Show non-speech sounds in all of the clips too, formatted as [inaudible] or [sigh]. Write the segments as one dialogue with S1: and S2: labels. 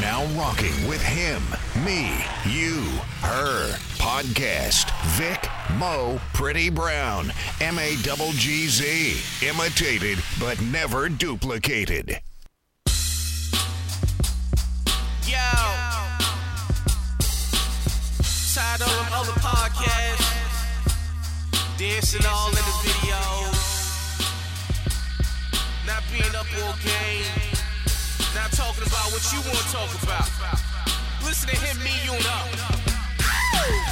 S1: now rocking with him, me, you, her. Podcast Vic Mo Pretty Brown. M A double G Z. Imitated but never duplicated.
S2: Yo. Tired of them other podcasts. Dancing all in the videos. Not being up all game. Not talking about what you want to talk about. Listen to him, me, you, and her.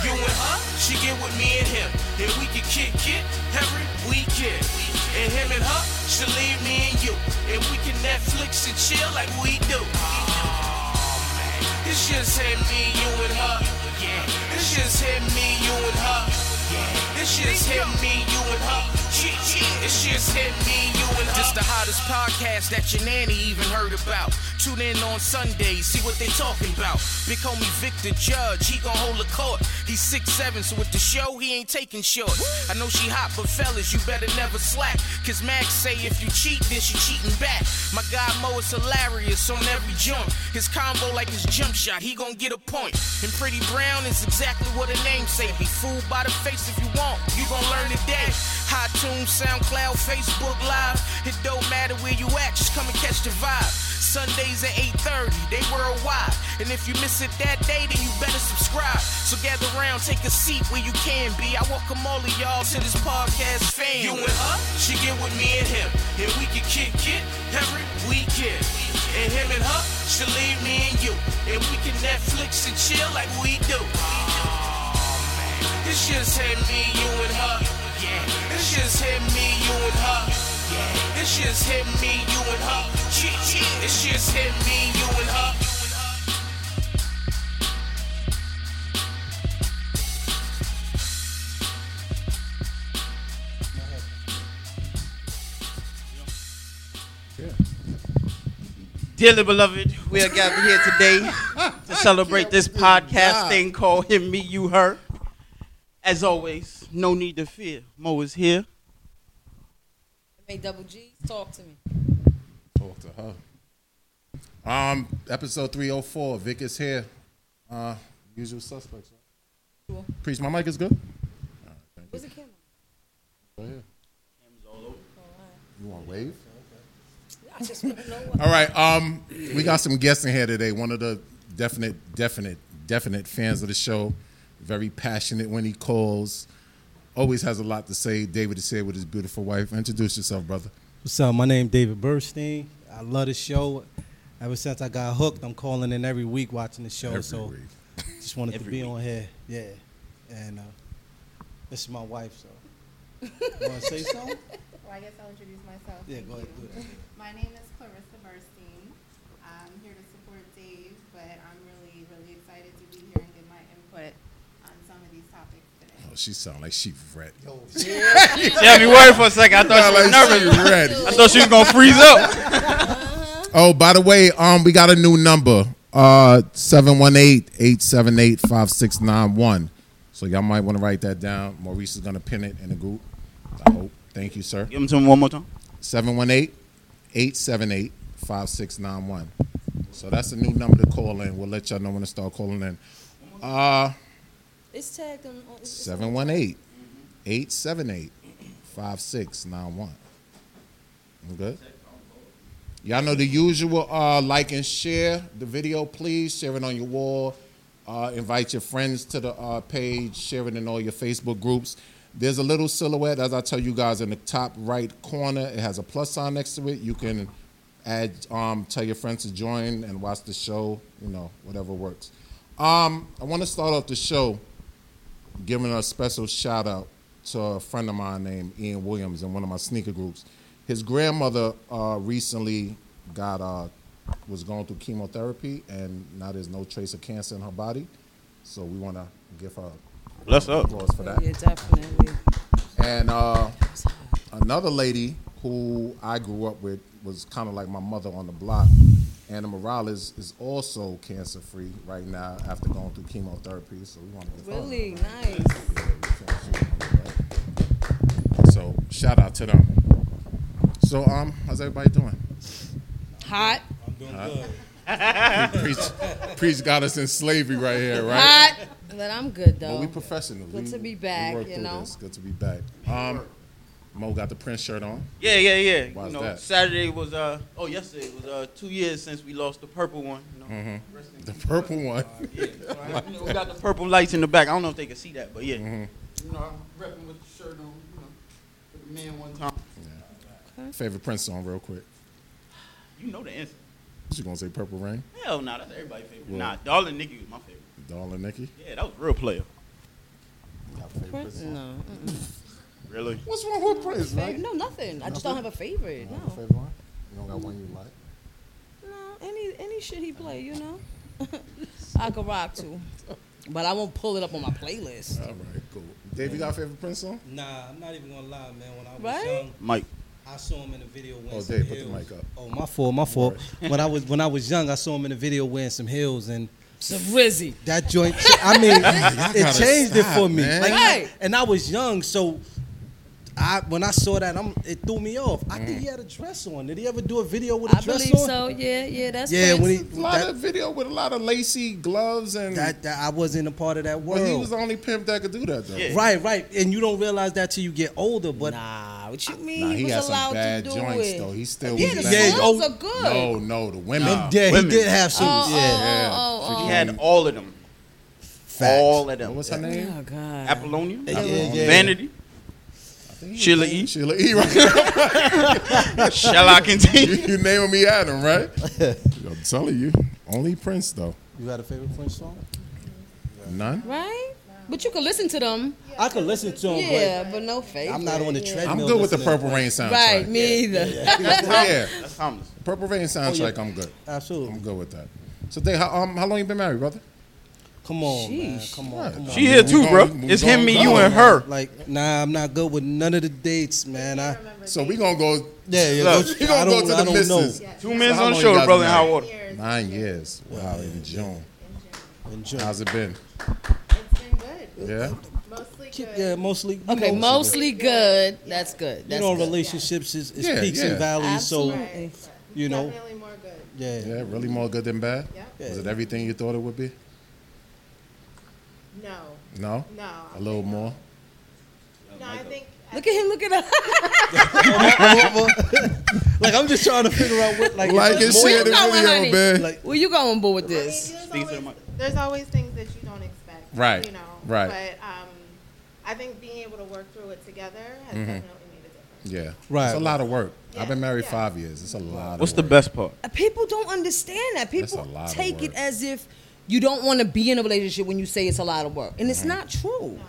S2: You and her, she get with me and him. And we can kick it every weekend. And him and her, she leave me and you. And we can Netflix and chill like we do. It's just him, me, you, and her. Yeah. It's just him, me, you, and her. Yeah. It's just him, me, you, and her. Yeah, yeah. It's just him, me, you, and her. This the hottest podcast that your nanny even heard about. Tune in on Sundays, see what they talking about. Big homie Victor Judge, he gon' hold a court. He's six seven, so with the show, he ain't taking short. I know she hot, but fellas, you better never slack. Cause Max say if you cheat, then she cheating back. My guy Mo is hilarious on every jump. His combo like his jump shot, he gon' get a point. And Pretty Brown is exactly what her name say. Be fooled by the face if you want, you gon' learn today. iTunes, SoundCloud, Facebook Live. It don't matter where you at, just come and catch the vibe. Sundays at 8:30, they worldwide. And if you miss it that day, then you better subscribe. So gather round, take a seat where you can be. I welcome all of y'all to this podcast fam. You and her, she get with me and him, and we can kick it every weekend. And him and her, she leave me and you, and we can Netflix and chill like we do. It's just him, me, you, and her. Yeah. It's just him, me, you, and her. Yeah. It's just him, me, you, and her. Yeah, yeah. It's just him, me, you, and her.
S3: Dearly beloved, we are gathered here today to celebrate this podcast thing called Him, Me, You, Her. As always, no need to fear. Mo is here.
S4: Make double G talk to me.
S5: Talk to her. Um, episode 304. Vic is here. Uh, usual suspects. Right?
S4: Cool.
S5: Preach, my mic is good.
S4: Where's the camera?
S5: Right here.
S4: Alright.
S5: You want to wave?
S4: I just want to know what.
S5: All right. Um, we got some guests in here today. One of the definite, definite, definite fans of the show. Very passionate when he calls. Always has a lot to say. David is here with his beautiful wife. Introduce yourself, brother.
S6: What's up? My name David Burstein. I love the show. Ever since I got hooked, I'm calling in every week watching the show.
S5: Every
S6: so
S5: week.
S6: just wanted
S3: Every
S6: to be
S3: week.
S6: on here. Yeah. And
S3: [laughs]
S6: uh, this is my wife, so. you want to
S7: [laughs]
S6: say something?
S7: Well, I guess I'll introduce myself.
S6: Yeah,
S7: Thank
S6: go ahead,
S7: you.
S6: do that.
S7: [laughs] My name is Clarissa Burstein. I'm here to support Dave, but I'm really, really excited to be here and give my [laughs] input on some of these topics today.
S5: Oh, she sound like she ready.
S3: She had me worried for a second. I thought she was
S5: Sound like
S3: nervous.
S5: she
S7: [laughs]
S5: ready.
S3: I thought she was going to freeze up.
S5: Oh, by the way, um, we got a new number. Uh 718-878-5691. So y'all might want to write that down. Maurice is gonna pin it in the group. I hope. Thank you, sir.
S3: Give him to him one more time.
S5: 718-878-5691. So that's a new number to call in. We'll let y'all know when to start calling in. Uh
S4: It's tagged on. on- it's-
S5: 718-878-5691. I'm good. Y'all know the usual. Uh, like and share the video, please. Share it on your wall. Uh, invite your friends to the uh, page. Share it in all your Facebook groups. There's a little silhouette, as I tell you guys, in the top right corner. It has a plus sign next to it. You can add, um, tell your friends to join and watch the show. You know, whatever works. Um, I want to start off the show giving a special shout out to a friend of mine named Ian Williams in one of my sneaker groups. His grandmother uh, recently got uh, was going through chemotherapy, and now there's no trace of cancer in her body. So we want to give her
S3: Bless up.
S5: applause for that.
S4: Yeah, definitely.
S5: And uh, another lady who I grew up with was kind of like my mother on the block. Anna Morales is also cancer free right now after going through chemotherapy. So we want to give her
S4: Really nice.
S5: So shout out to them. So um, how's everybody doing?
S4: Hot.
S6: I'm doing good.
S5: Preach, preach got us in slavery right here, right?
S4: [laughs] Hot, but I'm good though.
S5: But we professional.
S4: Good
S5: we,
S4: to be back,
S5: We work
S4: you
S5: through
S4: know?
S5: This. Good to be back. Um, Mo got the Prince shirt on.
S3: Yeah, yeah, yeah.
S5: Why's
S3: you know,
S5: that?
S3: Saturday was uh oh yesterday was uh two years since we lost the purple one. You know,
S5: Mm-hmm. The purple
S3: [laughs]
S5: one.
S3: You know, we got the purple lights in the back. I don't know if they can see that, but yeah.
S5: Mm-hmm.
S3: You know, I'm repping with the shirt on. You know, with the man one time.
S5: Favorite Prince song, real quick.
S3: You know the answer.
S5: What you gonna say? Purple Rain,
S3: Hell no, nah, that's everybody's favorite.
S5: Well-
S3: Nah, Darling Nikki was my favorite.
S5: Doll and Nikki.
S3: Yeah, that was a real player.
S4: no,
S3: Really?
S5: What's wrong with Prince,
S4: favorite,
S5: right?
S4: no, nothing. I just don't have a favorite.
S5: You don't have a
S4: No,
S5: favorite one? You don't got one you like?
S4: no, any any shit he play, you know, [laughs] I could rock to, but I won't pull it up on my playlist.
S5: All right, cool. Dave, you got a favorite Prince song?
S6: Nah, I'm not even gonna lie, man. When I was
S4: Right?
S6: young,
S3: Mike.
S6: I saw him in a video wearing
S5: Oh,
S6: some
S5: Dave, put the
S6: heels.
S5: mic up.
S6: Oh, my fault, my fault. when I was when I was young, I saw him in a video wearing some heels, and
S4: Some Rizzy.
S6: that joint. I mean, it changed it for me.
S5: man.
S6: Like,
S4: Right.
S6: And I was young, so I when I saw that, I'm it threw me off. I think he had a dress on. Did he ever do a video with a
S4: I
S6: dress
S4: believe
S6: on?
S4: so. Yeah, yeah, that's
S6: Yeah, when he
S4: Prince.
S5: A lot
S6: that,
S5: of video with a lot of lacy gloves and.
S6: that, that I wasn't a part of that world.
S5: but he was the only pimp that could do that though.
S3: Yeah.
S6: Right, right, and you don't realize that till you get older. But
S4: Nah, what you mean?
S5: Nah,
S4: he,
S5: he,
S4: was
S5: had
S4: allowed
S5: some bad
S4: to do
S5: joints
S4: it.
S5: though. He still
S4: Yeah,
S5: was
S4: the
S5: bad.
S6: Yeah,
S4: songs
S6: oh,
S4: are good.
S5: No, no, the women.
S6: yeah,
S3: women.
S6: he did have some.
S4: Oh,
S6: yeah,
S4: oh, oh, oh,
S3: He
S4: oh.
S3: had all of them.
S6: facts.
S3: All of them.
S5: What was her name?
S4: Oh God.
S3: Apollonia.
S6: Yeah, yeah, yeah.
S3: Vanity.
S5: I think he-
S3: Sheila E.
S5: Sheila E.
S3: [laughs]
S5: Right.
S3: Shall I continue?
S5: you name him, he had him, right? I'm telling you, only Prince though.
S6: You got a favorite French song?
S5: None.
S4: Right? But you can listen to them.
S6: I could listen to him,
S4: Yeah, but no favorite.
S6: I'm not on the
S4: yeah.
S6: treadmill.
S5: I'm good with the
S6: listening.
S5: Purple Rain soundtrack.
S4: Right, me either.
S5: [laughs] Yeah,
S3: That's harmless.
S5: Purple Rain soundtrack. I'm good. I'm
S6: Oh, Absolutely.
S5: good with that. So, Dave, how, um, how long you been married, brother?
S6: Come on, man.
S4: Sheesh.
S6: Come on. Come on.
S3: She here too, bro. It's him, me, you, and her.
S6: Like, nah, I'm not good with none of the dates, man. I,
S5: So we gonna go.
S6: yeah, yeah.
S3: Look,
S6: those-
S5: We gonna
S6: I don't,
S5: go to
S6: I
S5: the
S6: don't know.
S5: missus.
S3: Two men's
S5: how
S3: on the
S5: long you
S3: shoulder,
S5: guys
S3: brother in
S5: been
S3: hot
S5: married?
S3: water.
S5: Nine years. Wow, in June.
S6: Enjoy.
S5: How's it been?
S7: It's been good.
S5: Yeah.
S7: Mostly good.
S6: Yeah, mostly. you
S4: Okay,
S6: know,
S4: mostly good. That's good.
S6: You
S4: That's
S6: know,
S4: good.
S6: relationships is, is
S5: Yeah,
S6: peaks
S5: yeah.
S6: and valleys. So,
S4: Absolutely.
S7: Right.
S6: you know,
S7: Definitely more good.
S6: yeah.
S5: Yeah, really more good than bad.
S7: Yeah.
S5: Was it everything you thought it would be?
S7: No.
S5: No.
S7: No.
S5: A little
S6: [laughs]
S5: more.
S7: No, I think.
S4: Look at him, look at us.
S6: like, I'm just trying to figure out what, like,
S5: [laughs] Like and
S6: it's more-
S5: share the
S4: going, honey?
S5: video, man.
S6: like,
S4: Where you going, boo, with
S7: I mean,
S4: this?
S3: Speak to the
S7: there's, always,
S3: mic.
S7: there's always things that you don't expect.
S5: Right,
S7: You know.
S5: right.
S7: But um, I think being able to work through it together has definitely made a difference.
S5: Mm-hmm. Yeah.
S6: Right.
S5: It's a lot of work. I've been
S7: Yeah.
S5: married
S7: Yeah.
S5: five years. It's a lot.
S3: What's
S5: of
S3: the
S5: work.
S3: best part?
S4: Uh, People don't understand that.
S5: That's a
S4: People
S5: lot of
S4: take it
S5: work.
S4: as if you don't want to be in a relationship when you say it's a lot of work. And it's not true.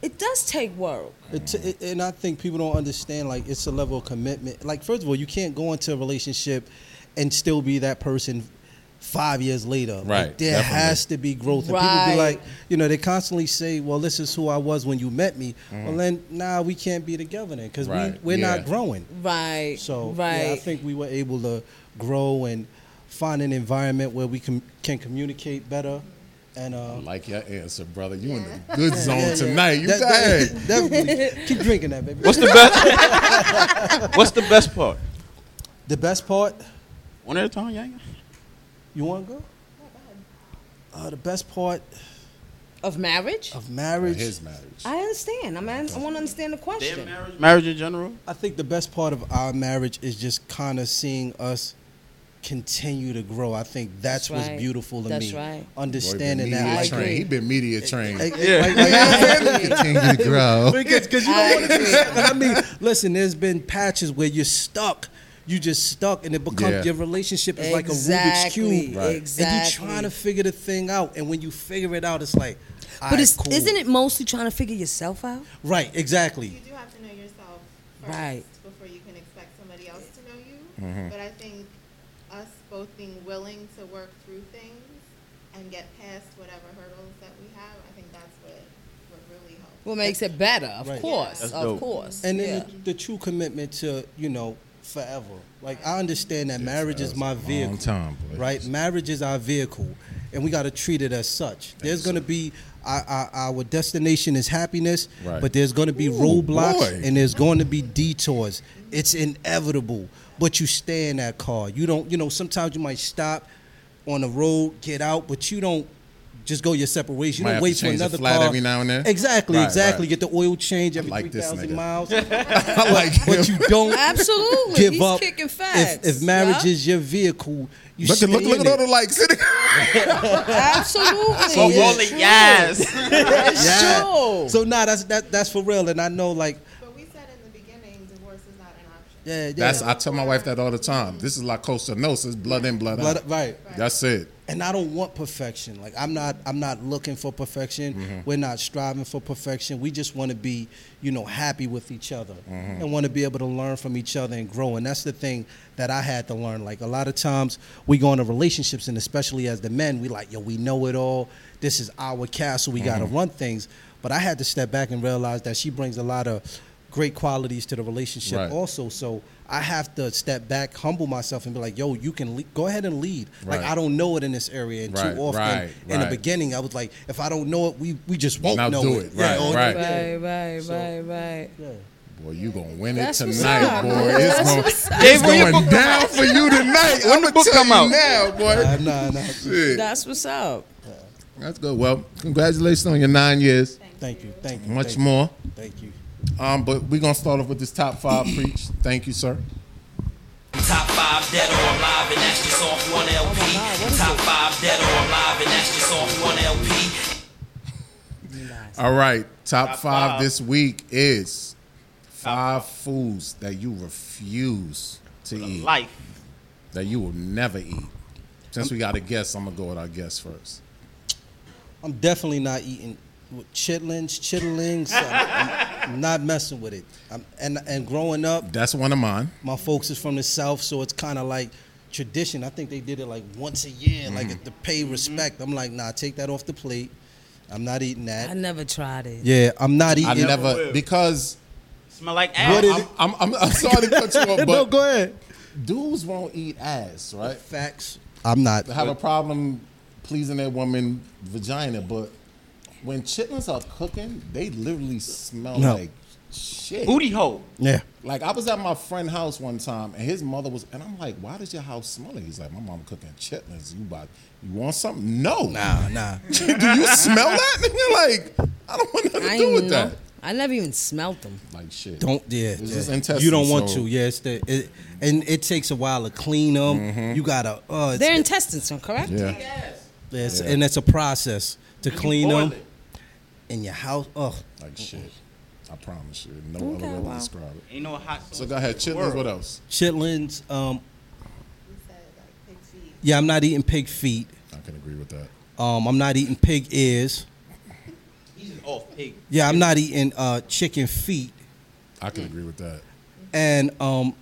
S4: It does take work.
S6: It t- it, and I think people don't understand like it's a level of commitment. Like first of all, you can't go into a relationship and still be that person five years later. Like,
S5: Right,
S6: there
S5: definitely.
S6: has to be growth. And people
S4: Right.
S6: be like, you know, they constantly say, "Well, this is who I was when you met me." Well, then nah, we can't be together then because
S5: Mm-hmm. Right,
S6: we we're
S5: yeah.
S6: not growing.
S4: Right.
S6: So
S4: right.
S6: yeah, I think we were able to grow and find an environment where we com- can communicate better. And uh,
S5: Like your answer, brother. You in the
S6: [laughs]
S5: good zone tonight. You
S6: that-
S5: got
S6: that-
S5: hey,
S6: [laughs] definitely. keep drinking that, baby.
S3: What's the best? What's the best part?
S6: the best part?
S3: One at a time, yeah. yeah.
S6: [laughs] You want to go? Uh, the best part
S4: of marriage?
S6: of marriage,
S5: his marriage.
S4: I understand. I mean, I want to understand the question.
S3: Marriage in general.
S6: I think the best part of our marriage is just kind of seeing us continue to grow. I think that's,
S4: That's
S6: what's
S4: right.
S6: beautiful to
S4: That's
S6: me.
S4: right.
S5: Boy, he been
S6: Understanding
S5: media
S6: that, like,
S5: trained. He been media trained.
S6: like,
S3: Yeah.
S6: like, like,
S5: [laughs] Continue to grow.
S6: because cause you don't want to be stuck. I mean, listen, there's been patches where you're stuck. You just stuck, and it becomes
S5: Yeah.
S6: your relationship is
S4: Exactly,
S6: like a Rubik's cube,
S4: Right.
S6: and
S4: exactly.
S6: you're trying to figure the thing out. And when you figure it out, it's like,
S4: But it's, isn't it mostly trying to figure yourself out?
S6: right? Exactly.
S7: You do have to know yourself first
S4: Right.
S7: before you can expect somebody else to know you. But I think us both being willing to work through things and get past whatever hurdles that we have, I think that's what, what really helps.
S4: What makes it better? Of
S6: Right.
S4: course.
S3: That's
S4: of
S3: dope.
S4: course.
S6: and
S4: yeah.
S6: then the, the true commitment to you know forever like i understand that marriage is my
S5: Long
S6: vehicle
S5: time, boy.
S6: right marriage is our vehicle and we got to treat it as such there's going to be our, our, our destination is happiness
S5: Right.
S6: but there's going to be
S5: Ooh,
S6: roadblocks
S5: boy.
S6: and there's going to be detours it's inevitable but you stay in that car you don't you know sometimes you might stop on the road, get out, but you don't just go your separate ways. You
S5: Might have
S6: don't
S5: to
S6: wait for
S5: change the
S6: another
S5: flat
S6: car
S5: every now and then.
S6: Exactly,
S5: Right,
S6: exactly.
S5: right.
S6: Get the oil change every
S5: like
S6: three
S5: this
S6: thousand
S5: nigga.
S6: miles.
S5: [laughs] I like him.
S6: but you don't
S4: Absolutely.
S6: give
S4: He's
S6: up.
S4: kicking
S6: If,
S4: facts.
S6: if marriage
S4: Yeah.
S6: is your vehicle, you
S5: Look, at-
S6: stay
S5: look,
S6: in
S5: look at all
S6: it.
S5: the likes. [laughs]
S4: Absolutely.
S3: So
S4: It's
S3: rolling
S4: true.
S3: yes.
S4: It's
S5: Yeah.
S4: true.
S6: So nah, that's that, that's for real, and I know like
S7: But we said in the beginning, divorce is not an option.
S6: yeah, yeah.
S5: That's I tell my wife that all the time. This is La Costa Nostra. It's blood in, blood,
S6: Blood-
S5: out.
S6: right.
S5: That's it.
S6: and I don't want perfection. Like I'm not I'm not looking for perfection. We're not striving for perfection. We just want to be, you know, happy with each other and want to be able to learn from each other and grow. And that's the thing that I had to learn. Like a lot of times we go into relationships and especially as the men, we like, yo, we know it all. This is our castle. We got to run things. But I had to step back and realize that she brings a lot of great qualities to the relationship
S5: Right.
S6: also. So I have to step back, humble myself and be like, yo, you can le- go ahead and lead. Like
S5: Right.
S6: I don't know it in this area and
S5: Right,
S6: too often.
S5: right,
S6: in the
S5: right.
S6: beginning, I was like, if I don't know it, we, we just won't
S5: Now
S6: know
S5: do
S6: it.
S5: it, right,
S6: or-
S5: right.
S4: Right, right, right, right.
S5: Boy, you gonna win it
S4: That's what's
S5: tonight,
S4: up.
S5: boy. It's
S4: That's
S5: gonna,
S4: what's up.
S5: it's
S3: Dave, when your
S5: going
S3: book come
S5: down for you tonight. I'm gonna
S3: book
S5: tell
S3: come
S5: you
S3: out?
S5: now, boy.
S6: Nah, nah, nah.
S5: Shit.
S4: That's what's up.
S5: That's good. Well, [laughs] congratulations on your nine years.
S6: Thank you, thank you,
S5: Much
S6: thank
S5: more.
S6: You, thank you.
S5: Um, but we're gonna start off with this top five preach. Thank you, sir.
S8: Top five dead or alive, and that's just off one
S5: Oh,
S8: LP. Top five dead or alive, and that's just off one LP.
S5: All right, top, five, this week is five foods that you refuse to eat,
S3: Life.
S5: that you will never eat. Since we got a guest, I'm gonna go with our guest first.
S6: I'm definitely not eating with chitlins, chitlins. I'm, I'm not messing with it. I'm, and and growing up,
S5: That's one of mine.
S6: my folks is from the south, so it's kind of like tradition. I think they did it like once a year,
S5: Mm-hmm.
S6: like to pay respect. I'm like, nah, take that off the plate. I'm not eating
S4: I
S6: that.
S4: never tried it.
S6: Yeah, I'm not eating.
S5: I never because
S3: Smell like
S5: I'm,
S3: ass.
S5: I'm, I'm, I'm sorry
S6: [laughs]
S5: to cut you off, but
S6: no, go ahead.
S5: dudes won't eat ass, right?
S6: Facts. I'm not.
S5: They have a problem pleasing their woman vagina, but when chitlins are cooking, they literally smell
S6: No.
S5: like shit.
S3: Booty hole.
S6: Yeah.
S5: Like I was at my friend's house one time, and his mother was, and I'm like, "Why does your house smell?" like-" He's like, "My mom cooking chitlins. You about, you want something? No.
S6: Nah, nah.
S5: [laughs] Do you smell that? Nigga, like, I don't want nothing
S4: I ain't
S5: to do with
S4: know.
S5: that.
S4: I never even smelt them.
S5: Like shit.
S6: Don't yeah.
S5: It's
S6: yeah.
S5: just intestines,
S6: you don't want
S5: so-
S6: to. Yeah, it's the it, and it takes a while to clean them. You gotta. Uh, it's,
S4: Their intestines, are correct?
S5: Mm-hmm. Yeah.
S6: it's- and it's a process to clean
S3: boil
S6: them
S3: it.
S6: in your house. oh, Ugh.
S5: Like shit. I promise you, no
S4: Okay,
S5: other way to
S4: wow.
S5: describe it.
S3: Ain't no hot sauce.
S5: So go ahead, chitlins. What else?
S6: chitlins. Um,
S7: We said like pig feet.
S6: yeah, I'm not eating pig feet.
S5: I can agree with that.
S6: Um, I'm not eating pig ears.
S3: He's just off pig.
S6: Yeah, I'm not eating uh, chicken feet.
S5: I can agree with that.
S6: And um,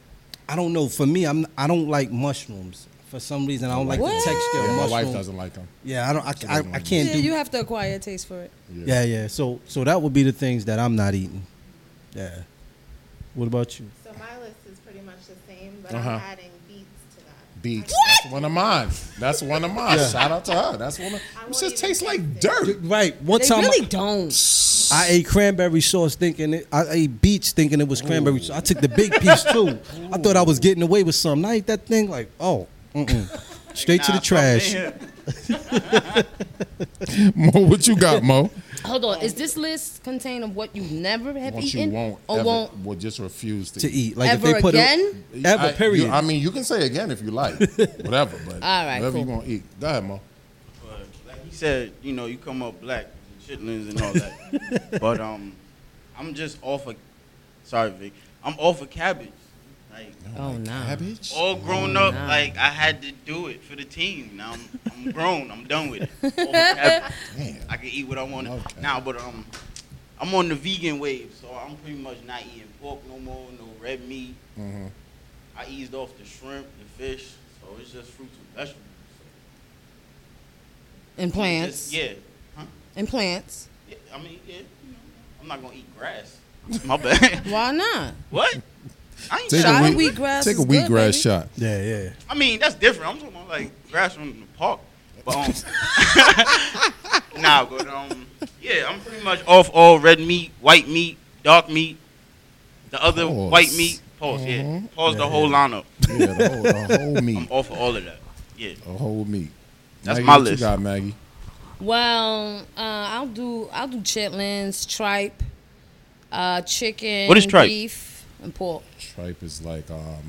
S6: I don't know. For me, I'm I don't like mushrooms. For some reason, I don't like
S4: What?
S6: the texture
S5: Yeah,
S6: of
S5: my
S6: mushrooms.
S5: wife doesn't like them.
S6: Yeah, I don't. I, I,
S5: doesn't
S6: I
S5: like
S6: can't
S4: Yeah,
S6: do.
S4: you have to acquire a taste for it.
S6: Yeah, yeah. So so that would be the things that I'm not eating. Yeah. What about you?
S7: So my list is pretty much the same, but
S5: Uh-huh.
S7: I'm adding beets to that.
S5: Beets. That's one of mine. That's one of mine. Shout out to her. That's one of.
S7: I
S5: It
S7: won't
S5: just
S7: even
S5: tastes like
S7: taste
S5: dirt.
S6: Right. One
S4: They
S6: time
S4: really
S6: I,
S4: don't.
S6: I ate cranberry sauce thinking it, I ate beets thinking it was cranberry sauce. I took the big piece too. I thought I was getting away with something. I ate that thing like, oh, mm-mm. straight to the trash.
S5: [laughs] Mo, what you got, Mo?
S4: Hold on.
S6: Um,
S4: Is this list contained of what you never have
S5: What you
S4: eaten?
S5: won't
S4: or
S5: ever,
S4: won't
S5: will just refuse to,
S6: to
S5: eat.
S6: eat. Like
S4: ever
S6: if they put
S4: again?
S6: It, ever
S5: I, you-
S6: period.
S5: I mean, you can say again if you
S6: [laughs]
S5: like, whatever. But
S4: All right,
S5: whatever you
S4: cool.
S5: want to eat. Go ahead, Mo.
S3: Like he said, you know, you come up black, chitlins and all
S5: [laughs]
S3: that. but um, I'm just off of, sorry Vic, I'm off of cabbage. Like
S4: Oh, no.
S5: Cabbage.
S3: all grown up, like I had to do it for the team. Now I'm,
S5: [laughs]
S3: I'm grown. I'm done with it. Off of cabbage.
S5: Damn.
S3: I can eat what I want.
S5: Okay.
S3: Now, but um, I'm on the vegan wave, so I'm pretty much not eating pork no more, no red meat.
S5: Mm-hmm.
S3: I eased off the shrimp, the fish, so it's just fruits and vegetables. So
S4: And
S3: it's
S4: plants.
S3: just- yeah. Huh?
S4: And plants.
S3: Yeah, I mean, yeah, you know, I'm not gonna eat grass. [laughs] My bad.
S4: Why not?
S3: what? I ain't.
S5: Take
S3: shy.
S5: a
S4: Shot of
S5: wheat-
S4: wheatgrass
S5: Take a
S4: is good,
S5: wheatgrass
S4: baby.
S5: shot.
S6: yeah, yeah.
S3: I mean, that's different. I'm talking about like grass from the park. But um, [laughs] nah, but um, yeah, I'm pretty much off all red meat, white meat, dark meat, the other
S5: Pause. Uh-huh.
S3: white meat. Pause. Yeah, pause the whole lineup. [laughs]
S5: Yeah, the whole, the whole meat,
S3: I'm off of all of that. Yeah.
S5: the whole meat.
S3: That's
S5: Maggie,
S3: my
S5: what
S3: list.
S5: You got Maggie.
S4: Well, uh, I'll do I'll do chitlins, tripe, uh, chicken,
S3: What is tripe?
S4: beef, and pork.
S5: Tripe is like um,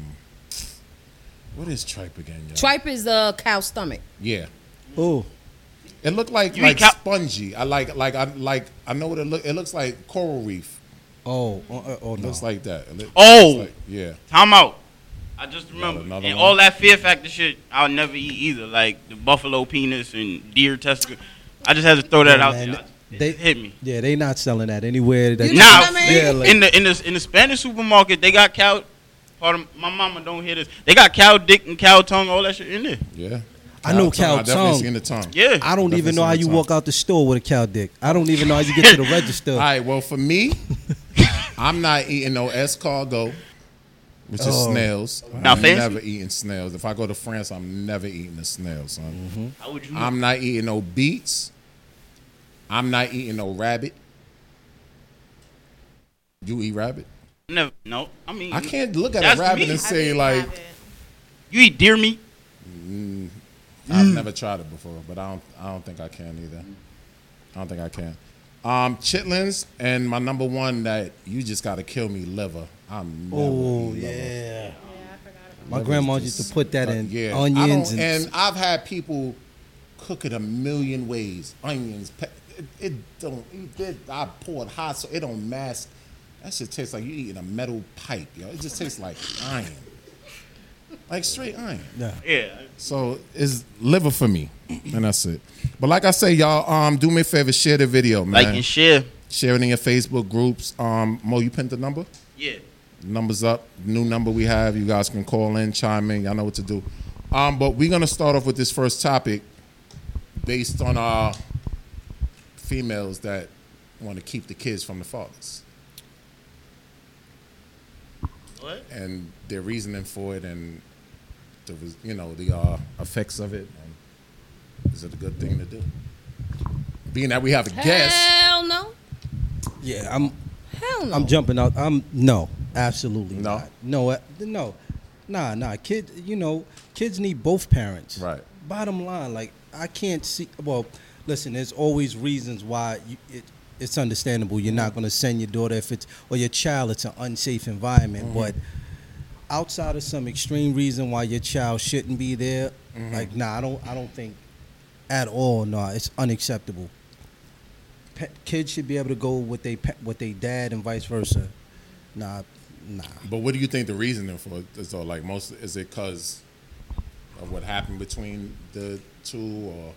S5: what is tripe again? Yo?
S4: Tripe is the cow stomach.
S5: Yeah,
S6: Ooh.
S5: it looked like
S3: You eat
S5: like
S3: cow-
S5: spongy. I like like I like I know what it look. It looks like coral reef.
S6: Oh, oh, oh, oh
S5: It
S6: no.
S5: looks like that. It look-
S3: Oh!
S5: looks like- yeah.
S3: Time out. I just remember.
S5: another
S3: and
S5: one?
S3: all that fear factor shit, I'll never eat either. Like the buffalo penis and deer testicle. I just [laughs] had to throw that
S6: Yeah,
S3: out
S6: man,
S3: there. It
S6: they-
S3: just hit me.
S6: Yeah, they not selling that anywhere. That
S4: You know
S3: Now,
S4: what I mean?
S6: Yeah, like-
S3: in the in the in the Spanish supermarket, they got cow. Pardon, my mama don't hear this. They got cow dick and cow tongue, all that shit in there.
S5: Yeah.
S6: I know cow
S5: I definitely
S6: tongue.
S5: seen the tongue.
S3: Yeah.
S6: I don't
S5: Definitely
S6: even know how
S5: seen
S6: you
S5: the tongue.
S6: walk out the store with a cow dick. I don't even know how you [laughs] get
S3: [laughs]
S6: to the register.
S5: All right. Well,
S6: [laughs]
S5: for me, I'm not eating no escargot, which is
S6: Oh.
S5: snails.
S3: Now,
S5: I'm
S3: fancy?
S5: never eating snails. If I go to France, I'm never eating a snail, son.
S6: Mm-hmm.
S3: How would you?
S5: I'm not eating no beets. I'm not eating no rabbit. You eat rabbit?
S3: never. No, I mean
S5: I can't look at
S3: That's
S5: a rabbit
S3: me.
S5: and
S7: I
S5: say
S7: didn't
S5: like Mm.
S7: have it.
S3: You eat deer meat.
S5: I've never tried it before, but I don't. I don't think I can either. I don't think I can. Um, chitlins and my number one that you just gotta kill me liver. I'm never
S6: Oh
S5: eating liver.
S6: yeah. My grandma used to put that
S5: Uh,
S6: in
S5: yeah. I
S6: onions
S5: don't-
S6: and,
S5: and I've had people cook it a million ways. Onions, pe- it, it don't. It, I poured hot, so it don't mask. That shit tastes like you eating a metal pipe, yo. It just tastes like iron, like straight iron.
S3: Yeah.
S5: So it's liver for me, and that's it. But like I say, y'all, um, do me a favor, share the video, man.
S3: Like and share.
S5: share it in your Facebook groups. Um, Mo, you pinned the number.
S3: Yeah.
S5: Numbers up. New number we have. You guys can call in, chime in. Y'all know what to do. Um, but we're gonna start off with this first topic, based on our females that want to keep the kids from the fathers
S3: What?
S5: and their reasoning for it and the res- you know the uh, effects of it. And is it a good thing to do? Being that we have a guest,
S4: Hell no.
S6: yeah, I'm
S4: Hell no.
S6: I'm jumping out. I'm no, absolutely
S5: No?
S6: not. No, uh, no, nah, nah. Kid, you know, kids need both parents.
S5: Right.
S6: Bottom line, like I can't see. Well, listen, there's always reasons why you, it, it's understandable. You're
S5: Mm-hmm.
S6: not going to send your daughter if it's or your child. It's an unsafe environment,
S5: Mm-hmm.
S6: but outside of some extreme reason why your child shouldn't be there,
S5: Mm-hmm.
S6: like nah, I don't, I don't think at all. Nah, it's unacceptable. Pa- kids should be able to go with they pa- with they dad and vice versa. Nah, nah.
S5: but what do you think the reasoning for it is? Though, like most, is it because of what happened between the two, or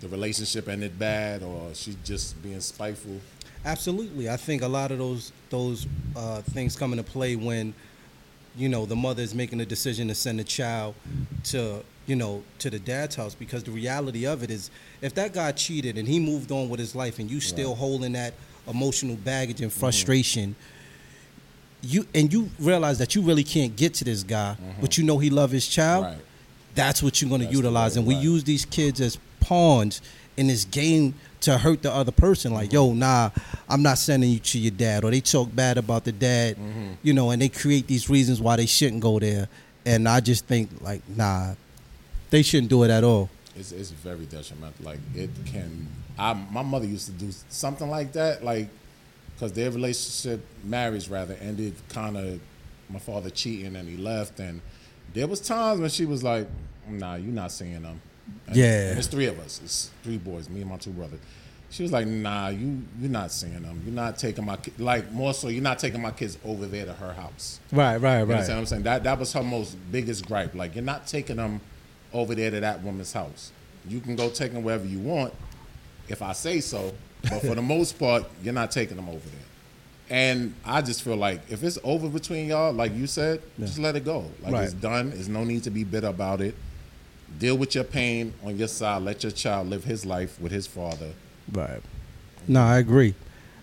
S5: the relationship ended bad, or she just being spiteful?
S6: Absolutely, I think a lot of those those uh, things come into play when you know the mother is making the decision to send the child to you know to the dad's house because the reality of it is if that guy cheated and he moved on with his life and you still holding that emotional baggage and frustration you and you realize that you really can't get to this guy but you know he love his child
S5: Right.
S6: that's what you're going to
S5: That's the
S6: utilize
S5: way,
S6: and we
S5: right.
S6: use these kids as pawns in this game to hurt the other person
S5: Mm-hmm.
S6: like yo nah i'm not sending you to your dad or they talk bad about the dad
S5: Mm-hmm.
S6: you know and they create these reasons why they shouldn't go there and i just think like nah they shouldn't do it at all
S5: It's, it's very detrimental. Like it can. I my mother used to do something like that. Like because their relationship, marriage rather, ended kind of my father cheating and he left, and there was times when she was like, "Nah, you're not seeing them." And
S6: Yeah.
S5: it's three of us. It's three boys, me and my two brothers. She was like, "Nah, you you're not seeing them. You're not taking my ki- like more so. You're not taking my kids over there to her house."
S6: right right
S5: You understand what I'm saying? That that was her most biggest gripe. Like you're not taking them over there to that woman's house. You can go take them wherever you want, if I say so.
S6: [laughs]
S5: But for the most part, you're not taking them over there. And I just feel like if it's over between y'all, like you said, just let it go. Like
S6: Right.
S5: it's done. There's no need to be bitter about it. Deal with your pain on your side. Let your child live his life with his father.
S6: Right. No, I agree.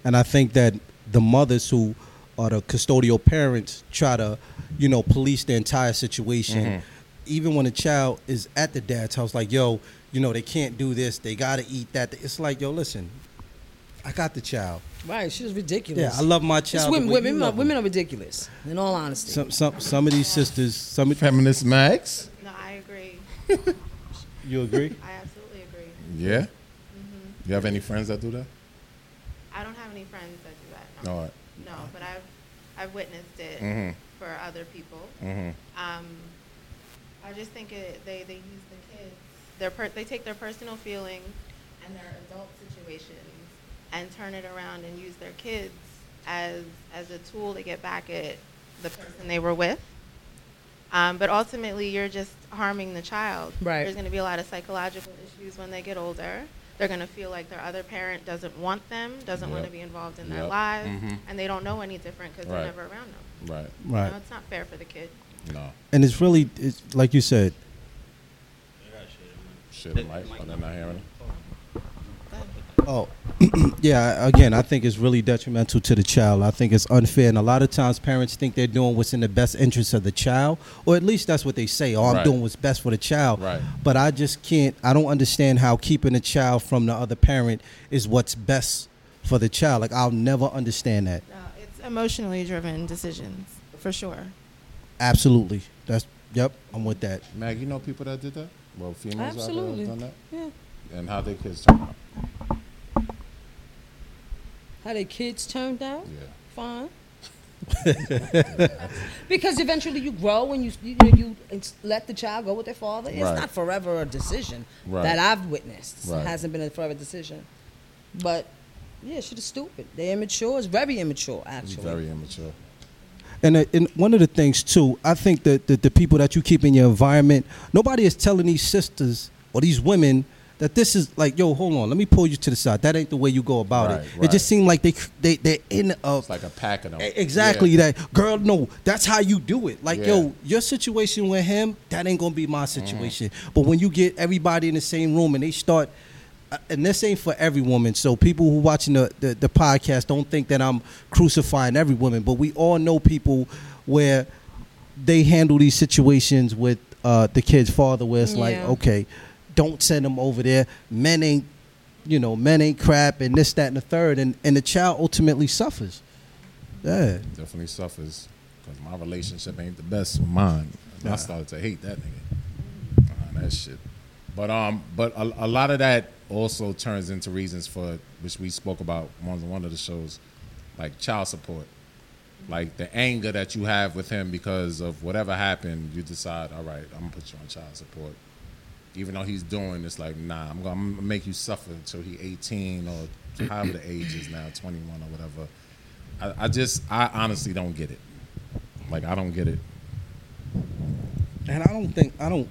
S6: And I think that the mothers who are the custodial parents try to, you know, police the entire situation. Even when a child is at the dad's house, like, yo, you know, they can't do this, they gotta eat that. It's like, yo, listen, I got the child.
S4: right, she's ridiculous.
S6: Yeah, I love my
S4: It's
S6: child.
S4: women.
S6: the way you
S4: Women, are,
S6: love
S4: women
S6: them.
S4: are ridiculous. In all honesty.
S6: some some some of these sisters, some of
S5: Feminist Max.
S7: No, I agree.
S6: [laughs] you agree?
S7: I absolutely Mm-hmm.
S5: Yeah. You have any friends that do that?
S7: I don't have any friends that do that.
S5: All right. Mm-hmm.
S7: No, but I've I've witnessed it for other people. Um, I just think it, they they use the kids. Their per- they take their personal feelings and their adult situations and turn it around and use their kids as as a tool to get back at the person they were with. Um, but ultimately, you're just harming the child.
S4: Right.
S7: There's going to be a lot of psychological issues when they get older. They're going to feel like their other parent doesn't want them, doesn't want to
S5: Yep.
S7: be involved in their
S5: Yep. Mm-hmm.
S7: lives, and they don't know any different because
S5: Right.
S7: they're never around them.
S5: Right.
S7: You
S6: Right.
S7: know, it's not fair for the kid.
S5: No.
S6: And it's really, it's, like you said,
S5: Shit, I'm like, I'm not hearing it.
S6: Oh, yeah. Again, I think it's really detrimental to the child. I think it's unfair, and a lot of times parents think they're doing what's in the best interest of the child, or at least that's what they say. Oh, I'm
S5: Right.
S6: doing what's best for the child.
S5: Right.
S6: But I just can't. I don't understand how keeping a child from the other parent is what's best for the child. Like I'll never understand that.
S7: No, it's emotionally driven decisions for sure.
S6: Absolutely. That's yep. I'm with that.
S5: Mag, you know people that did that? Well, females out there
S4: Absolutely.
S5: have done that?
S4: Yeah.
S5: And how their kids turn out.
S4: How their kids turned out?
S5: Yeah. [laughs]
S4: Fine. because eventually you grow and you you, know, you ex- let the child go with their father. It's
S5: Right.
S4: not forever a decision
S5: Right.
S4: that I've witnessed.
S5: Right.
S4: It hasn't been a forever decision. But yeah, shit is stupid. They're immature. It's very immature,
S5: It's
S4: actually.
S5: very immature.
S6: And, uh, and one of the things too, I think that the, the people that you keep in your environment, nobody is telling these sisters or these women that this is like, yo, hold on, let me pull you to the side. That ain't the way you go about
S5: Right,
S6: it. It
S5: right.
S6: just seemed like they they they're in a
S5: It's like a pack of them.
S6: E- Exactly
S5: Yeah.
S6: that. Girl, no, that's how you do it. Like,
S5: Yeah.
S6: yo, your situation with him, that ain't gonna be my situation. But when you get everybody in the same room and they start, uh, and this ain't for every woman. So people who watching the, the the podcast don't think that I'm crucifying every woman. But we all know people where they handle these situations with uh, the kid's father, where it's like,
S4: Yeah.
S6: okay, don't send them over there. Men ain't, you know, men ain't crap, and this, that, and the third, and and the child ultimately suffers. Yeah.
S5: Definitely suffers because my relationship ain't the best with mine. And I started to hate that nigga. Uh, that shit. But um, but a, a lot of that also turns into reasons for which we spoke about on one of the shows, like child support, like the anger that you have with him because of whatever happened. You decide, all right, I'm gonna put you on child support. even though he's doing this, like, nah, I'm gonna, I'm gonna make you suffer until he 18 or [clears throat] however the age is now, 21 or whatever. I, I just, I honestly don't get it. Like, I don't get it.
S6: And I don't think I don't.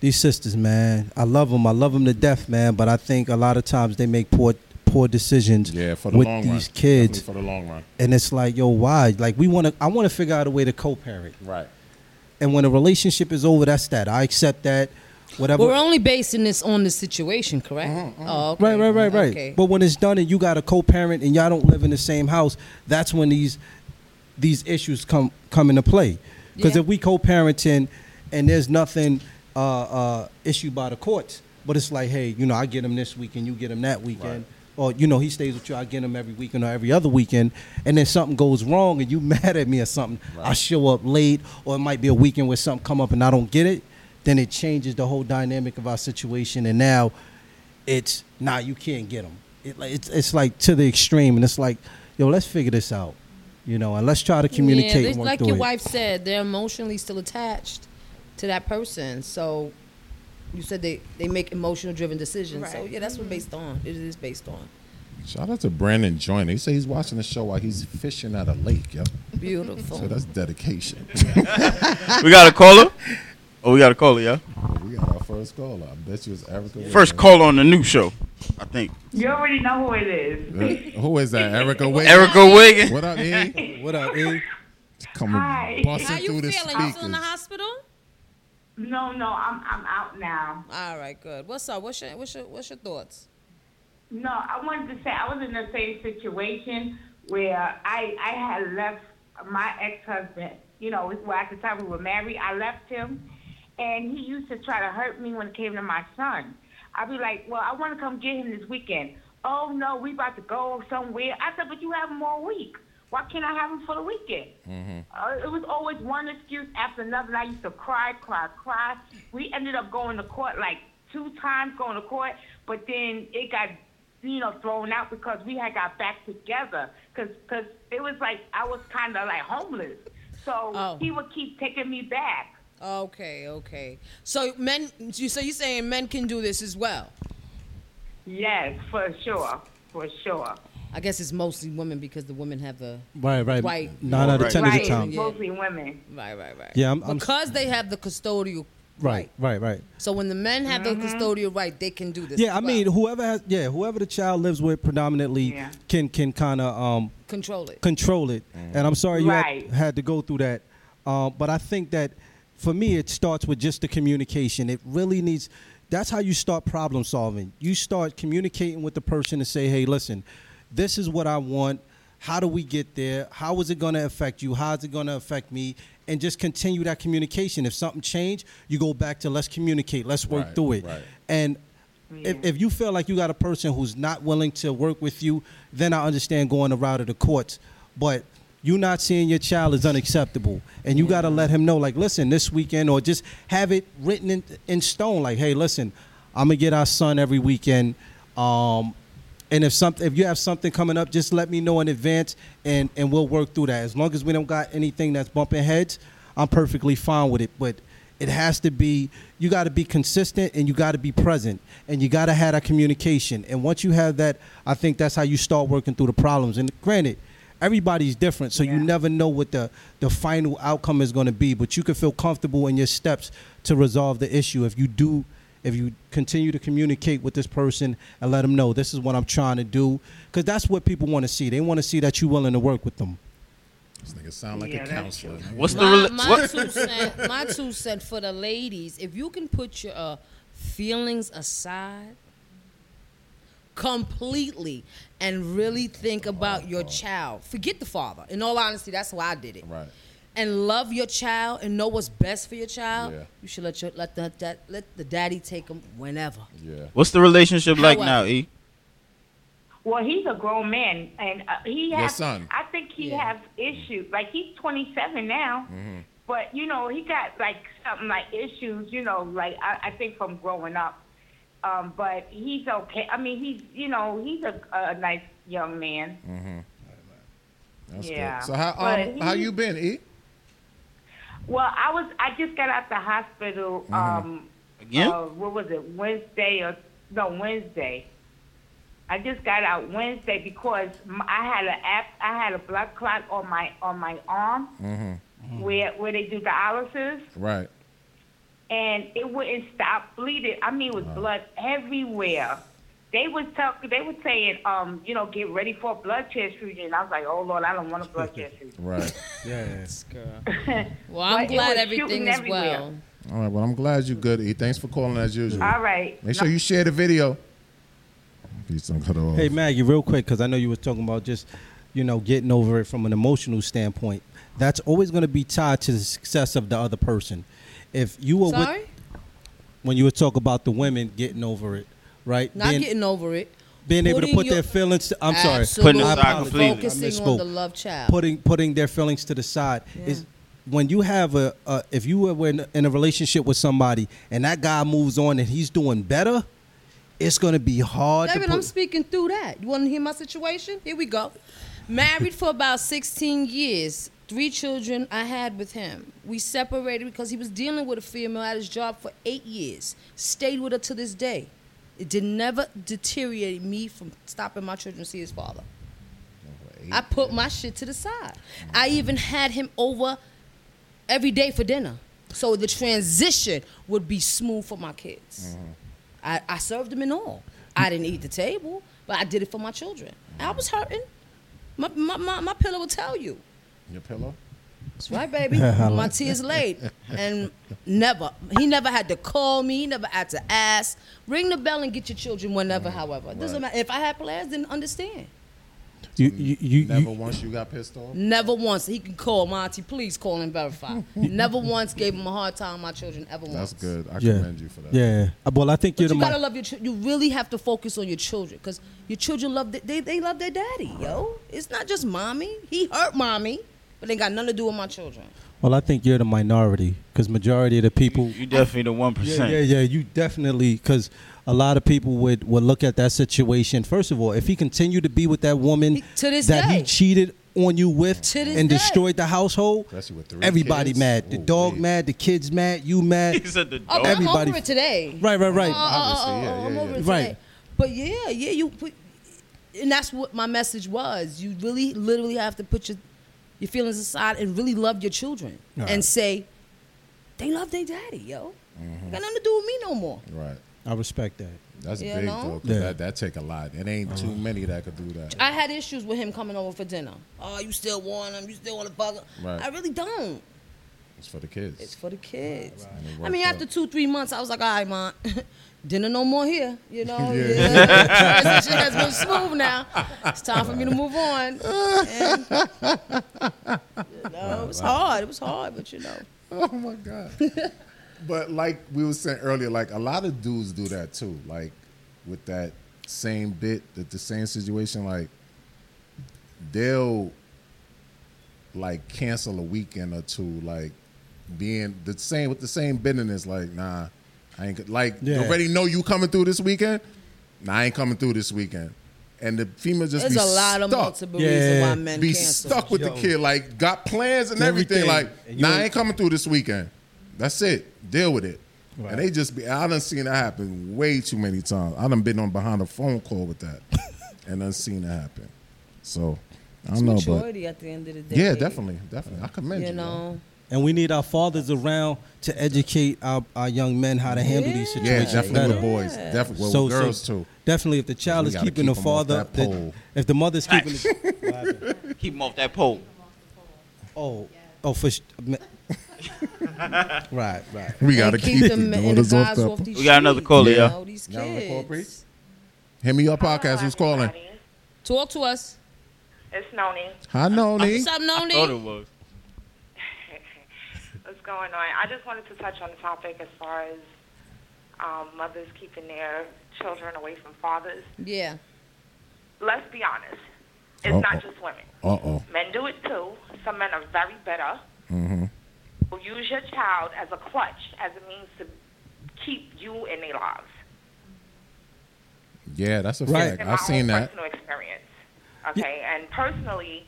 S6: These sisters, man, I love them. I love them to death, man. But I think a lot of times they make poor poor decisions.
S5: Yeah, for the
S6: with
S5: long run.
S6: these kids,
S5: Definitely for the long run.
S6: and it's like, yo, why? Like we want to. I want to figure out a way to co-parent.
S5: Right.
S6: And when a relationship is over, that's that. I accept that. Whatever.
S4: We're only basing this on the situation, correct?
S5: Mm-hmm,
S4: Oh, okay.
S6: Right, right, right, right.
S4: Okay.
S6: But when it's done and you got a co-parent and y'all don't live in the same house, that's when these these issues come come into play. Because
S4: Yeah.
S6: if we co-parenting and there's nothing uh, uh, issued by the courts, but it's like, hey, you know, I get him this weekend, you get him that weekend. Or you know he stays with you. I get him every weekend or every other weekend, and then something goes wrong, and you [laughs] mad at me or something. I show up late, or it might be a weekend where something come up and I don't get it. Then it changes the whole dynamic of our situation, and now it's nah, you can't get them. It, like, it's it's like to the extreme, and it's like, yo, let's figure this out, you know, and let's try to communicate.
S4: they-
S6: and work
S4: like
S6: through
S4: your
S6: it.
S4: wife said, they're emotionally still attached to that person. So you said they, they make emotional driven decisions. So
S7: Right.
S4: yeah, that's what based on. It is based on.
S5: Shout out to Brandon Joyner. He said he's watching the show while he's fishing at a lake, yo. So
S4: Beautiful.
S5: that's dedication.
S3: [laughs] We got a caller? Oh, we got a caller, yeah?
S5: we got our first call. I bet you it's Erica. Whitman.
S3: First caller on the new show, I think.
S9: You already know who it is.
S5: Uh, who is that? Erica Whitman?
S3: Erica Wiggins.
S5: [laughs] What up, E?
S6: What up, E?
S5: Coming
S9: Hi.
S5: busting through the
S4: You
S5: speakers.
S4: still in the hospital?
S9: No, no, I'm I'm out now.
S4: All right, good. What's up? What's your what's your what's your thoughts?
S9: No, I wanted to say I was in the same situation where I I had left my ex husband. You know, it's where at the time we were married, I left him, and he used to try to hurt me when it came to my son. I'd be like, "Well, I want to come get him this weekend." Oh no, we about to go somewhere. I said, "But you have him all week. Why can't I have him for the weekend?" Uh, it was always one excuse after another. I used to cry, cry, cry. We ended up going to court like two two times going to court, but then it got you know thrown out because we had got back together because cause it was like I was kind of like homeless, so
S4: Oh.
S9: he would keep taking me back.
S4: Okay, okay. So men, you so you saying men can do this as well?
S9: Yes, for sure, for sure.
S4: I guess it's mostly women because the women have the
S6: Right, right.
S4: White.
S6: Nine out of ten of
S9: Right,
S6: the time.
S4: Yeah.
S9: mostly women.
S4: right, right, right.
S6: Yeah, I'm- I'm-
S4: because they have the custodial.
S6: Right, right, right.
S4: So when the men have
S9: Mm-hmm.
S4: the custodial right, they can do this.
S6: Yeah,
S4: as
S6: I
S4: well.
S6: mean, whoever has, yeah, whoever the child lives with predominantly
S9: Yeah.
S6: can can kind of um,
S4: control it.
S6: control it. And I'm sorry you
S9: Right.
S6: had, had to go through that. Uh, but I think that for me, it starts with just the communication. It really needs. That's how you start problem solving. You start communicating with the person and say, "Hey, listen, this is what I want. How do we get there? How is it going to affect you? How is it going to affect me?" And just continue that communication. If something changed, you go back to let's communicate. Let's work
S5: Right,
S6: through it.
S5: right.
S6: And if, if you feel like you got a person who's not willing to work with you, then I understand going the route of the courts. But you not seeing your child is unacceptable, and you got to let him know, like, listen, this weekend, or just have it written in, in stone, like, hey, listen, I'm gonna get our son every weekend. Um, and if something, if you have something coming up, just let me know in advance, and and we'll work through that. As long as we don't got anything that's bumping heads, I'm perfectly fine with it. But it has to be you got to be consistent and you got to be present and you got to have that communication. And once you have that, I think that's how you start working through the problems. And granted, everybody's different, so you never know what the the final outcome is going to be. But you can feel comfortable in your steps to resolve the issue if you do if you continue to communicate with this person and let them know this is what I'm trying to do because that's what people want to see. They want to see that you're willing to work with them.
S5: This nigga sound like
S9: Yeah,
S5: a
S9: that's
S5: counselor. nigga.
S2: What's the
S4: My,
S2: rela-
S4: my
S2: what?
S4: two cent,
S5: [laughs]
S4: my two cent for the ladies. If you can put your uh, feelings aside completely and really think about your child, forget the father. In all honesty, that's why I did it.
S5: Right.
S4: And love your child and know what's best for your child.
S5: Yeah.
S4: You should let your let the that, let the daddy take them whenever.
S5: Yeah.
S2: What's the relationship like
S4: However-
S2: now, E?
S9: Well, he's a grown man, and uh, he
S5: Your
S9: has.
S5: son.
S9: I think he
S4: Yeah.
S9: has issues. Like he's 27 now,
S5: Mm-hmm.
S9: but you know he got like something like issues. You know, like I, I think from growing up. Um, but he's okay. I mean, he's you know he's a, a nice young man.
S5: Mm-hmm. That's
S9: Yeah.
S5: good. So how
S9: But
S5: um, how
S9: he-
S5: you been, E?
S9: Well, I was I just got out the hospital. Um,
S2: Again?
S9: Uh, what was it? Wednesday or no Wednesday? I just got out Wednesday because m- I had a app, I had a blood clot on my on my arm
S4: Mm-hmm.
S9: where where they do dialysis
S5: Right.
S9: and it wouldn't stop bleeding. I mean, it was blood everywhere. They was talk, they were saying, um, you know, get ready for a blood transfusion. I was like, oh Lord, I don't want a
S5: [laughs]
S9: blood transfusion.
S5: Right.
S6: Yeah.
S4: Well, I'm
S9: But it
S4: glad
S9: was
S4: everything
S9: shooting
S4: is
S9: everywhere.
S4: well.
S5: All right. Well, I'm glad you good, E. Thanks for calling as usual.
S9: All right.
S5: Make sure you share the video. Please don't
S4: uh,
S5: cut it off.
S6: Hey Maggie, real quick, because I know you were talking about just, you know, getting over it from an emotional standpoint. That's always going to be tied to the success of the other person. If you were
S4: Sorry,
S6: with when you were talking about the women getting over it, right?
S4: not
S6: being,
S4: getting over it.
S6: being able to
S4: Putting
S6: put
S4: your-
S6: their feelings. To, I'm sorry,
S4: Absolutely.
S2: Putting aside completely.
S6: I
S4: Focusing
S6: misspoke.
S4: on the love child.
S6: putting putting their feelings to the side is when you have a, a if you were in, in a relationship with somebody and that guy moves on and he's doing better, it's gonna be hard.
S4: David,
S6: to
S4: I'm
S6: put,
S4: speaking through that. You want to hear my situation? Here we go. Married for about 16 years. Three children I had with him. We separated because he was dealing with a female at his job for eight years. Stayed with her to this day. It did never deteriorate me from stopping my children to see his father. I put my shit to the side. I even had him over every day for dinner. So the transition would be smooth for my kids. I, I served them in all. I didn't eat the table, but I did it for my children. I was hurting. My, my, my, my pillow will tell you.
S5: Your pillow?
S4: That's right, baby. my tears laid. And never, he never had to call me. He never had to ask. Ring the bell and get your children whenever, however. It doesn't matter. If I had plans, then understand.
S6: you, you, you,
S5: Never
S6: you-
S5: once you got pissed off?
S4: Never once. He can call my auntie, please call and verify. never once gave him a hard time, my children, ever once.
S5: That's good. I
S6: yeah,
S5: commend you for that.
S6: Yeah. Uh, Well, I think
S4: But
S6: you're
S4: you
S6: the mo-
S4: gotta love your. chil- You really have to focus on your children because your children love. th- They they love their daddy, yo. It's not just mommy. He hurt mommy, but ain't got nothing to do with my children.
S6: Well, Well, I think you're the minority because majority of the people.
S3: You definitely the one
S6: Yeah,
S3: percent.
S6: yeah, yeah. You definitely because a lot of people would would look at that situation. First of all, if he continued to be with that woman
S4: He- to this
S6: that
S4: day.
S6: he cheated on you with
S4: To this
S6: and
S4: day.
S6: destroyed the household,
S5: Especially with three
S6: everybody
S5: kids.
S6: mad. The
S5: Ooh,
S6: dog
S5: wee.
S6: mad. The kids mad. You mad.
S3: He said the
S4: Oh,
S3: dog.
S4: but I'm
S6: Everybody-
S4: over it today.
S6: right, right, right.
S4: Oh, oh, oh,
S5: Obviously, yeah,
S4: oh, I'm
S5: yeah,
S4: over
S5: yeah.
S4: it
S6: Right.
S4: today. But yeah, yeah, you put, and that's what my message was. You really, literally have to put your your feelings aside and really love your children and say, they love their daddy, yo. Got nothing to do with me no more.
S5: Mm-hmm. Right.
S6: I respect that.
S5: That's
S4: You
S5: big
S4: know?
S5: though. 'cause
S6: Yeah. Uh-huh.
S5: That, that take a lot. It ain't too many that could do that.
S4: I had issues with him coming over for dinner. Oh, you still want him? You still want to bug him?
S5: Right.
S4: I really don't.
S5: It's for the kids.
S4: It's for the kids.
S5: And it
S4: I mean,
S5: worked
S4: after
S5: out.
S4: two, three months, I was like, all right, ma, [laughs] dinner no more here. You know,
S5: [laughs] Yeah.
S4: yeah. Transition has been smooth now. It's time for me to move
S5: [laughs]
S4: on. And, you know, it was hard. It was hard, but you know.
S5: Oh my god. but like we were saying earlier, like a lot of dudes do that too. Like with that same bit, that the same situation, like they'll like cancel a weekend or two, like being the same with the same business, like, nah, I ain't like
S6: Yeah.
S5: you already know you coming through this weekend. Nah, I ain't coming through this weekend. And the female just
S4: There's
S5: be
S4: a lot of
S5: stuck
S4: multiple reasons why
S6: Yeah.
S4: men
S5: be
S4: cancel.
S5: stuck with the
S6: Yo.
S5: kid. Like got plans and everything.
S6: Everything.
S5: Like
S6: And you
S5: nah, I
S6: ain't-
S5: ain't coming through this weekend. That's it. Deal with it. And they just be. I done seen that happen way too many times. I done been on behind a phone call
S6: [laughs]
S5: with that, and done seen it happen. So I don't know, but
S4: Maturity at the end of the day.
S5: yeah, definitely, definitely. I commend you.
S4: You
S5: man.
S4: know,
S6: And we need our fathers around to educate our, our young men how to handle these
S4: Yeah.
S5: yeah,
S6: situations.
S5: definitely
S6: better.
S5: with boys, definitely well, with girls too.
S6: Definitely, if the child
S5: We
S6: is
S5: gotta
S6: keeping
S5: keep
S6: the
S5: 'em off
S6: father,
S5: that
S6: the-
S5: pole.
S6: if the mother's keeping the, [laughs]
S3: [laughs] Keep him off that pole. [laughs]
S6: oh, oh, for sh- me- right, right.
S5: We gotta
S4: and
S5: keep,
S4: keep them
S5: the
S4: and the
S5: daughters off
S4: guys
S5: that.
S4: off these
S3: We got another
S4: streets,
S3: caller,
S4: you
S3: yeah.
S4: know, these
S5: Y'all wanna call,
S4: kids.
S5: please? Hit me your podcast. Who's calling?
S9: Everybody.
S4: Talk to us.
S9: It's Noni.
S5: Hi, Noni.
S4: What's up,
S3: Thought it
S4: Noni?
S3: was.
S9: [laughs] What's going on? I just wanted to touch on the topic as far as um, mothers keeping their children away from fathers.
S4: Yeah.
S9: Let's be honest. It's
S5: Uh-oh.
S9: not just women.
S5: Uh oh.
S9: Men do it too. Some men are very bitter.
S5: Mm-hmm.
S9: Will use your child as a clutch, as a means to keep you in their lives.
S5: Yeah, that's a
S6: Right.
S5: fact.
S9: In
S5: I've
S9: my
S5: seen
S9: own
S5: that.
S9: Personal experience. Okay, and personally,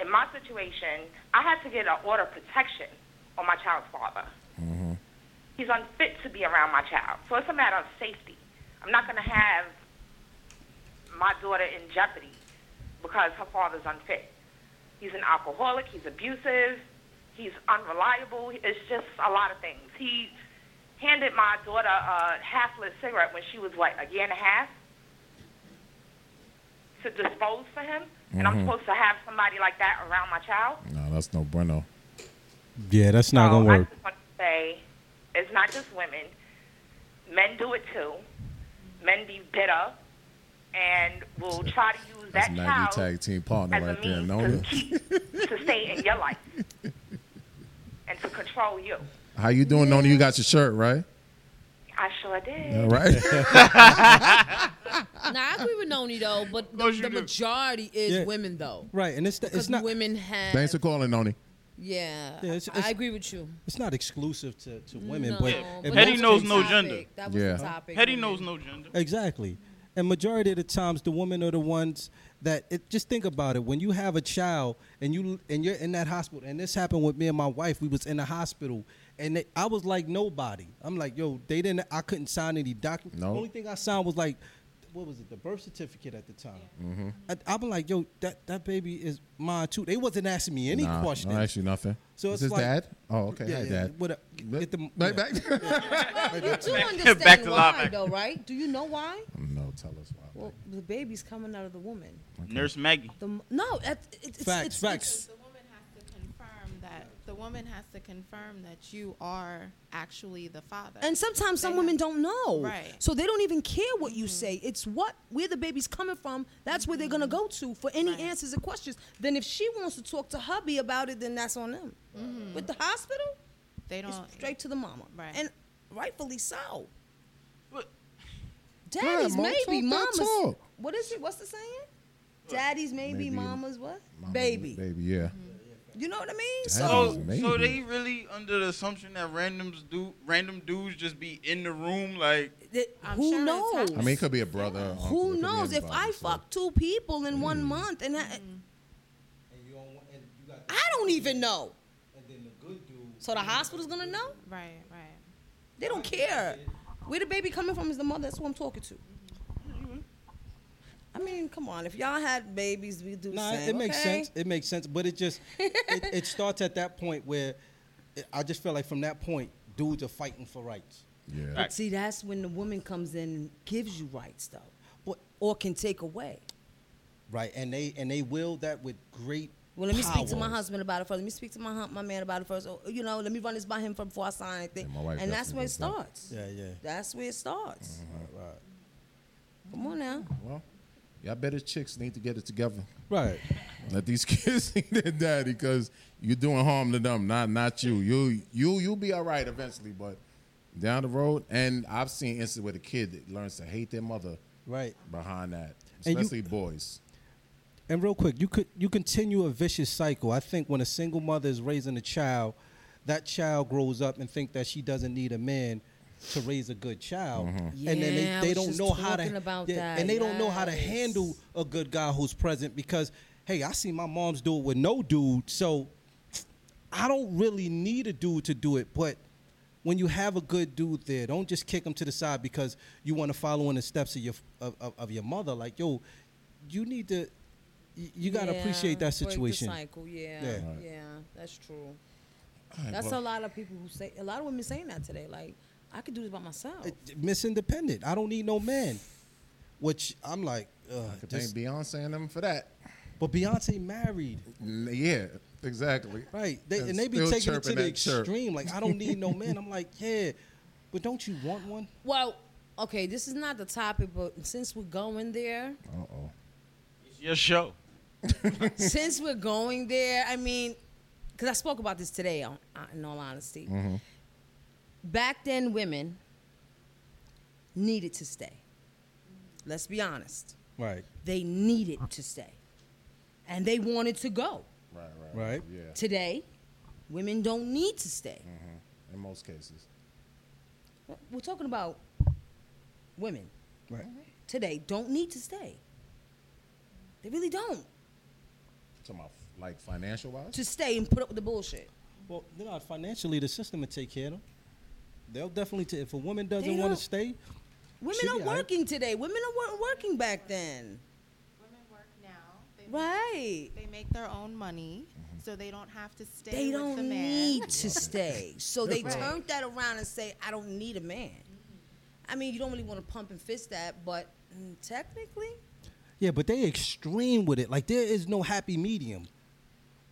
S9: in my situation, I had to get an order of protection on my child's father.
S5: Mm-hmm.
S9: He's unfit to be around my child, so it's a matter of safety. I'm not going to have my daughter in jeopardy because her father's unfit. He's an alcoholic. He's abusive. He's unreliable. It's just a lot of things. He handed my daughter a half-lit cigarette when she was what a year and a half to dispose for him, and
S5: Mm-hmm.
S9: I'm supposed to have somebody like that around my child.
S5: No, that's no bueno.
S6: Yeah, that's not
S9: so
S4: Oh,
S6: gonna work.
S9: I just want to say, it's not just women. Men do it too. Men be bitter and will try to use
S5: That's
S9: that
S5: Maggie
S9: child
S5: tag team partner
S9: as a
S5: right there,
S9: means
S5: Nona.
S9: to keep to stay in your life and to control you.
S5: How you doing, Nona? You got your shirt right?
S9: I sure did.
S5: All right.
S4: [laughs]
S5: [laughs]
S6: [laughs]
S4: Now, I agree with Noni, though, but the,
S3: course you
S4: the
S3: do.
S4: majority is
S6: Yeah.
S4: women, though.
S6: Right, and it's
S4: Because
S6: it's not
S4: women have.
S5: Thanks for calling, Noni.
S4: Yeah,
S6: Yeah, it's-
S4: I
S6: it's-
S4: agree
S6: [laughs]
S4: with you.
S6: it's not exclusive to, to women,
S4: No,
S6: but,
S4: but
S6: in
S3: Hetty
S6: most
S4: that
S3: knows
S4: was
S6: cases-
S4: the
S3: no gender.
S4: That was
S5: Yeah.
S4: the topic.
S3: Hetty
S4: women.
S3: knows no gender.
S6: Exactly. And majority of the times, the women are the ones that it, just think about it. When you have a child and you and you're in that hospital, and this happened with me and my wife, we was in the hospital, and they, I was like nobody. I'm like, yo, they didn't. I couldn't sign any document.
S5: No.
S6: The only thing I signed was like, what was it? The birth certificate at the time.
S5: Mm-hmm.
S6: I, I'm like, yo, that that baby is mine too. They wasn't asking me any
S5: Nah,
S6: questions.
S5: don't ask you nothing.
S6: So
S5: Is
S6: it's
S5: his
S6: like-
S5: dad? Oh, okay.
S6: Yeah,
S5: Hi,
S6: yeah,
S5: dad.
S6: what a-
S5: Back-
S6: get the-
S5: back- back. [laughs]
S4: You do understand
S3: Back to
S4: why,
S3: linebacker.
S4: though, right? Do you know why?
S5: no, tell us why.
S4: Well, the baby's coming out of the woman.
S3: Nurse Maggie.
S4: The m- no, that- it, it's
S6: Facts,
S4: it's,
S6: facts.
S7: The woman has to confirm that the woman has to confirm that you are actually the father.
S4: And sometimes some
S7: They
S4: women
S7: have-
S4: don't know,
S7: Right. Mm-hmm.
S4: so they don't even care what you say. It's what where the baby's coming from. That's where they're gonna
S7: Mm-hmm.
S4: go to for any answers and questions. Then if she wants to talk to hubby about it, then that's on them. With the hospital,
S7: Mm-hmm. they
S4: it's
S7: don't
S4: straight to the mama,
S7: Right.
S4: and rightfully so.
S3: What?
S4: Daddy's
S5: Mo, talk
S4: maybe
S5: that
S4: mamas.
S5: talk.
S4: What is it? What's the saying? Daddy's maybe,
S5: Maybe-
S4: mamas what?
S5: Mama,
S4: baby.
S5: Baby, yeah.
S4: You know what I mean?
S5: That
S4: So
S5: is
S3: So, so
S5: amazing.
S3: they really under the assumption that randoms do random dudes just be in the room like
S4: th-
S7: I'm
S4: who
S7: sure it's
S4: knows?
S7: happening.
S5: I mean, it could be a brother. or uncle, it
S4: who
S5: could be
S4: knows? If
S5: anybody,
S4: I
S5: so-
S4: fuck two people in one month, and I,
S6: And Mm. you don't want, and you got
S4: I don't even know.
S6: and then the good dude.
S4: So the hospital's gonna know?
S7: Right, right.
S4: They don't care. Where the baby coming from is the mother. That's who I'm talking to. I mean, come on. If y'all had babies, we do the
S6: No,
S4: same.
S6: it makes
S4: okay?
S6: sense. It makes sense, but it
S4: [laughs]
S6: just it, it starts at that point where it, I just feel like from that point, dudes are fighting for rights.
S5: Yeah.
S4: But see, that's when the woman comes in and gives you rights, though, or, or can take away.
S6: Right, and they and they will that with great.
S4: Well, let me speak to my
S6: powers.
S4: husband about it first. Let me speak to my hu- my man about it first. Or, you know, let me run this by him from before I sign anything.
S5: Yeah, my wife
S4: and that's
S5: definitely
S4: where it
S5: does that.
S4: starts.
S6: Yeah, yeah.
S4: That's where it starts.
S6: Mm.
S4: Come on now.
S5: Well, y'all better chicks need to get it together.
S6: Right,
S5: Let these [laughs] kids see their daddy because you're doing harm to them, not not you. You you you'll be all right eventually, but down the road, and I've seen instances where the kid that learns to hate their mother
S6: right.
S5: behind that,
S6: And you-
S5: especially boys.
S6: And real quick, you could you continue a vicious cycle. I think when a single mother is raising a child, that child grows up and think that she doesn't need a man to raise a good child,
S5: Mm-hmm.
S6: and then
S4: Yeah, I
S6: they, they
S4: was
S6: don't
S4: just
S6: know how
S4: talking
S6: to
S4: about that,
S6: and they don't know how to
S4: yes.
S6: handle a good guy who's present because hey, I see my moms do it with no dude, so I don't really need a dude to do it, but when you have a good dude there, don't just kick him to the side because you want to follow in the steps of your of, of, of your mother. Like, yo, you need to, you, you got to
S4: Yeah,
S6: appreciate that
S4: break the
S6: situation.
S4: cycle, yeah,
S6: Yeah.
S4: yeah,
S6: Right.
S4: that's true. That's a lot of people who say a lot of women saying that today. Like, I could do this by myself.
S6: Uh, Miss Independent, I don't need no man. Which I'm like, uh,
S5: Could
S6: this-
S5: thank Beyonce and them for that.
S6: but Beyonce married,
S5: N- Yeah, exactly.
S6: right? They, and, they be
S5: still
S6: taking it to
S5: chirping
S6: the
S5: that chirp.
S6: extreme. Like, I don't need no man. I'm like, yeah, but don't you want one?
S4: well, okay, this is not the topic, but since we're going there, [laughs]
S5: Uh-oh.
S3: it's your show.
S4: since we're going there, I mean, because I spoke about this today, on, uh, in all honesty.
S3: Mm-hmm.
S5: Mm-hmm.
S4: Back then, women needed to stay. Let's be honest.
S6: Right,
S4: They needed to stay. And they wanted to go.
S5: Right, right,
S6: Right.
S5: Yeah,
S4: Today, women don't need to stay.
S5: Mm-hmm. in most cases.
S4: We're talking about women
S6: right.
S4: today don't need to stay. They really don't
S5: Talking about like financial wise.
S4: to stay and put up with the bullshit.
S6: Well, they're not financially. The system will take care of them. They'll definitely. T- if a woman
S4: They
S6: doesn't want
S4: don't.
S6: to stay,
S4: Women
S6: She
S4: are
S6: be all right.
S4: working today. Women are wor- working back then.
S7: Women work now. They make-
S4: Right.
S7: They make their own money,
S5: Mm-hmm.
S7: so they don't have to stay
S4: They
S7: with
S4: don't
S7: the man. [laughs]
S4: need to stay. So they
S7: Right.
S4: turned that around and say, I don't need a man.
S7: Mm-hmm.
S4: I mean, you don't really want to pump and fist that, but mm, technically,
S6: yeah. But they extreme with it. Like there is no happy medium.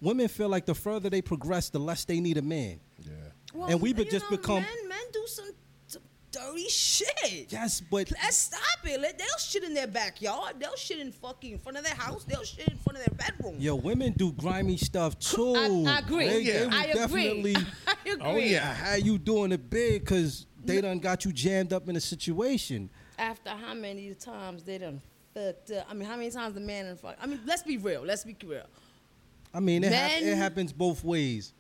S6: Women feel like the further they progress, the less they need a man.
S5: Yeah.
S4: well,
S6: And we be-
S4: you
S6: just
S4: know,
S6: become-
S4: men. Men do some, some dirty shit.
S6: Yes, but
S4: Let's stop it. Let, they'll shit in their backyard. They'll shit in fucking in front of their house. They'll shit in front of their bedroom.
S6: yo, women do grimy stuff too.
S4: I, I agree.
S6: Oh, They, they will
S4: I agree.
S6: definitely.
S4: I agree.
S6: Oh yeah, how you doing it big? Cause they done got you jammed up in a situation.
S4: [laughs] After how many times they done fucked up? I mean, how many times the man done fucked? I mean, let's be real. Let's be real.
S6: I mean, it, hap- it
S4: Men-
S6: happens both ways.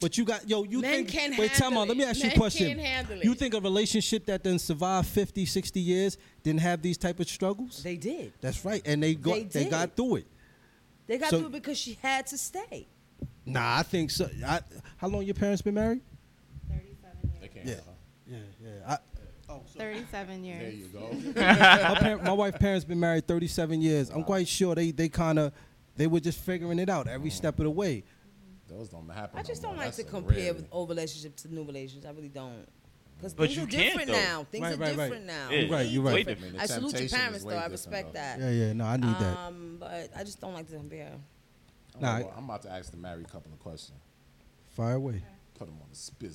S6: But you got yo, you
S4: Men
S6: think
S4: can
S6: wait, time
S4: handle
S6: out. Let me
S4: it.
S6: ask you
S4: Men
S6: a question.
S4: can handle it.
S6: You think a relationship that then survived 50, 60 years didn't have these type of struggles?
S4: They did.
S6: That's right, and they got
S4: They
S6: they,
S4: did.
S6: got through it.
S4: They got
S6: So-
S4: through it because she had to stay.
S6: Nah, I think so. I, how long your parents been
S4: [laughs]
S6: married?
S7: 37 years.
S6: Yeah, yeah, yeah. I, oh,
S7: 37 years.
S5: There
S7: [laughs]
S5: you go. [laughs]
S6: my, par- my wife's parents been married 37 years. I'm quite sure they they kind of they were just figuring it out every step of the way.
S5: Those don't happen.
S4: I just
S5: no
S4: don't
S5: more.
S4: like to
S5: That's a
S4: compare
S5: rare-
S4: with old relationships to new relationships. I really don't. Because
S3: But
S4: things
S3: you
S4: are
S3: can't,
S4: different
S3: though.
S4: now. Things
S6: Right,
S4: are
S6: right, right.
S4: different now.
S3: Yeah. You're
S6: right,
S4: Way
S6: you're right. Wait a
S4: different.
S5: minute,
S4: I
S5: the
S4: salute your
S5: temptation
S4: parents,
S5: is
S4: though.
S5: way
S4: I
S5: different,
S4: respect
S5: though.
S4: that.
S6: Yeah, yeah. No, I need that.
S4: Um, but I just don't like to compare.
S5: Oh,
S6: Nah.
S5: well, I'm about to ask the married couple a question.
S6: Fire away.
S5: Put them on the spit.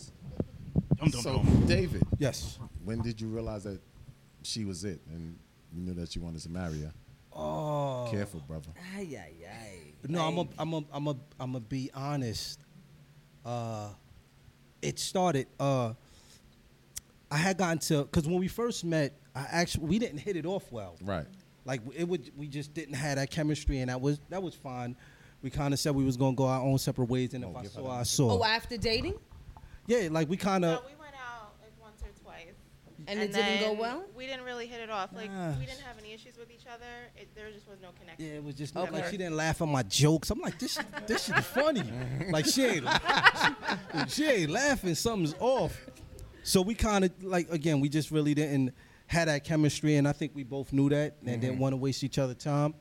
S3: Dum, dum,
S5: So,
S3: dum.
S5: David,
S6: Yes.
S5: when did you realize that she was it and you knew that you wanted to marry her?
S6: Oh.
S5: Careful, brother.
S4: Ay, ay, ay.
S6: No, I'm a,
S4: Like,
S6: I'm a, I'm a, I'm a be honest. Uh, it started. Uh, I had gotten to because when we first met, I actually we didn't hit it off well.
S5: Right.
S6: Like it would, we just didn't have that chemistry, and that was that was fine. We kind of said we was gonna go our own separate ways, and if I saw, I saw.
S4: Oh, after dating,
S6: yeah, like we kind
S7: No,
S6: of.
S7: we went out like once or twice.
S4: and, it didn't go
S7: then
S4: well.
S7: We didn't really hit it off. Like
S6: Nah.
S7: we didn't have any issues with each other. It, there just was no connection.
S6: Yeah, it was just
S4: Okay.
S6: like she didn't laugh at my jokes. I'm like, this, shit- this shit is [laughs] funny. like she ain't, she, she ain't laughing. Something's off. So we kind of like again, we just really didn't have that chemistry, and I think we both knew that and didn't want to waste each other time.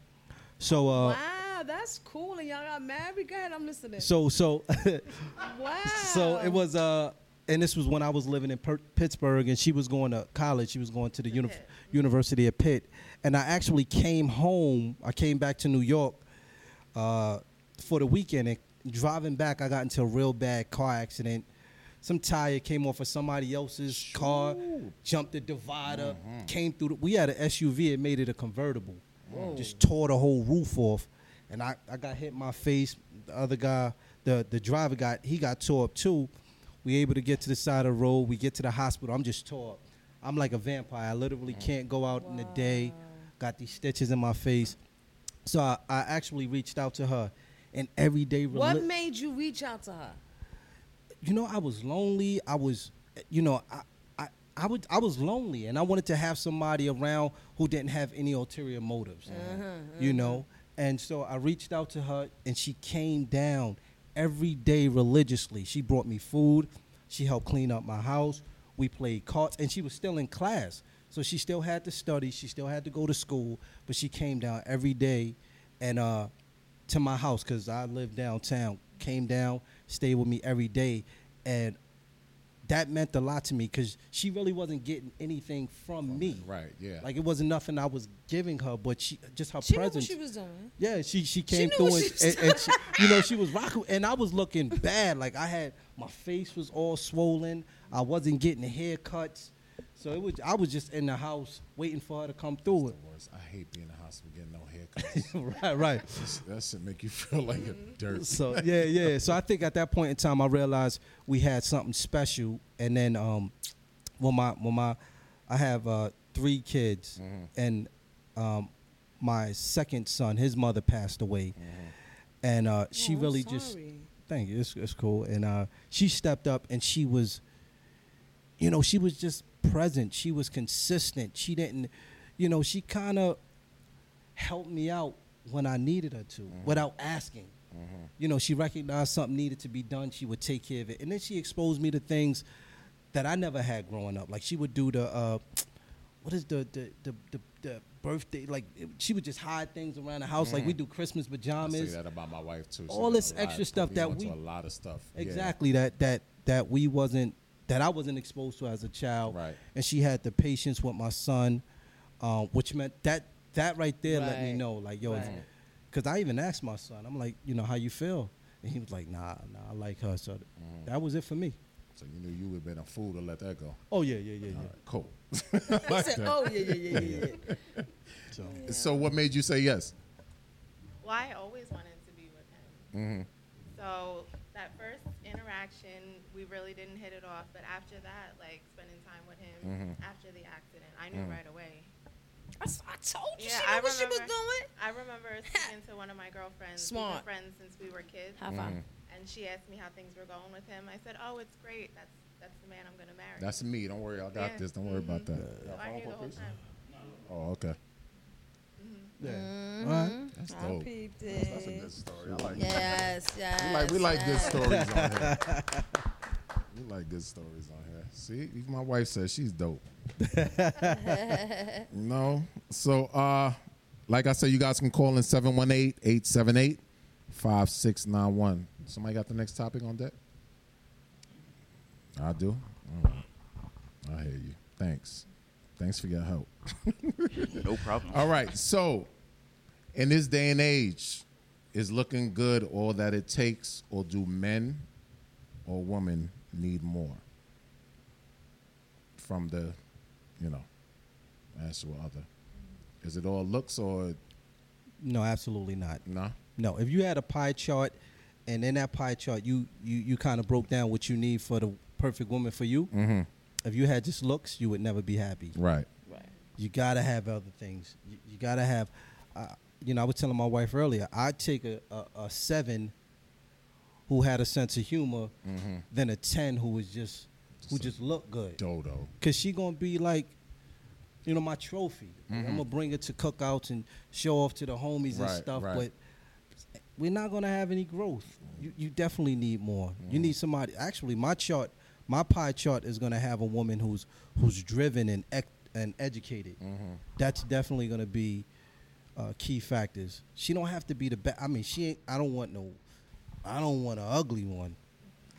S6: So, uh,
S4: Wow, that's cool. And y'all got married. Go ahead, I'm listening.
S6: so, so, [laughs]
S4: wow.
S6: so it was. Uh, and this was when I was living in per- Pittsburgh, and she was going to college. She was going to the uni-
S7: Pitt.
S6: University of Pitt, and I actually came home. I came back to New York uh, for the weekend, and driving back, I got into a real bad car accident. Some tire came off of somebody else's car, jumped the divider, came through. The, we had an SUV, it made it a convertible. Just tore the whole roof off, and I, I got hit in my face. The other guy, the the driver got he got tore up too. We able to get to the side of the road. We get to the hospital. I'm just tore up. I'm like a vampire. I literally can't go out in the day. Got these stitches in my face. So I, I actually reached out to her, and every day, rela-
S4: What made you reach out to her?
S6: you know, I was lonely. I was, you know, I, I, I would, I was lonely, and I wanted to have somebody around who didn't have any ulterior motives, you know. And so I reached out to her, and she came down every day religiously. She brought me food. She helped clean up my house. We played cards, and she was still in class, so she still had to study. She still had to go to school, but she came down every day, and uh, to my house because I lived downtown. Came down, stayed with me every day, and that meant a lot to me because she really wasn't getting anything from me.
S5: right, yeah.
S6: Like it wasn't nothing I was giving her, but she just her
S4: She knew what
S6: presence.
S4: she was doing.
S6: Yeah, she she
S4: She
S6: came
S4: knew
S6: through
S4: what
S6: and,
S4: she was
S6: and, and she, you know she was rocking and I was looking bad. Like I had my face was all swollen. I wasn't getting haircuts, so it was I was just in the house waiting for her to come through.
S5: Worst. I hate being in the hospital getting no
S6: [laughs]
S5: haircuts.
S6: right, right.
S5: that should make you [laughs] feel like a dirt.
S6: So yeah,
S5: [laughs]
S6: yeah. So I think at that point in time, I realized we had something special. And then um, when my when my I have uh, three kids, and um, my second son, his mother passed away, and uh, she
S4: Oh, I'm
S6: really just
S4: sorry.
S6: thank you. It's, it's cool. And uh, she stepped up, and she was, you know, she was just present. She was consistent. She didn't, you know, she kind of helped me out when I needed her to without asking.
S5: Mm-hmm.
S6: You know, she recognized something needed to be done. She would take care of it, and then she exposed me to things that I never had growing up. Like she would do the, uh, what is the the the, the, the birthday? Like it- she would just hide things around the house. Like we do Christmas
S5: I Mm. say
S6: pajamas.
S5: that about my wife too. She
S6: all
S5: did a
S6: this
S5: lot-
S6: extra stuff
S5: put me
S6: that
S5: onto
S6: we-
S5: a lot of stuff. Yeah.
S6: Exactly that that that we wasn't that I wasn't exposed to as a child.
S5: Right.
S6: And she had the patience with my son, uh, which meant that that right there let me
S4: Right.
S6: know like yo,
S4: Right.
S6: because I even asked my son. I'm like, you know, how you feel? And he was like, nah, nah, I like her. So that was it for me.
S5: Mm-hmm. So you knew you would have been a fool to let that go.
S6: Oh yeah, yeah, yeah, yeah.
S5: All right,
S6: [laughs]
S5: cool. [laughs]
S4: I said, oh yeah, yeah, yeah, yeah, yeah.
S6: So
S5: [laughs] So what made you say yes?
S7: Well, I always wanted to be with him.
S5: Mm-hmm.
S7: So that first interaction, we really didn't hit it off. But after that, like spending time with him after the accident, I knew right away.
S4: I, s- I told you
S7: Yeah,
S4: she knew
S7: I
S4: what she was
S7: remember.
S4: doing.
S7: I
S4: [laughs]
S7: remember speaking to one of my girlfriends. We've
S4: Smart.
S7: been friends since we were kids.
S4: High five.
S7: And she asked me how things were going with him. I said, "Oh, it's great. That's that's the man I'm going to marry."
S5: That's me. Don't worry, I got
S7: Yeah.
S5: this. Don't worry about that.
S7: so I knew the whole time.
S5: Oh, okay. Mm-hmm.
S6: yeah.
S4: Mm-hmm.
S6: All right.
S5: That's
S4: I
S5: dope.
S4: peeped
S5: That's a
S4: it.
S5: good story. I like it.
S4: Yes, [laughs] yes.
S5: We like we like good
S4: yes.
S5: stories on here. We like good stories on here. See, even my wife says
S4: [laughs]
S5: she's dope. no. So uh like I said, you guys can call in 718-878-5691. Somebody got the next topic on deck? I do. All right. I hear you. Thanks. Thanks for your help.
S3: [laughs] No problem.
S5: All right. So, in this day and age, is looking good all that it takes, or do men or women need more? From the, you know, answer or other. Is it all looks or
S6: No, absolutely not.
S5: nah?
S6: No, if you had a pie chart, and in that pie chart, you you you kind of broke down what you need for the perfect woman for you. Mm-hmm. If you had just looks, you would never be happy.
S5: Right.
S6: You gotta have other things. You, you gotta have, uh, you know, I was telling my wife earlier, I'd take a, a, a seven who had a sense of humor than a ten who was just who
S5: Mm-hmm. Just a
S6: just looked good.
S5: Dodo.
S6: Cause she gonna be like, you know, my trophy.
S5: Mm-hmm.
S6: I'm gonna bring her to cookouts and show off to the homies
S5: Right,
S6: and stuff.
S5: right.
S6: But we're not gonna have any growth. You you definitely need more.
S5: Mm-hmm.
S6: You need somebody. Actually, my chart, my pie chart is gonna have a woman who's who's driven and ec- and educated.
S5: Mm-hmm.
S6: That's definitely gonna be uh, key factors. She don't have to be the best. I mean, she ain't. I don't want no. I don't want an ugly one.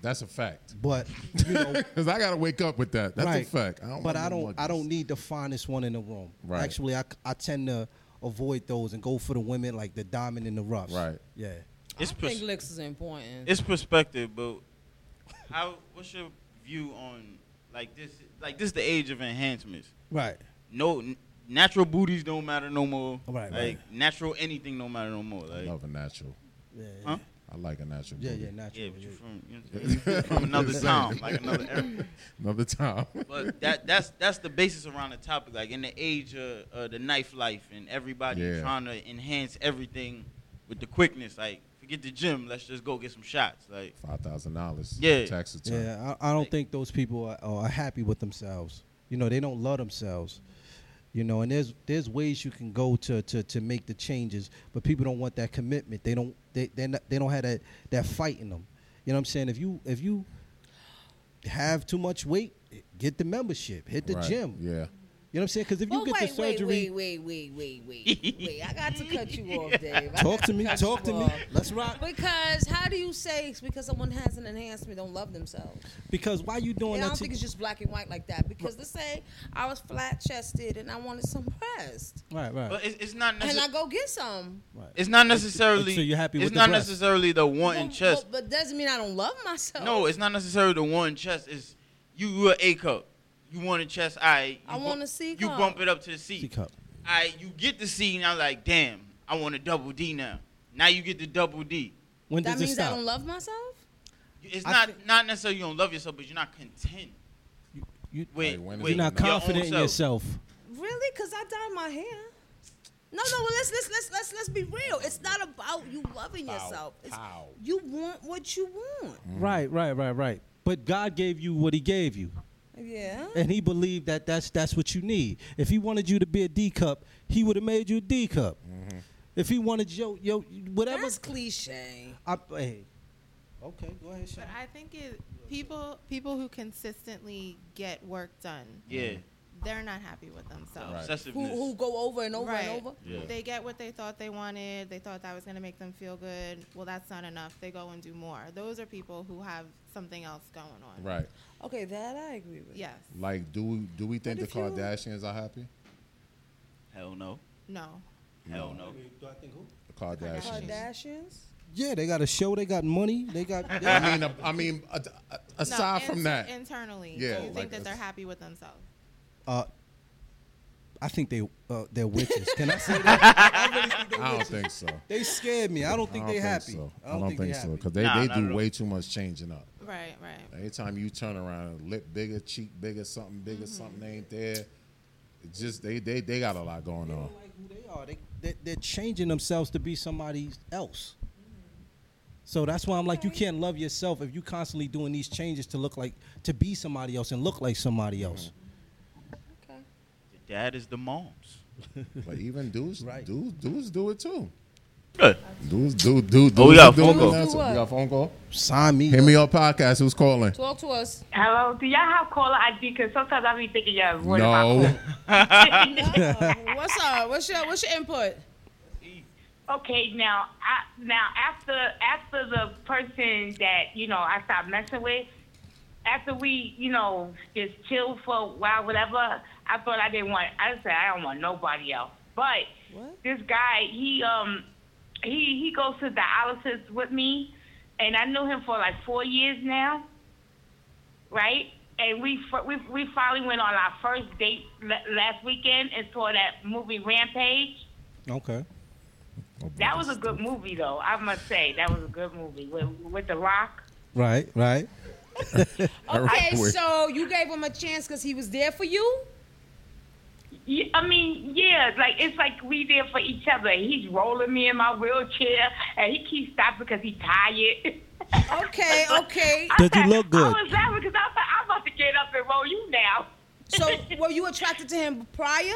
S5: That's a fact.
S6: But you
S5: [laughs]
S6: know,
S5: Because I got to wake up with that. That's a fact. I don't
S6: but
S5: want
S6: I
S5: no
S6: don't. I
S5: monkeys.
S6: don't need the finest one in the room.
S5: Right.
S6: Actually, I, I tend to avoid those and go for the women like the diamond in the roughs.
S5: Right.
S6: Yeah.
S3: It's
S4: I think
S3: pers-
S4: looks is important.
S3: it's perspective, but how? What's your view on like this? Like this, is the age of enhancements.
S6: Right.
S3: No, n- natural booties don't matter no more.
S6: Right,
S3: Like
S6: right.
S3: natural anything don't matter no more.
S5: I
S3: Like
S5: love a natural.
S6: Yeah.
S3: Huh?
S5: I like a natural.
S6: Yeah.
S5: booty.
S6: Yeah. Natural.
S3: yeah, but you
S6: yeah.
S3: from you know what I'm
S5: [laughs]
S3: saying? You from another time, like another era.
S5: Another time.
S3: [laughs] But that that's that's the basis around the topic. Like in the age of uh, the knife life and everybody
S5: Yeah.
S3: trying to enhance everything with the quickness. Like forget the gym, let's just go get some shots. Like
S5: Five thousand dollars.
S3: Yeah.
S5: Tax return.
S6: Yeah, I, I don't think those people are, are happy with themselves. You know, they don't love themselves. You know, and there's there's ways you can go to to, to make the changes, but people don't want that commitment. They don't they they not, they don't have that that fight in them. You know what I'm saying? If you if you have too much weight, get the membership, hit the
S5: Right.
S6: gym. You
S5: Yeah.
S6: know what I'm saying? Because if you
S4: But
S6: get
S4: Oh, wait,
S6: the surgery,
S4: wait, wait, wait, wait, wait, wait, wait. I got to cut you off,
S6: [laughs]
S4: Dave. I
S6: talk
S4: got
S6: to me,
S4: cut
S6: talk
S4: you
S6: to me.
S4: off.
S6: Let's rock.
S4: Because how do you say it's because someone has an enhancement don't love themselves?
S6: Because why you doing
S4: And I
S6: that?
S4: don't
S6: to-
S4: think it's just black and white like that. Because let's say I was flat chested and I wanted some breast,
S6: right, right.
S3: but it's, it's not
S4: and I
S3: necessarily.
S4: go get some.
S3: It's not necessarily.
S6: So you're happy
S3: It's
S6: with the
S3: not
S6: breast?
S3: necessarily the
S4: Well,
S3: wanting chest.
S4: well, but doesn't mean I don't love myself.
S3: No, it's not necessarily the one chest. It's you you a A cup. You want a chest, I.
S4: I want a C
S3: You
S4: cup.
S3: bump it up to the C.
S6: C cup.
S3: I you get the C now. Like damn, I want a double D now. Now you get the double D.
S6: When
S4: that
S6: does it
S4: means I
S6: stop?
S4: don't love myself.
S3: It's
S6: I
S3: not
S6: think-
S3: not necessarily you don't love yourself, but you're not content.
S6: you,
S3: with,
S5: Like, when is
S3: with
S5: it
S6: you're not
S3: your own
S6: confident in
S3: self.
S6: yourself.
S4: Really? Cause I dyed my hair. No, no. Well, let's let's let's let's let's be real. It's not about you loving yourself. It's
S5: pow.
S4: you want what you want.
S5: Mm-hmm.
S6: Right, right, right, right. But God gave you what He gave you,
S4: Yeah.
S6: and He believed that that's that's what you need. If He wanted you to be a D cup, He would have made you a D cup. If He wanted yo yo whatever.
S4: That's cliche.
S6: I, hey. Okay, go ahead. Sean.
S7: But I think it, people people who consistently get work done,
S3: Yeah,
S7: they're not happy with themselves.
S5: Right.
S3: obsessiveness.
S4: Who who go over and over and over?
S3: Yeah.
S7: They get what they thought they wanted. They thought that was going to make them feel good. Well, that's not enough. They go and do more. Those are people who have something else going on.
S5: Right.
S4: Okay, that I agree with.
S7: Yes.
S5: Like, do we, do we think the
S4: But if you-
S5: Kardashians are happy?
S3: Hell no.
S7: No.
S3: Hell no.
S5: The Kardashians.
S4: Kardashians.
S6: Yeah, they got a show. They got money. They got.
S5: I mean, uh, I mean, uh, uh,
S7: No,
S5: aside from
S7: in-
S5: that,
S7: Internally.
S5: Yeah,
S7: Do you think
S5: like
S7: that they're
S5: that's-
S7: happy with themselves?
S6: uh, I think they uh, they're witches. Can I say
S5: [laughs]
S6: that? I really think they're
S5: I don't
S6: witches.
S5: think so.
S6: They scared me. I don't think
S5: I don't
S6: they
S5: think
S6: happy.
S5: so.
S6: I don't think they
S5: so
S6: happy.
S5: because they,
S3: Nah,
S5: they
S3: not at
S5: do
S3: all.
S5: way too much changing up.
S7: Right, right.
S5: Anytime you turn around, lip bigger, cheek bigger, something
S6: Mm-hmm.
S5: bigger, something ain't there. It just they they they got a lot going on.
S6: like who they are. They, they they're changing themselves to be somebody else. So that's why I'm like, you can't love yourself if you constantly doing these changes to look like to be somebody else and look like somebody else.
S4: Okay.
S3: The dad is the moms.
S5: But even dudes,
S6: Right.
S5: dudes, dudes do it too.
S3: Good.
S5: Dudes, do do do.
S3: Oh, we got a
S5: do
S3: phone
S5: it.
S3: call.
S5: That's- We
S4: What?
S5: got a phone call.
S6: Sign me.
S5: Hit me on podcast. Who's calling?
S4: Talk to us.
S9: Hello, do y'all have caller ID? Because sometimes I be thinking y'all avoiding
S5: No,
S9: my call.
S4: [laughs] What's up? What's your what's your input?
S9: okay, now, I, now after after the person that you know I stopped messing with, after we you know just chilled for a while, whatever, I thought I didn't want. I said I don't want nobody else. But
S4: What?
S9: this guy, he um, he he goes to dialysis with me, and I knew him for like four years now, right? And we fir- we we finally went on our first date l- last weekend and saw that movie Rampage.
S6: Okay.
S9: That was a good movie, though. I must say that was a good movie with, with The Rock.
S6: Right. Right.
S4: Okay,
S5: [laughs] Wait.
S10: [laughs]
S4: so you gave him a chance because he was there for you.
S9: Yeah, I mean, yeah, like it's like we there for each other. He's rolling me in my wheelchair, and he keeps stopping because he's tired. [laughs]
S4: Okay, okay.
S9: I
S10: Does he
S9: said-
S10: look good?
S9: I was laughing because I thought I'm about to get up and roll you now.
S4: So
S9: [laughs]
S4: were you attracted to him prior?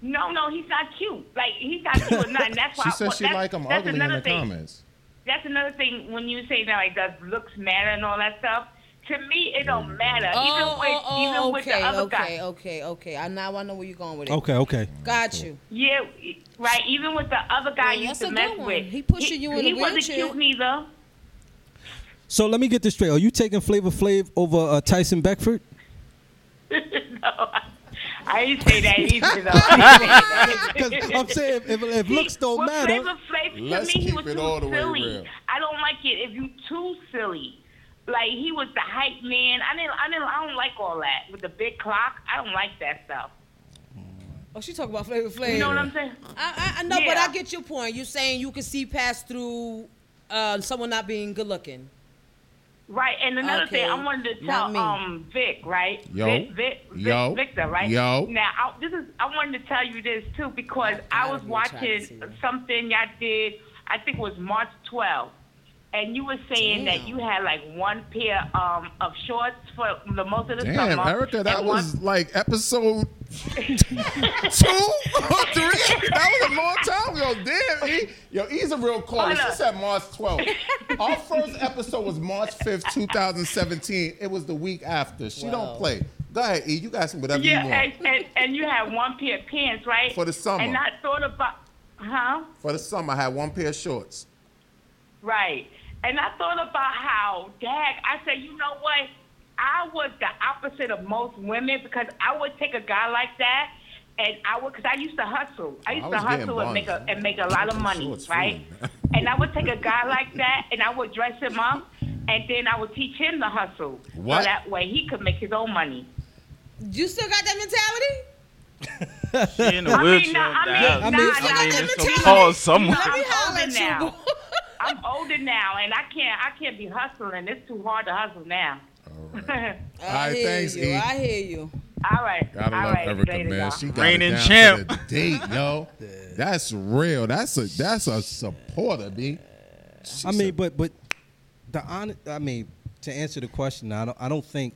S9: No, no, he's not cute. Like he's not
S10: [laughs]
S9: cute or nothing. That's why
S5: She said
S9: well,
S5: she
S9: that's-
S5: like him
S9: that's
S5: ugly in
S9: another
S5: the
S9: thing.
S5: comments.
S9: That's another thing when you say that like does looks matter and all that stuff. To me, it
S5: Mm.
S9: don't matter. even with even with the
S4: Oh, okay,
S9: other guy.
S4: okay, okay, okay. I now I know where you're going with it.
S10: Okay, okay.
S4: Got you.
S9: Yeah, right. Even with the other guy
S4: Yeah,
S9: you used
S4: that's
S9: to
S4: a
S9: mess
S4: good one.
S9: with,
S4: He pushing you in a
S9: he wasn't
S4: wheelchair.
S9: cute neither. [laughs]
S10: So let me get this straight. Are you taking Flavor Flav over uh, Tyson Beckford?
S9: no, I didn't say
S4: [laughs]
S9: that either. Though. I didn't say
S10: Because
S9: [laughs] that.
S10: I'm saying if, if, if looks don't
S9: well,
S10: matter,
S9: Flavor Flav, to
S5: Let's
S9: me, he
S5: keep
S9: was
S5: it
S9: too
S5: all the way
S9: silly.
S5: real.
S9: I don't like it if you too silly. Like he was the hype man. I didn't. I didn't. I don't like all that with the big clock. I don't like that stuff.
S4: Oh, she talking about Flavor Flav.
S9: You know what I'm saying?
S4: I, I, I know, but
S9: Yeah.
S4: I get your point. You're saying you can see past through uh, someone not being good looking.
S9: Right. And another
S4: Okay,
S9: thing, I wanted to tell
S4: not me.
S9: um Vic, right?
S5: Yo.
S9: Vic, Vic, Vic-
S5: Yo.
S9: Victor, right?
S5: Yo.
S9: Now, I, this is I wanted to tell you this too because I was
S4: be attracted to
S9: watching
S4: you.
S9: something y'all did. I think it was March 12th, and you were saying that you had like one pair um of shorts for the most of the
S5: Damn,
S9: summer.
S5: Erica, that
S9: and one-
S5: was like
S9: [laughs]
S5: episode [laughs] two or three. That was a long time ago. Damn, E. Yo, E's a real caller.
S9: Hold
S5: She
S9: up.
S5: said
S9: [laughs]
S5: March 12th. Our first episode was March 5th, 2017. It was the week after. She don't play. Go ahead, E. You got some
S9: [laughs]
S5: whatever
S9: yeah,
S5: you want
S9: and, and and you had one pair of pants, right?
S5: For the summer.
S9: And I thought about, huh?
S5: for the summer. I had one pair of shorts.
S9: Right. And I thought about how, Dag, I said, you know what? I was the opposite of most women because I would take a guy like that and I would, because I used to hustle. I used
S5: I
S9: to
S5: was getting
S9: hustle and make, a,
S5: buns.
S9: and make a lot of money,
S5: Shorts,
S9: right?
S5: really.
S9: and I would take a guy like that and I would dress him up and then I would teach him to hustle.
S5: What?
S9: So that way he could make his own money.
S4: You still got that mentality?
S3: She in a
S9: I mean,
S3: wheelchair.
S9: nah,
S3: dog.
S9: I mean, nah, nah,
S4: I mean,
S3: it's
S4: nah,
S3: gonna
S4: nah.
S3: cause someone.
S4: Let me
S9: I'm older
S4: holler at you.
S9: now. I'm older now and I can't, I can't be hustling. It's too hard to hustle now.
S5: All right,
S4: hear
S5: thanks,
S4: you. [laughs]
S5: E.
S4: I hear you.
S9: All right.
S5: Gotta
S9: All
S5: love
S9: right.
S5: Erica,
S9: Later,
S5: man.
S9: y'all.
S5: She got
S3: Reigning
S5: it down
S3: champ.
S5: to the date,
S6: [laughs]
S5: yo. That's real. That's a that's a supporter, B.
S6: I mean, but but the honest, I mean, to answer the question, I don't I don't think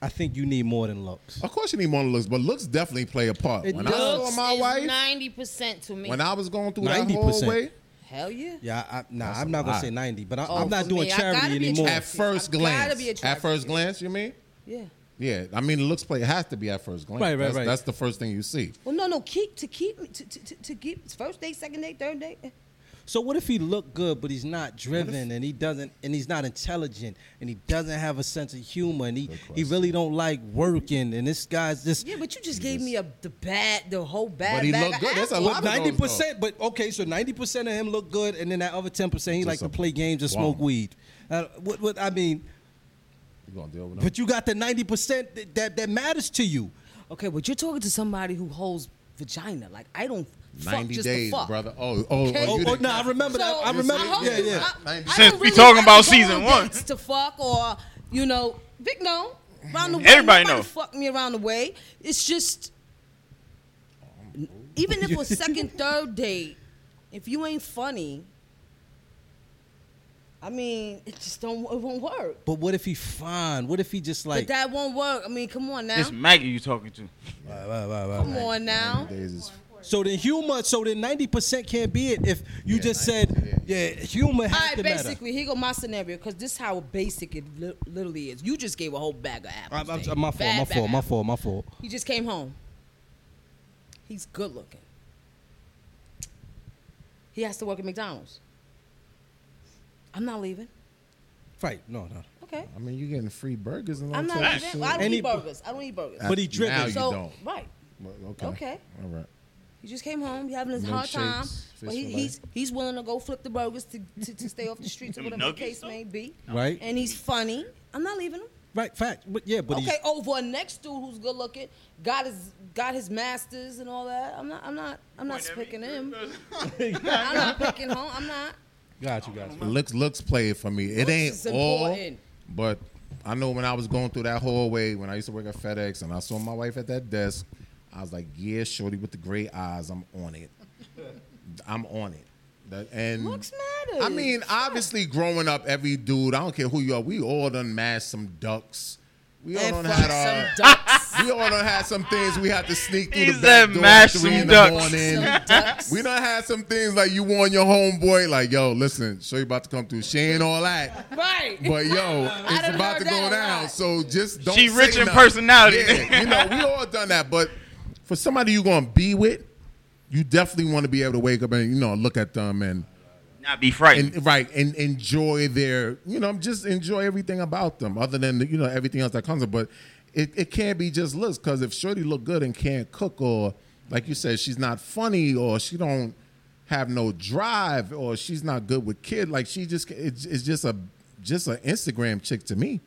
S6: I think you need more than looks.
S5: Of course, you need more looks, but looks definitely play a part.
S6: It
S5: when I
S4: Looks
S5: saw my
S4: is
S5: wife,
S4: 90% to me.
S5: when I was going through that
S6: 90%.
S5: whole way,
S4: Hell yeah.
S6: Yeah, I, nah,
S5: That's
S6: I'm
S5: a
S6: not gonna
S5: lot.
S6: say 90, but I,
S4: Oh,
S6: I'm not
S4: for
S6: doing
S4: me, I gotta
S6: charity
S4: be
S6: anymore.
S4: attractive.
S5: at first
S4: I've gotta be
S5: glance, at
S4: attractive.
S5: first glance, you mean?
S4: Yeah.
S5: Yeah, I mean, looks play it has to be at first glance.
S6: Right, right,
S5: that's,
S6: right.
S5: That's the first thing you see.
S4: Well, no, no. Keep to keep me to, to, to, to keep first date, second date, third date.
S6: So what if he look good, but he's not driven, and he doesn't, and he's not intelligent, and he doesn't have a sense of humor, and he, he really don't like working, and this guy's just
S4: Yeah, but you just gave me a the bad, the whole bad.
S5: But he
S4: bag
S5: look
S4: of
S5: good. That's a
S4: apples.
S5: lot. of those,
S6: ninety percent. But okay, so ninety percent of him look good, and then that other ten percent he
S5: Just
S6: like
S5: a
S6: to play games and
S5: bum.
S6: smoke weed. Uh, what, what I mean,
S5: You gonna deal with that?
S6: but you got the ninety percent that, that that matters to you.
S4: Okay, but you're talking to somebody who holds vagina. Like I don't fuck
S5: 90
S4: just
S5: days,
S4: to fuck.
S5: brother. Oh, oh,
S4: Okay.
S5: oh,
S6: Oh,
S5: you
S6: oh
S5: didn't-
S6: no, I remember that. I
S4: So,
S6: remember.
S4: hope
S6: yeah,
S4: you-
S6: yeah.
S4: I- I
S5: Since
S4: don't
S3: we talking
S4: I
S3: about
S4: don't go
S3: season
S4: on
S3: one.
S4: dates to fuck or you know, Vic no around the way.
S3: Everybody
S4: Nobody
S3: know.
S4: Fuck me around the way. It's just even if a
S5: [laughs]
S4: second, third date, if you ain't funny, I mean, it just don't it won't work.
S6: But what if he fine? What if he just
S4: But
S6: like?
S4: that won't work. I mean, come on now.
S3: It's Maggie you talking to.
S6: Right, right, right, right,
S4: Come
S6: right.
S4: on now.
S5: days is-
S6: So the humor, so the ninety percent can't be it if you just said, yeah, humor
S4: All
S6: has
S4: right,
S6: to matter.
S4: basically, here go my scenario because this how basic it li- literally is. You just gave a whole bag of
S6: I'm,
S4: apples.
S6: I'm,
S4: Dave.
S6: my fault,
S4: Bad
S6: my
S4: bag
S6: fault,
S4: of
S6: my
S4: apples.
S6: fault, my fault.
S4: He just came home. He's good looking. He has to work at McDonald's. I'm not leaving.
S6: Right, no, no.
S4: Okay.
S5: I mean, you getting free burgers and all
S4: I'm not
S5: type of
S4: leaving.
S5: shit.
S4: Well, I don't
S6: Any-
S4: eat burgers. I don't eat burgers.
S6: But he driven.
S5: Now you
S4: so
S5: don't.
S4: right.
S5: Well, Okay.
S4: Okay.
S5: All right.
S4: He just came home. He's having his hard time.
S5: Milkshakes,
S4: But
S5: fish
S4: he,
S5: fillet.
S4: he's he's willing to go flip the burgers to, to, to stay off the streets or
S3: Them
S4: whatever the
S3: nuggets,
S4: case may be.
S6: Right.
S4: And he's funny. I'm not leaving him.
S6: Right, fact. But yeah, but
S4: okay, over a next dude who's good looking, got his got his masters and all that. I'm not I'm not I'm not picking him. [laughs] I'm not picking home. I'm not.
S6: he's got you, got you.
S5: Looks looks play it for me. It
S4: Looks
S5: ain't
S4: is
S5: all,
S4: important.
S5: but I know when I was going through that hallway when I used to work at FedEx and I saw my wife at that desk, I was like, yeah, shorty with the gray eyes, I'm on it. I'm on it. That- and
S4: Looks matters.
S5: I mean, obviously, growing up, every dude, I don't care who you are, we all done mashed some ducks. We all
S4: And
S5: done
S4: fuck
S5: had
S4: some
S5: our.
S4: ducks.
S5: uh, We all done [laughs] had some things we had to sneak through
S3: He
S5: the
S3: said
S5: back door at
S3: mash
S5: three
S3: some
S5: in
S3: ducks. [laughs]
S5: the morning.
S4: Some ducks.
S5: We done had some things like you warn your homeboy, like, yo, listen, show you about to come through. She ain't all that.
S4: Right.
S5: But
S4: [laughs]
S5: yo,
S4: done
S5: it's about
S4: heard that
S5: to go
S4: a
S5: down.
S4: lot.
S5: So just don't.
S3: She
S5: say
S3: rich in
S5: nothing.
S3: personality.
S5: Yeah, you know, we all done that. But for somebody you gonna be with, you definitely want to be able to wake up and you know look at them and
S3: Not be frightened.
S5: and right and enjoy their you know just enjoy everything about them other than you know everything else that comes up but it, it can't be just looks because if shorty look good and can't cook or like you said she's not funny or she don't have no drive or she's not good with kid like she just it's, it's just a just an instagram chick to me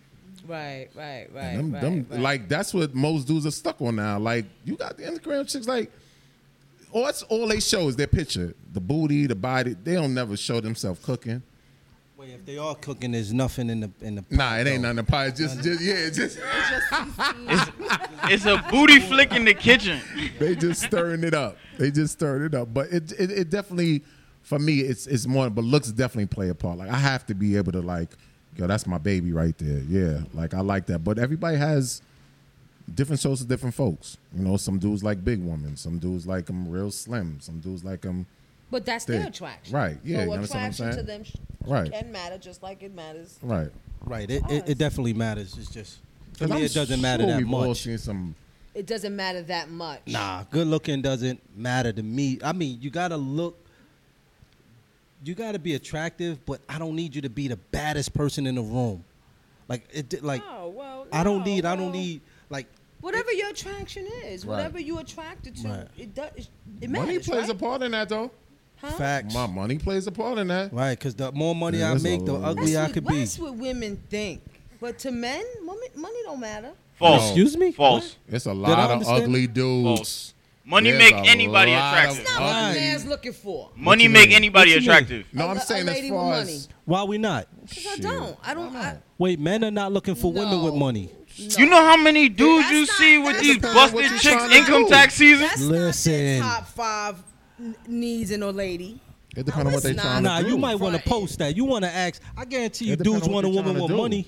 S4: Right, right, right.
S5: them,
S4: right,
S5: them,
S4: right.
S5: like that's what most dudes are stuck on now. Like you got the Instagram chicks, like all that's all they show is their picture, the booty, the body. They don't never show themselves cooking.
S6: Wait, if they are cooking, there's nothing in the in the.
S5: Nah, it ain't nothing. Pie. It's just, just yeah, it's just
S3: It's a booty flick in the kitchen.
S5: they just stirring it up. They just stirring it up. But it, it, it definitely, for me, it's it's more. But looks definitely play a part. Like I have to be able to like, yo, that's my baby right there. Yeah, like I like that. But everybody has different souls of different folks. You know, some dudes like big women. Some dudes like them real slim. Some dudes like them.
S4: But that's their
S5: Thick.
S4: attraction.
S5: Right, yeah,
S4: So
S5: you understand what I'm
S4: attraction to
S5: saying?
S4: them sh-
S5: Right.
S4: can matter just like it matters.
S5: Right.
S6: Right. It, it, it definitely matters. It's just for
S5: 'Cause
S6: me,
S5: I'm
S6: it doesn't matter
S5: sure
S6: that
S5: we've all
S6: much.
S5: seen some.
S4: It doesn't matter that much.
S6: Nah, good looking doesn't matter to me. I mean, you gotta look. You gotta be attractive, but I don't need you to be the baddest person in the room. Like it, di- like
S4: No, well,
S6: I don't
S4: Oh, no,
S6: need. I don't
S4: well,
S6: need like.
S4: Whatever your attraction is,
S5: Right.
S4: whatever you're attracted to,
S6: Right.
S4: it does. It matters.
S5: Money plays
S4: right?
S5: a part in that though.
S4: Huh?
S6: Facts.
S5: My money plays a part in that.
S6: Right, because the more money
S5: Yeah,
S6: I
S5: that's a
S6: make, the
S5: lot.
S6: uglier I
S4: what,
S6: could be.
S4: That's what women think. But to men, women, money don't matter.
S3: False.
S10: Excuse me?
S3: False.
S5: It's a
S6: I
S5: lot of
S6: understand?
S5: ugly dudes.
S3: False. Money
S5: There's
S3: make
S5: a
S3: anybody
S5: lot of
S3: attractive.
S4: Not what
S5: Right.
S4: the man's looking for.
S3: Money
S5: you
S3: make
S5: mean?
S3: anybody
S6: What you mean?
S3: attractive.
S5: No,
S4: A-
S5: I'm
S4: a
S5: saying as
S4: lady with
S5: far
S4: money.
S5: as
S6: Why we not?
S4: Because I
S5: Shit.
S4: don't. I don't. I,
S10: Wait, men are not looking for women with
S4: No.
S10: money.
S3: You know how many dudes
S4: That's
S3: you
S4: not-
S3: see with
S4: that's
S3: these
S4: not
S5: what
S3: busted
S5: you
S3: chicks
S5: trying to
S3: income
S5: do.
S3: tax season?
S4: that's
S6: Listen.
S4: not the top five n- needs in a lady.
S5: It depends on what they
S4: Nah,
S5: trying
S4: nah,
S5: to
S10: Nah,
S5: do.
S10: you might want to
S4: Right.
S10: post that. You want to ask. I guarantee you,
S5: It depends
S10: dudes
S5: on what
S10: want a
S5: you're
S10: woman
S5: tryna
S10: with
S5: do.
S10: money.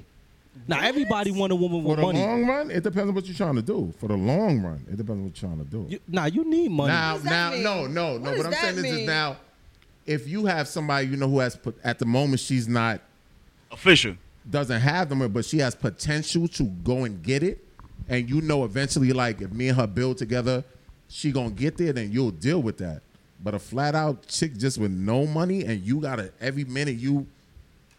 S10: Now everybody want a woman
S5: For
S10: with
S5: the
S10: money.
S5: long run, it depends on what you're trying to do. For the long run, it depends on what you're trying to do.
S10: You, nah, you need money.
S5: now,
S4: does that
S5: now,
S4: mean?
S5: no, no,
S4: What
S5: no.
S4: does
S5: What I'm
S4: that
S5: saying is, is
S4: mean?
S5: now, if you have somebody you know who has put at the moment she's not
S3: Official.
S5: doesn't have them, but she has potential to go and get it, and you know eventually, like if me and her build together, she gonna get there, then you'll deal with that. But a flat out chick just with no money, and you gotta every minute you,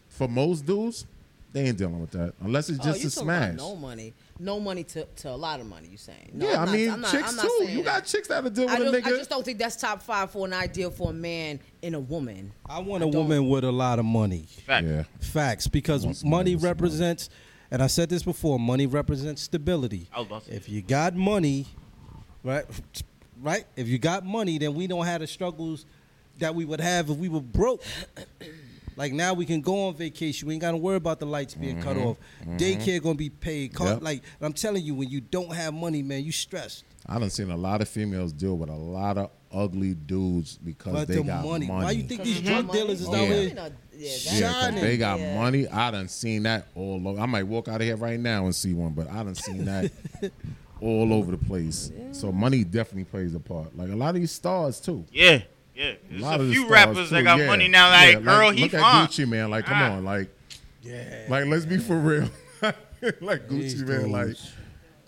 S5: for most dudes, they ain't dealing with that unless it's
S4: oh,
S5: just
S4: you
S5: a
S4: talking
S5: smash.
S4: About no money, no money to, to a lot of money. You saying? No,
S5: Yeah,
S4: I'm
S5: I
S4: not-
S5: mean,
S4: I'm not-
S5: chicks
S4: I'm not
S5: too.
S4: saying
S5: You got
S4: that.
S5: chicks that'll deal with
S4: I,
S5: a
S4: don't,
S5: nigga.
S4: I just don't think that's top five for an ideal for a man and a woman.
S6: I want a
S4: don't-
S6: woman with a lot of money.
S3: Fact.
S5: yeah,
S6: Facts, because money represents, and I said this before, money represents stability.
S3: I was about to say
S6: If you got money, right, right. If you got money, then we don't have the struggles that we would have if we were broke. [clears throat] Like now we can go on vacation. We ain't got to worry about the lights being cut off. Daycare gonna be paid. Car,
S5: Mm-hmm. Yep.
S6: Like I'm telling you, when you don't have money, man, you stressed.
S5: I done seen a lot of females deal with a lot of ugly dudes because
S6: But
S5: they
S6: the
S5: got
S6: money. Why you think these
S4: Mhm.
S6: drug dealers is
S5: Oh,
S6: out
S5: yeah.
S6: here?
S4: Women are- yeah, that's-
S5: Yeah, 'cause
S6: Shining.
S5: they got
S4: Yeah.
S5: money. I done seen that all over. I might walk out of here right now and see one, but I done
S6: [laughs]
S5: seen that all over the place. So money definitely plays a part. Like a lot of these stars too.
S3: Yeah. Yeah. There's
S5: lot of
S3: a
S5: the
S3: few
S5: stars,
S3: rappers that
S5: too.
S3: got
S5: Yeah,
S3: money now. Like,
S5: yeah,
S3: girl, he
S5: look
S3: fine.
S5: at Gucci man. Like, come
S3: Ah.
S5: on, like, yeah, like let's be for real. [laughs] like Gucci
S6: These
S5: man, like
S6: dudes.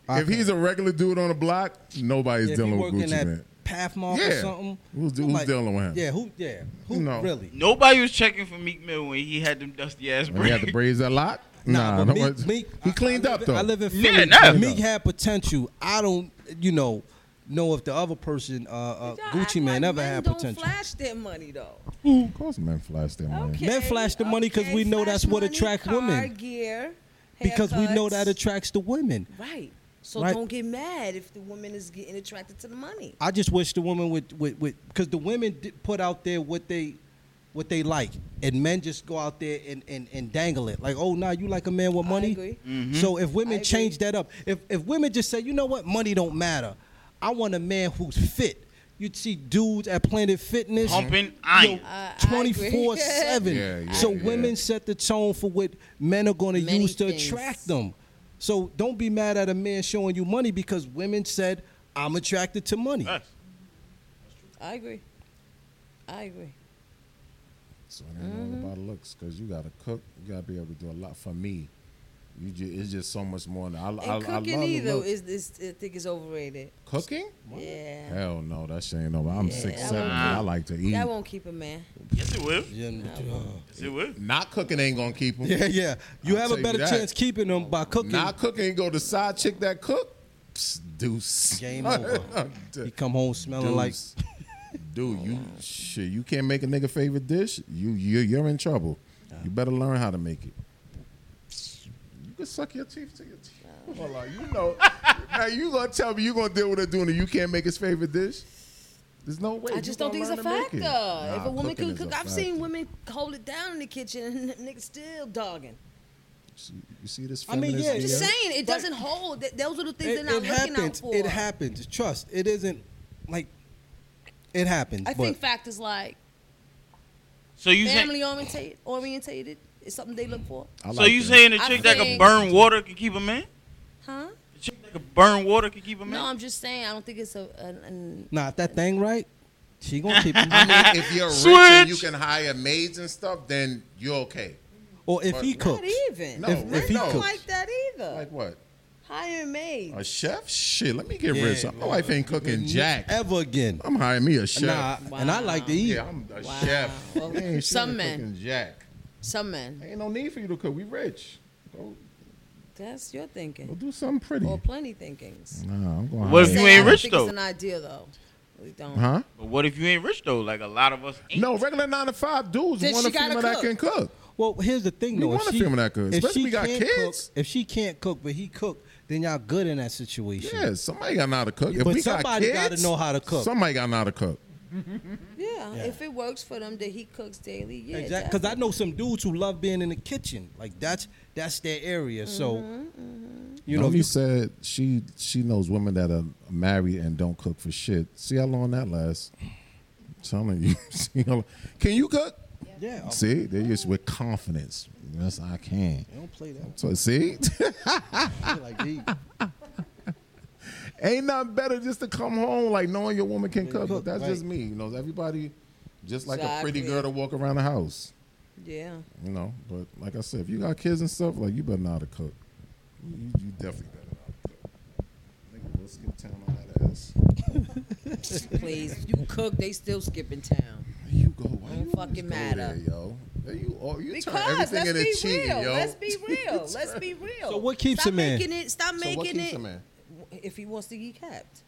S5: if he's a regular dude on the block, nobody's
S6: Yeah, if
S5: dealing
S6: you
S5: with
S6: working
S5: Gucci
S6: at
S5: man.
S6: Pathmark or
S5: Yeah.
S6: something.
S5: Who's- who's
S6: nobody-
S5: dealing with him?
S6: Yeah, who? [laughs] Yeah, who
S5: No.
S6: really?
S3: Nobody was checking for Meek Mill when he had them dusty ass
S5: When he had
S6: [laughs]
S3: braids.
S5: the braids that lot. Nah,
S6: but
S5: no
S6: Meek,
S5: one-
S6: Meek-
S5: he
S6: I-
S5: cleaned
S6: I live
S5: up
S6: in-
S5: though.
S6: I live in
S3: Yeah,
S6: Philly.
S3: nah.
S6: Meek had potential. I don't, you know, know if the other person, uh, uh,
S4: Y'all act
S6: Gucci
S4: like
S6: Man, never
S4: men
S6: had
S4: don't
S6: potential.
S4: flash their money though.
S5: of course, men flash their money.
S4: Okay,
S6: Men flash the money 'cause we
S4: okay,
S6: know that's
S4: flash
S6: what
S4: money,
S6: attract
S4: car,
S6: women.
S4: Gear,
S6: Because we know that
S4: haircuts.
S6: attracts the women.
S4: right. So
S6: Right.
S4: don't get mad if the woman is getting attracted to the money.
S6: I just wish the women would, would, would because the women did put out there what they, what they like, and men just go out there and, and, and dangle it like, oh, now nah, you like a man with money.
S4: agree.
S5: Mm-hmm.
S6: So if
S4: I
S6: women
S4: agree.
S6: change that up, if if women just say, you know what, money don't matter, I want a man who's fit. You see dudes at Planet Fitness
S3: Pumping iron.
S6: twenty four
S4: [laughs]
S6: seven.
S5: Yeah, yeah,
S6: So
S5: yeah.
S6: women set the tone for what men are going to
S4: Many
S6: use to
S4: things.
S6: attract them. So don't be mad at a man showing you money because women said I'm attracted to money.
S3: Facts.
S4: I agree. I agree.
S5: So it ain't all about looks, cause you gotta cook. You gotta be able to do a lot. For me, you ju- it's just so much more. than- I, I, I
S4: And
S5: love
S4: cooking
S5: the
S4: either
S5: look.
S4: is, is I think is overrated.
S5: cooking.
S4: Yeah,
S5: Hell no, that shit ain't over. I'm six
S4: that
S5: seven.
S4: won't
S5: I like to eat.
S4: that won't keep a man.
S3: Yes, it will.
S6: Yeah,
S3: Yes, it will.
S5: Not cooking ain't gonna keep
S6: [laughs]
S5: them.
S6: yeah, yeah. You
S5: I'll
S6: have
S5: tell
S6: a
S5: you
S6: better
S5: that.
S6: chance keeping them by cooking.
S5: Not cooking ain't go to side chick that cook. Psst, deuce. [laughs]
S6: Game over.
S5: D-
S6: you come home smelling like
S5: deuce. dude, you shit. You can't make a nigga favorite dish. You you you're in trouble. You better learn how to make it. You can suck your teeth to your teeth. Hold on, you know. now you gonna tell me you gonna deal with a dude and you can't make his favorite dish? There's no way.
S4: I
S5: You
S4: just don't think
S5: gonna
S4: it's a
S5: learn to
S4: factor.
S5: make it.
S4: if
S5: Nah,
S4: a woman
S5: cooking
S4: can
S5: is a
S4: cook, I've seen
S6: [laughs]
S5: factor.
S4: women hold it down in the kitchen and [laughs] niggas still dogging.
S5: See- You see this?
S6: I mean,
S5: feminist
S6: yeah,
S4: I'm just
S5: BS?
S4: saying it doesn't hold. Th- Those are the things they're not looking
S6: happens.
S4: out for.
S6: It happens. Trust. It isn't like it happens.
S4: I
S6: but
S4: think factors like
S3: So you
S4: family
S3: saying?
S4: orientate, orientated is something they look for,
S5: I
S3: So
S5: like
S3: you
S5: that.
S3: saying a
S4: I
S3: chick that can
S4: think-
S3: burn water can keep a man?
S4: huh?
S3: A chick that can burn water can keep a
S4: No,
S3: man.
S4: I'm just saying I don't think it's a an, an
S6: nah, if that thing right, she gonna
S4: [laughs]
S6: keep
S5: I
S6: him.
S5: mean, if you're rich and you
S3: Switch.
S5: can hire maids and stuff, then you're okay.
S6: Or if he
S4: not
S6: cooks.
S4: even.
S5: No,
S6: If- if he
S4: Men don't
S6: cooks.
S4: like that either.
S5: Like what?
S4: Hiring maids.
S5: [laughs] A chef? Shit, let me get
S6: Yeah,
S5: rich. My wife ain't cooking jack.
S6: Ever again.
S5: I'm hiring me a chef.
S6: Nah, and I like to eat.
S5: Yeah, I'm a
S4: Wow.
S5: chef. [laughs]
S4: Well,
S5: Man, she ain't
S4: some men.
S5: cooking Jack.
S4: Some men.
S5: Ain't no need for you to cook. We rich. Go,
S4: That's your
S5: go
S4: thinking.
S5: do something pretty.
S4: Or plenty thinkings.
S5: Nah, I'm going
S3: What
S5: hire-
S3: if you
S4: Saying I
S3: ain't
S4: don't
S3: rich
S4: think
S3: though?
S4: It's an idea though. We don't.
S5: Uh, Huh?
S3: But what if you ain't rich though? Like a lot of us ain't.
S5: No, regular nine to five dudes
S4: Then
S5: want a
S4: she gotta
S5: female that
S4: cook.
S5: can cook.
S6: Well, here's the thing
S5: We
S6: though.
S5: want a
S6: if she,
S5: female that cooks,
S6: if
S5: especially
S6: she
S5: we got
S6: can't
S5: kids.
S6: Cook, if she can't cook, but he cook, then y'all good in that situation.
S5: Yeah, somebody got to know how to cook. If
S6: But
S5: we
S6: somebody
S5: got
S6: gotta
S5: kids,
S6: know how to cook.
S5: Somebody got to know how to cook.
S4: Yeah, If it works for them that he cooks daily, yeah.
S6: Exactly, because I know some dudes who love being in the kitchen. Like that's that's their area. So,
S4: Mm-hmm,
S6: you know, if
S5: you
S6: you
S5: said she she knows women that are married and don't cook for shit. See how long that lasts. Telling you, [laughs] see how long. can you cook?
S6: yeah,
S5: See, they just with confidence. Yes, I can.
S6: I don't play that.
S5: So see, [laughs]
S6: I feel
S4: [laughs]
S6: like he-
S5: ain't nothing better just to come home like knowing your woman can cook. But
S6: cook,
S5: that's
S6: right.
S5: just me. You know, everybody just like a pretty
S4: Exactly.
S5: girl to walk around the house.
S4: Yeah.
S5: You know, but like I said, if you got kids and stuff, like you better know how to cook. You, you definitely better know how to cook. Nigga, we'll skip town on that ass.
S4: [laughs] Please, you cook, they still skipping town.
S5: You go. Why
S4: Don't
S5: you always
S4: fucking
S5: go
S4: matter.
S5: there, yo. There you all you turn
S4: Because
S5: everything
S4: let's
S5: into
S4: be
S5: cheating,
S4: real.
S5: yo. [laughs]
S4: Let's be real. let's be real.
S6: So what keeps
S4: stop
S6: a man?
S4: Making it, stop
S5: so what
S4: making
S5: keeps
S4: it.
S5: a man?
S4: If he wants to get kept.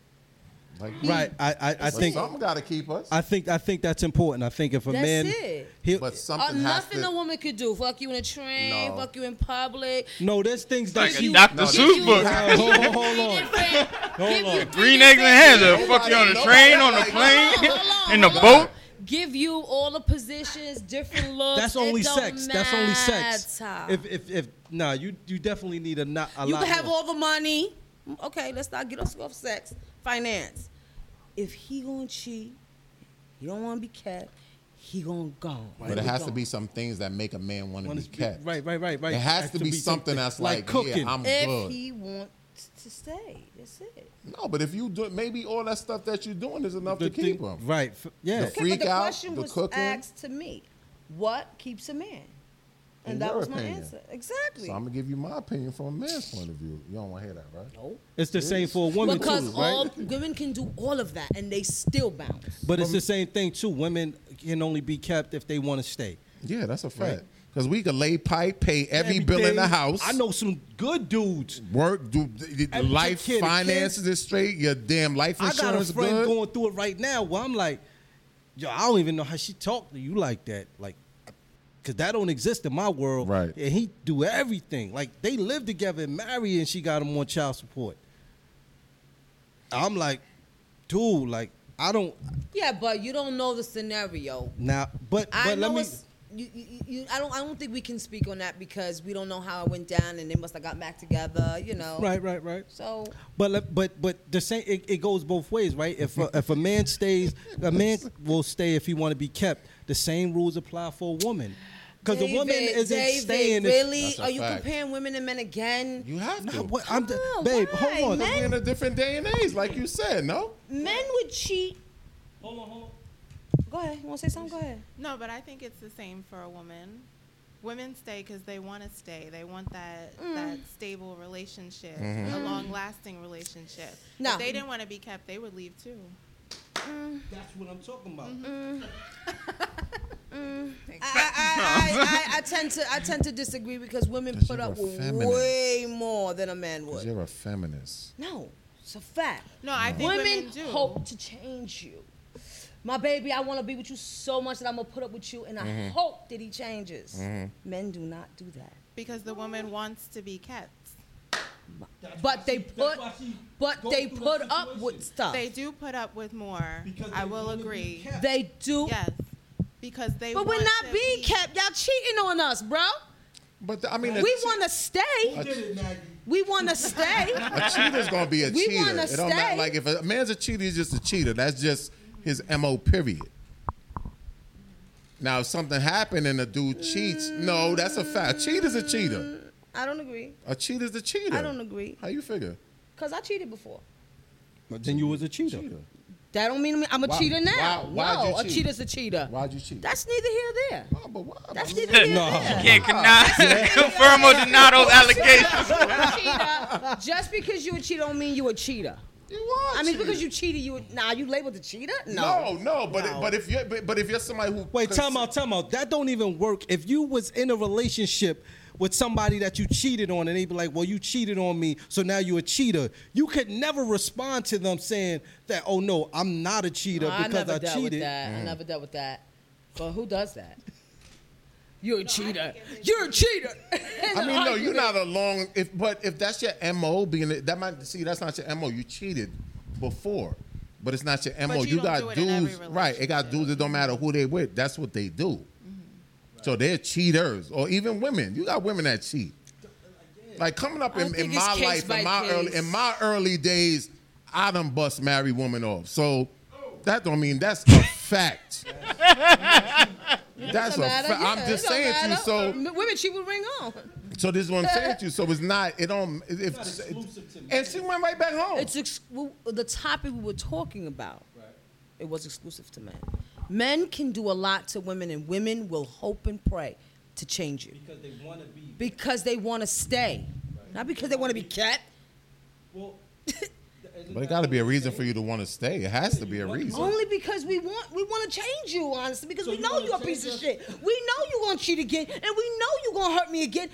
S5: Like
S6: right. I I, I
S5: But
S6: think
S5: something got to keep us.
S6: I think I think that's important. I think if a
S4: That's
S6: man,
S4: it.
S6: he-
S5: but
S4: Uh,
S5: something has
S4: nothing
S5: to.
S4: a woman could do. Fuck you in a train.
S5: No.
S4: Fuck you in
S5: [laughs]
S4: public.
S6: no, there's things that
S3: Like a
S6: she.
S3: Dr.
S5: No,
S3: Seuss
S4: you-
S3: book.
S6: Uh, hold, hold- hold on.
S4: Hold
S6: on.
S3: Green eggs and hands. They'll fuck you on the train, on the plane,
S4: [laughs]
S3: [laughs] in the boat.
S4: Give you all the positions, different looks.
S6: That's
S4: It
S6: only
S4: don't
S6: sex. That's only sex.
S4: matter.
S6: If if if nah, you you definitely need a not a
S4: you
S6: lot.
S4: can have
S6: more.
S4: all the money. Okay, let's not get us off sex. Finance. If he gonna cheat, he don't want to be kept. He gonna go.
S5: But it has to be some things that make a man want to
S6: Wanna
S5: be
S6: be-
S5: kept.
S6: right, right, right, right.
S5: It has to be something that's like, yeah, I'm
S4: if
S5: good.
S4: he wants to stay. That's it.
S5: No, but if you do, maybe all that stuff that you're doing is enough
S6: The
S5: to keep
S6: thing-
S5: him.
S6: Right. f- Yeah.
S5: The Freak
S4: but the
S5: out,
S4: question
S5: the
S4: was
S5: cooking.
S4: asked to me. What keeps a man?
S5: In
S4: And that
S5: your
S4: was my
S5: opinion.
S4: answer. Exactly.
S5: So I'm gonna give you my opinion from a man's point of view. You don't want to hear that, right?
S4: no.
S6: It's the same for a woman
S4: Because
S6: too,
S4: all
S6: right?
S4: women can do all of that and they still bounce.
S6: But it's the same thing too. Women can only be kept if they want to stay.
S5: Yeah, that's a fact. Because we could lay pipe, pay every bill in the
S6: Everything-
S5: house.
S6: I know some good dudes.
S5: Work, do the- the
S6: Every
S5: life
S6: kid,
S5: finances is straight. Your damn life
S6: I
S5: insurance
S6: got a friend
S5: good.
S6: going through it right now where I'm like, yo, I don't even know how she talked to you like that. Like, cause that don't exist in my world.
S5: Right.
S6: And he do everything. Like they live together and marry and she got him on child support. I'm like, dude, like, I don't
S4: Yeah, but you don't know the scenario.
S6: now but
S4: I
S6: but
S4: know
S6: let me
S4: it's you, you, you, I don't. I don't think we can speak on that because we don't know how it went down, and they must have got back together. You know.
S6: Right, right, right.
S4: So
S6: But le- but but the same it, it goes both ways, right? If a, if a man stays, a man will stay if he want to be kept. The same rules apply for a woman, because the woman
S4: David,
S6: isn't
S4: David,
S6: staying. if-
S4: Really?
S5: That's a
S4: Are you
S5: fact.
S4: comparing women and men again?
S5: You have to.
S6: Nah, what- I'm the-
S4: No,
S6: babe,
S4: why?
S6: hold on.
S5: We're
S4: Men,
S5: in a different day and age, like you said, no?
S4: men would cheat.
S6: Hold on, hold on.
S4: Go ahead. You want to say something? Go ahead.
S7: No, but I think it's the same for a woman. Women stay because they want to stay. They want that
S4: Mm.
S7: that stable relationship,
S5: Mm-hmm.
S7: a long lasting relationship.
S4: No.
S7: If they didn't want to be kept, they would leave too.
S6: That's what I'm talking about.
S4: Mm-hmm. Mm. I, I, I, I, I tend to I tend to disagree because
S6: [laughs]
S4: women
S5: Because
S4: put
S5: you're
S4: up
S5: a
S4: with
S5: feminine.
S4: way more than a man would.
S5: You're a feminist.
S4: No, it's a fact.
S7: No, I think
S4: Women,
S7: women, do.
S4: hope to change you. My baby, I want to be with you so much that I'm gonna put up with you, and I
S6: Mm-hmm.
S4: hope that he changes. Men do not do that,
S7: because the woman wants to be kept.
S4: but they put,
S6: why she
S4: but
S6: go
S4: they
S6: through
S4: put
S6: that
S4: up with
S6: situation.
S4: stuff.
S7: They do put up with more.
S6: Because
S7: I
S6: they
S7: will
S6: wanna be
S7: agree.
S6: kept.
S4: They do,
S7: Yes, because they.
S4: but we're
S7: want
S4: not
S7: to
S4: being
S7: be-
S4: kept. Y'all cheating on us, bro.
S5: But the- I mean, a,
S4: We
S5: che-
S4: want to stay. We want to stay.
S5: [laughs] a cheater's gonna be a
S4: We
S5: cheater.
S4: wanna
S5: It don't matter.
S4: stay.
S5: Like if a man's a cheater, he's just a cheater. That's just his mo. Period. Now, if something happened and a dude cheats, no, that's a fact. A cheater's a cheater.
S4: I don't agree.
S5: A cheater's a cheater.
S4: I don't agree
S5: How you figure?
S4: because I cheated before.
S6: Then you was a cheater.
S4: That don't mean I'm a
S5: Why-
S4: cheater now.
S5: why- why'd
S4: no,
S5: you
S4: a
S5: cheat?
S4: cheater's a cheater.
S5: Why'd you cheat?
S4: That's neither here nor there.
S5: Oh, but why?
S4: That's
S5: But-
S4: neither here nor
S6: No.
S4: there.
S3: Can't cannot confirm or deny those allegations.
S4: cheater. Just because you a cheater don't mean you a cheater.
S5: you are.
S4: I mean,
S5: cheating.
S4: because you cheated, you nah, you labeled a cheater? No.
S5: No, no, but but if you but, but if you're somebody who
S6: Wait, time out, time out. That don't even work. If you was in a relationship with somebody that you cheated on, and they be like, "Well, you cheated on me, so now you're a cheater." You could never respond to them saying that, "Oh no, I'm not a cheater
S4: I
S6: because
S4: never
S6: I,
S4: dealt with
S6: cheated." Mm.
S4: that. I never dealt with that. But who does that? You're a cheater. You're a cheater. [laughs]
S5: I mean, no, you're not a long. If but if that's your mo, being a- that might see that's not your mo. You cheated before, but it's not your mo.
S7: you don't
S5: got
S7: do it in every
S5: dudes, right? It got
S7: relationship.
S5: dudes that don't matter who they with. That's what they do. So they're cheaters, or even women. You got women that cheat. Like coming up
S4: I
S5: in, in
S4: think it's
S5: my
S4: case
S5: life,
S4: by
S5: in my
S4: case.
S5: early in my early days, I done bust married women off. So that don't mean that's a fact. that's a fact. I'm just saying to you. So
S4: women cheat with a ring on.
S5: so this is what I'm saying
S4: [laughs]
S5: to you. So it's not. It don't. If, and she went right back home.
S4: It's ex- w- the topic we were talking about. It was exclusive to men. Men can do a lot to women, and women will hope and pray to change you
S6: Because they want to be.
S4: because they want to stay, not because they want to be kept.
S6: Well,
S5: but it got to be a reason for you to want to stay. It has to be a reason.
S4: Only because we want we want to change you, honestly, because
S6: So
S4: we
S6: you
S4: know
S6: wanna
S4: you're a piece of
S6: change
S4: shit. We know you're gonna cheat again, and we know you're gonna hurt me again.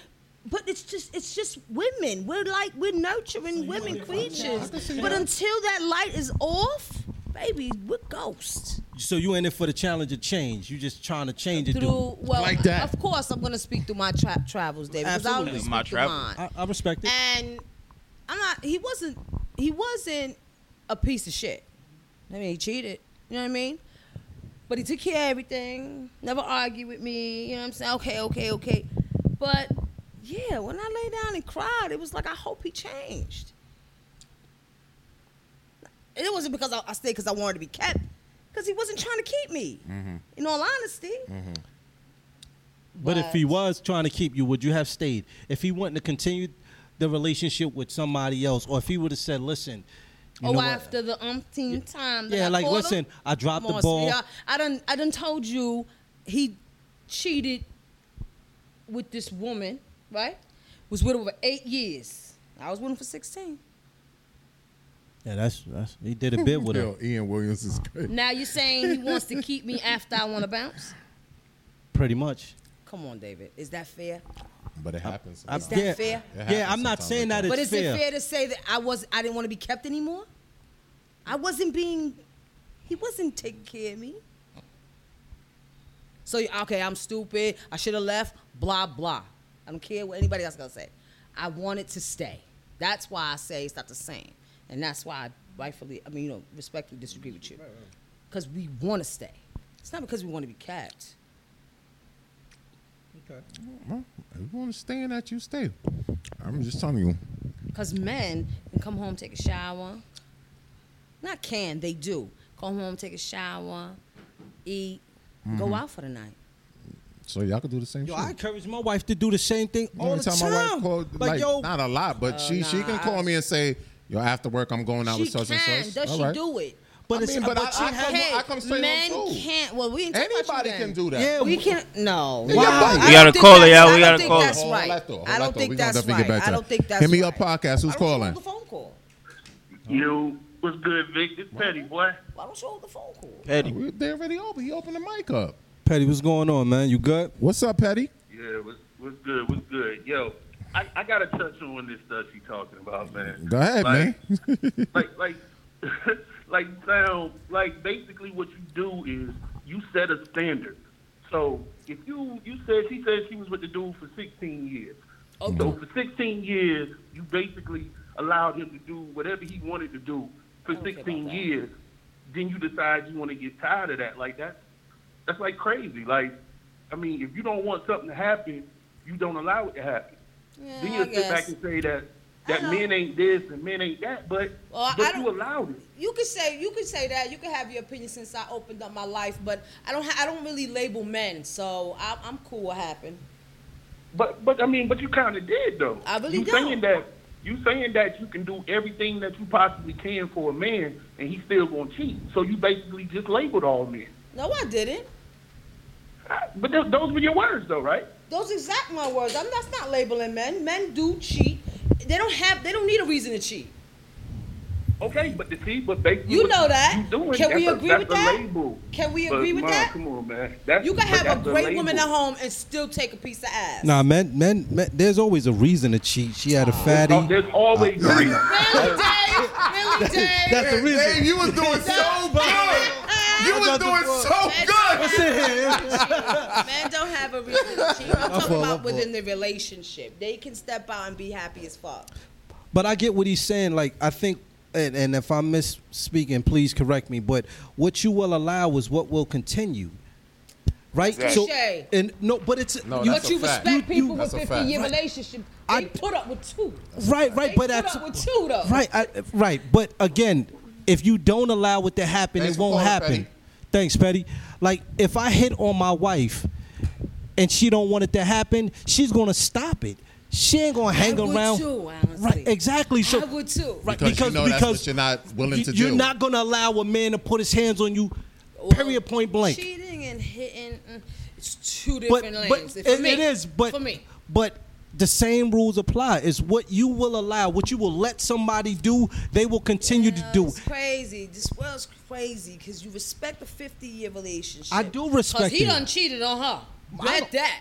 S4: But it's just it's just women. We're like we're nurturing women creatures. But until that light is off, baby, we're ghosts.
S6: So you in it for the challenge of change? You just trying to change it,
S4: through
S6: dude?
S4: well
S5: Like that.
S4: of course i'm going to speak through my tra- travels david because i
S6: Absolutely.
S4: always
S3: My
S4: speak through
S3: travels.
S4: mine
S6: I, I respect it.
S4: and i'm not he wasn't he wasn't a piece of shit i mean he cheated you know what i mean but he took care of everything never argued with me you know what i'm saying okay okay okay but yeah when i lay down and cried it was like i hope he changed and it wasn't because i, I stayed because i wanted to be kept because he wasn't trying to keep me
S5: Mm-hmm.
S4: in all honesty
S6: Mm-hmm. But if he was trying to keep you, would you have stayed? If he wanted to continue the relationship with somebody else, or if he would have said, "Listen," you know
S4: oh,
S6: what?
S4: after the umpteen time. That
S6: Yeah,
S4: I
S6: like,
S4: called
S6: listen,
S4: him?
S6: I dropped
S4: Come
S6: the
S4: on,
S6: ball.
S4: sweetheart. I done, I done told you he cheated with this woman, right? Was with her for eight years. I was with him for 16.
S6: Yeah, that's that's he did a bit with her.
S5: Yo, Ian Williams is crazy.
S4: Now you're saying he wants to keep me after I want to bounce?
S6: pretty much.
S4: Come on, David. Is that fair?
S5: But it happens.
S6: I-
S4: Is that
S6: yeah,
S4: fair?
S5: It
S6: Yeah,
S5: happens
S6: I'm not
S5: sometimes
S6: saying that
S5: like that.
S6: it's
S4: but is
S6: fair.
S4: it fair to say that I was I didn't want to be kept anymore? I wasn't being he wasn't taking care of me. So okay, I'm stupid. I should have left. Blah blah. I don't care what anybody else gonna say. I wanted to stay. That's why I say it's not the same, and that's why I rightfully, I mean, you know, respectfully disagree with you, because we want to stay. It's not because we want to be kept.
S6: Okay.
S5: Well, if you want to stay in that, you stay. I'm just telling you.
S4: Because men can come home, take a shower. Not can, they do. Come home, take a shower, eat,
S5: Mm-hmm.
S4: go out for the night.
S5: So y'all could do the same
S6: Yo,
S5: shit.
S6: I encourage my wife to do the same thing
S5: You know,
S6: all the
S5: anytime
S6: time.
S5: my wife called,
S6: like,
S5: like,
S6: yo,
S5: not a lot, but she she
S4: nah,
S5: can call me and say, "Yo, after work, I'm going out
S4: She
S5: with such
S4: can.
S5: and such."
S4: Does
S5: All
S4: she
S5: right.
S4: do it?
S6: but
S5: I
S6: it's
S5: mean, but
S6: but
S5: I-
S6: she
S5: I
S6: has-
S5: come- I come straight home,
S4: men
S5: too.
S4: can't. Well, we ain't talk about you
S5: Anybody
S4: then.
S5: can do that.
S6: Yeah,
S4: We can no.
S5: Why?
S4: I don't
S5: We
S3: gotta
S4: think
S3: call her,
S4: that's-
S3: yeah, we gotta
S4: I
S3: call her.
S4: don't think that's
S5: Hold on,
S4: right.
S5: left door, hold
S4: I don't
S5: left door. We
S4: think
S5: gonna
S4: that's
S5: definitely
S4: right.
S5: get back
S4: I
S5: to
S4: don't
S5: that.
S4: think that's
S5: Hit me
S4: right.
S5: up, podcast. Who's
S4: Why don't you
S5: calling?
S4: Hold the phone call.
S11: You what's good, Vic? This Petty boy.
S4: Why don't you hold the phone call?
S3: Petty.
S5: We- They already open. He opened the mic up.
S6: Petty, what's going on, man? You good?
S5: What's up, Petty?
S11: Yeah, what's what's good? What's good? Yo, I, I gotta touch on this stuff you talking about, man.
S5: Go ahead,
S11: like,
S5: man. [laughs]
S11: like like [laughs] like now like basically what you do is you set a standard. So if you you said she said she was with the dude for 16 years. So for 16 years you basically allowed him to do whatever he wanted to do for
S4: don't care about
S11: 16
S4: that.
S11: years. Then you decide you want to get tired of that. Like that that's like crazy. Like I mean, if you don't want something to happen, you don't allow it to happen.
S4: Yeah,
S11: then
S4: I
S11: you sit
S4: guess.
S11: back and say that
S4: I
S11: that
S4: know.
S11: men ain't this and men ain't that, but
S4: Well, I- I
S11: but you
S4: don't-
S11: allowed it.
S4: You could say you could say that. You could have your opinion since I opened up my life, but I don't. Ha- I don't really label men, so I'm, I'm cool. What happened?
S11: But but I mean, but you kind of did though.
S4: I really
S11: you
S4: don't.
S11: saying that you saying that you can do everything that you possibly can for a man, and he's still gonna cheat. So you basically just labeled all men.
S4: No, I didn't.
S11: But th- those were your words though, right?
S4: Those exact my words. I'm, that's not labeling men. Men do cheat. They don't have. They don't need a reason to cheat.
S11: Okay, but to see, but basically,
S4: You
S11: what
S4: know that.
S11: You doing,
S4: Can we
S11: that's a,
S4: agree
S11: that's
S4: with
S11: a
S4: that?
S11: Label.
S4: Can we
S11: But,
S4: agree with
S11: Ma,
S4: that?
S11: Come on, man. That's,
S4: You can
S11: but
S4: have
S11: that's
S4: a great woman at
S11: label.
S4: home and still take a piece of ass.
S6: Nah, men, men, men, there's always a reason to cheat. She had a fatty.
S11: Oh, there's always a reason.
S4: Really, Dave? Really, Dave?
S6: [laughs] That's the reason.
S5: you was doing so good. You was doing so
S4: What's Men don't have a reason to
S6: [laughs]
S4: cheat. I'm talking
S6: fault, my
S4: about within the relationship. They can step out and be happy as fuck.
S6: But I get what he's saying. Like I think, and, and if I'm misspeaking, please correct me. But what you will allow is what will continue, right?
S4: Touche.
S6: and no, but it's
S5: No,
S6: you,
S5: Oh, that's
S4: But you
S5: a fact.
S4: respect
S6: You- you-
S4: people with
S5: That's a
S4: 50
S5: fact.
S4: year relationship. They
S6: I-
S4: put up with two.
S6: right, right.
S4: They
S6: But
S4: put
S6: at
S4: up with two though.
S6: right, I, right. But again, if you don't allow it to happen,
S5: Thanks
S6: it
S5: for
S6: won't
S5: calling,
S6: happen.
S5: Petty.
S6: Thanks, Petty. Like if I hit on my wife, and she don't want it to happen, she's gonna stop it. She ain't gonna hang
S4: I would
S6: around.
S4: too, honestly.
S6: Right, exactly. So
S4: I would too.
S6: Right,
S5: Because
S6: because
S5: you know that's what you're not willing
S6: you-
S5: to
S6: You're
S5: do.
S6: not going to allow a man to put his hands on you.
S4: Well,
S6: period, point blank.
S4: Cheating and hitting, mm, it's two
S6: but
S4: different
S6: but
S4: lanes.
S6: it,
S4: For me,
S6: it is. But
S4: for me,
S6: but the same rules apply. It's what you will allow, what you will let somebody do. They will continue to do.
S4: uh, It's crazy. This world's crazy because you respect a 50 year relationship.
S6: I do respect
S4: Because he
S6: it.
S4: done cheated on her. Bet that.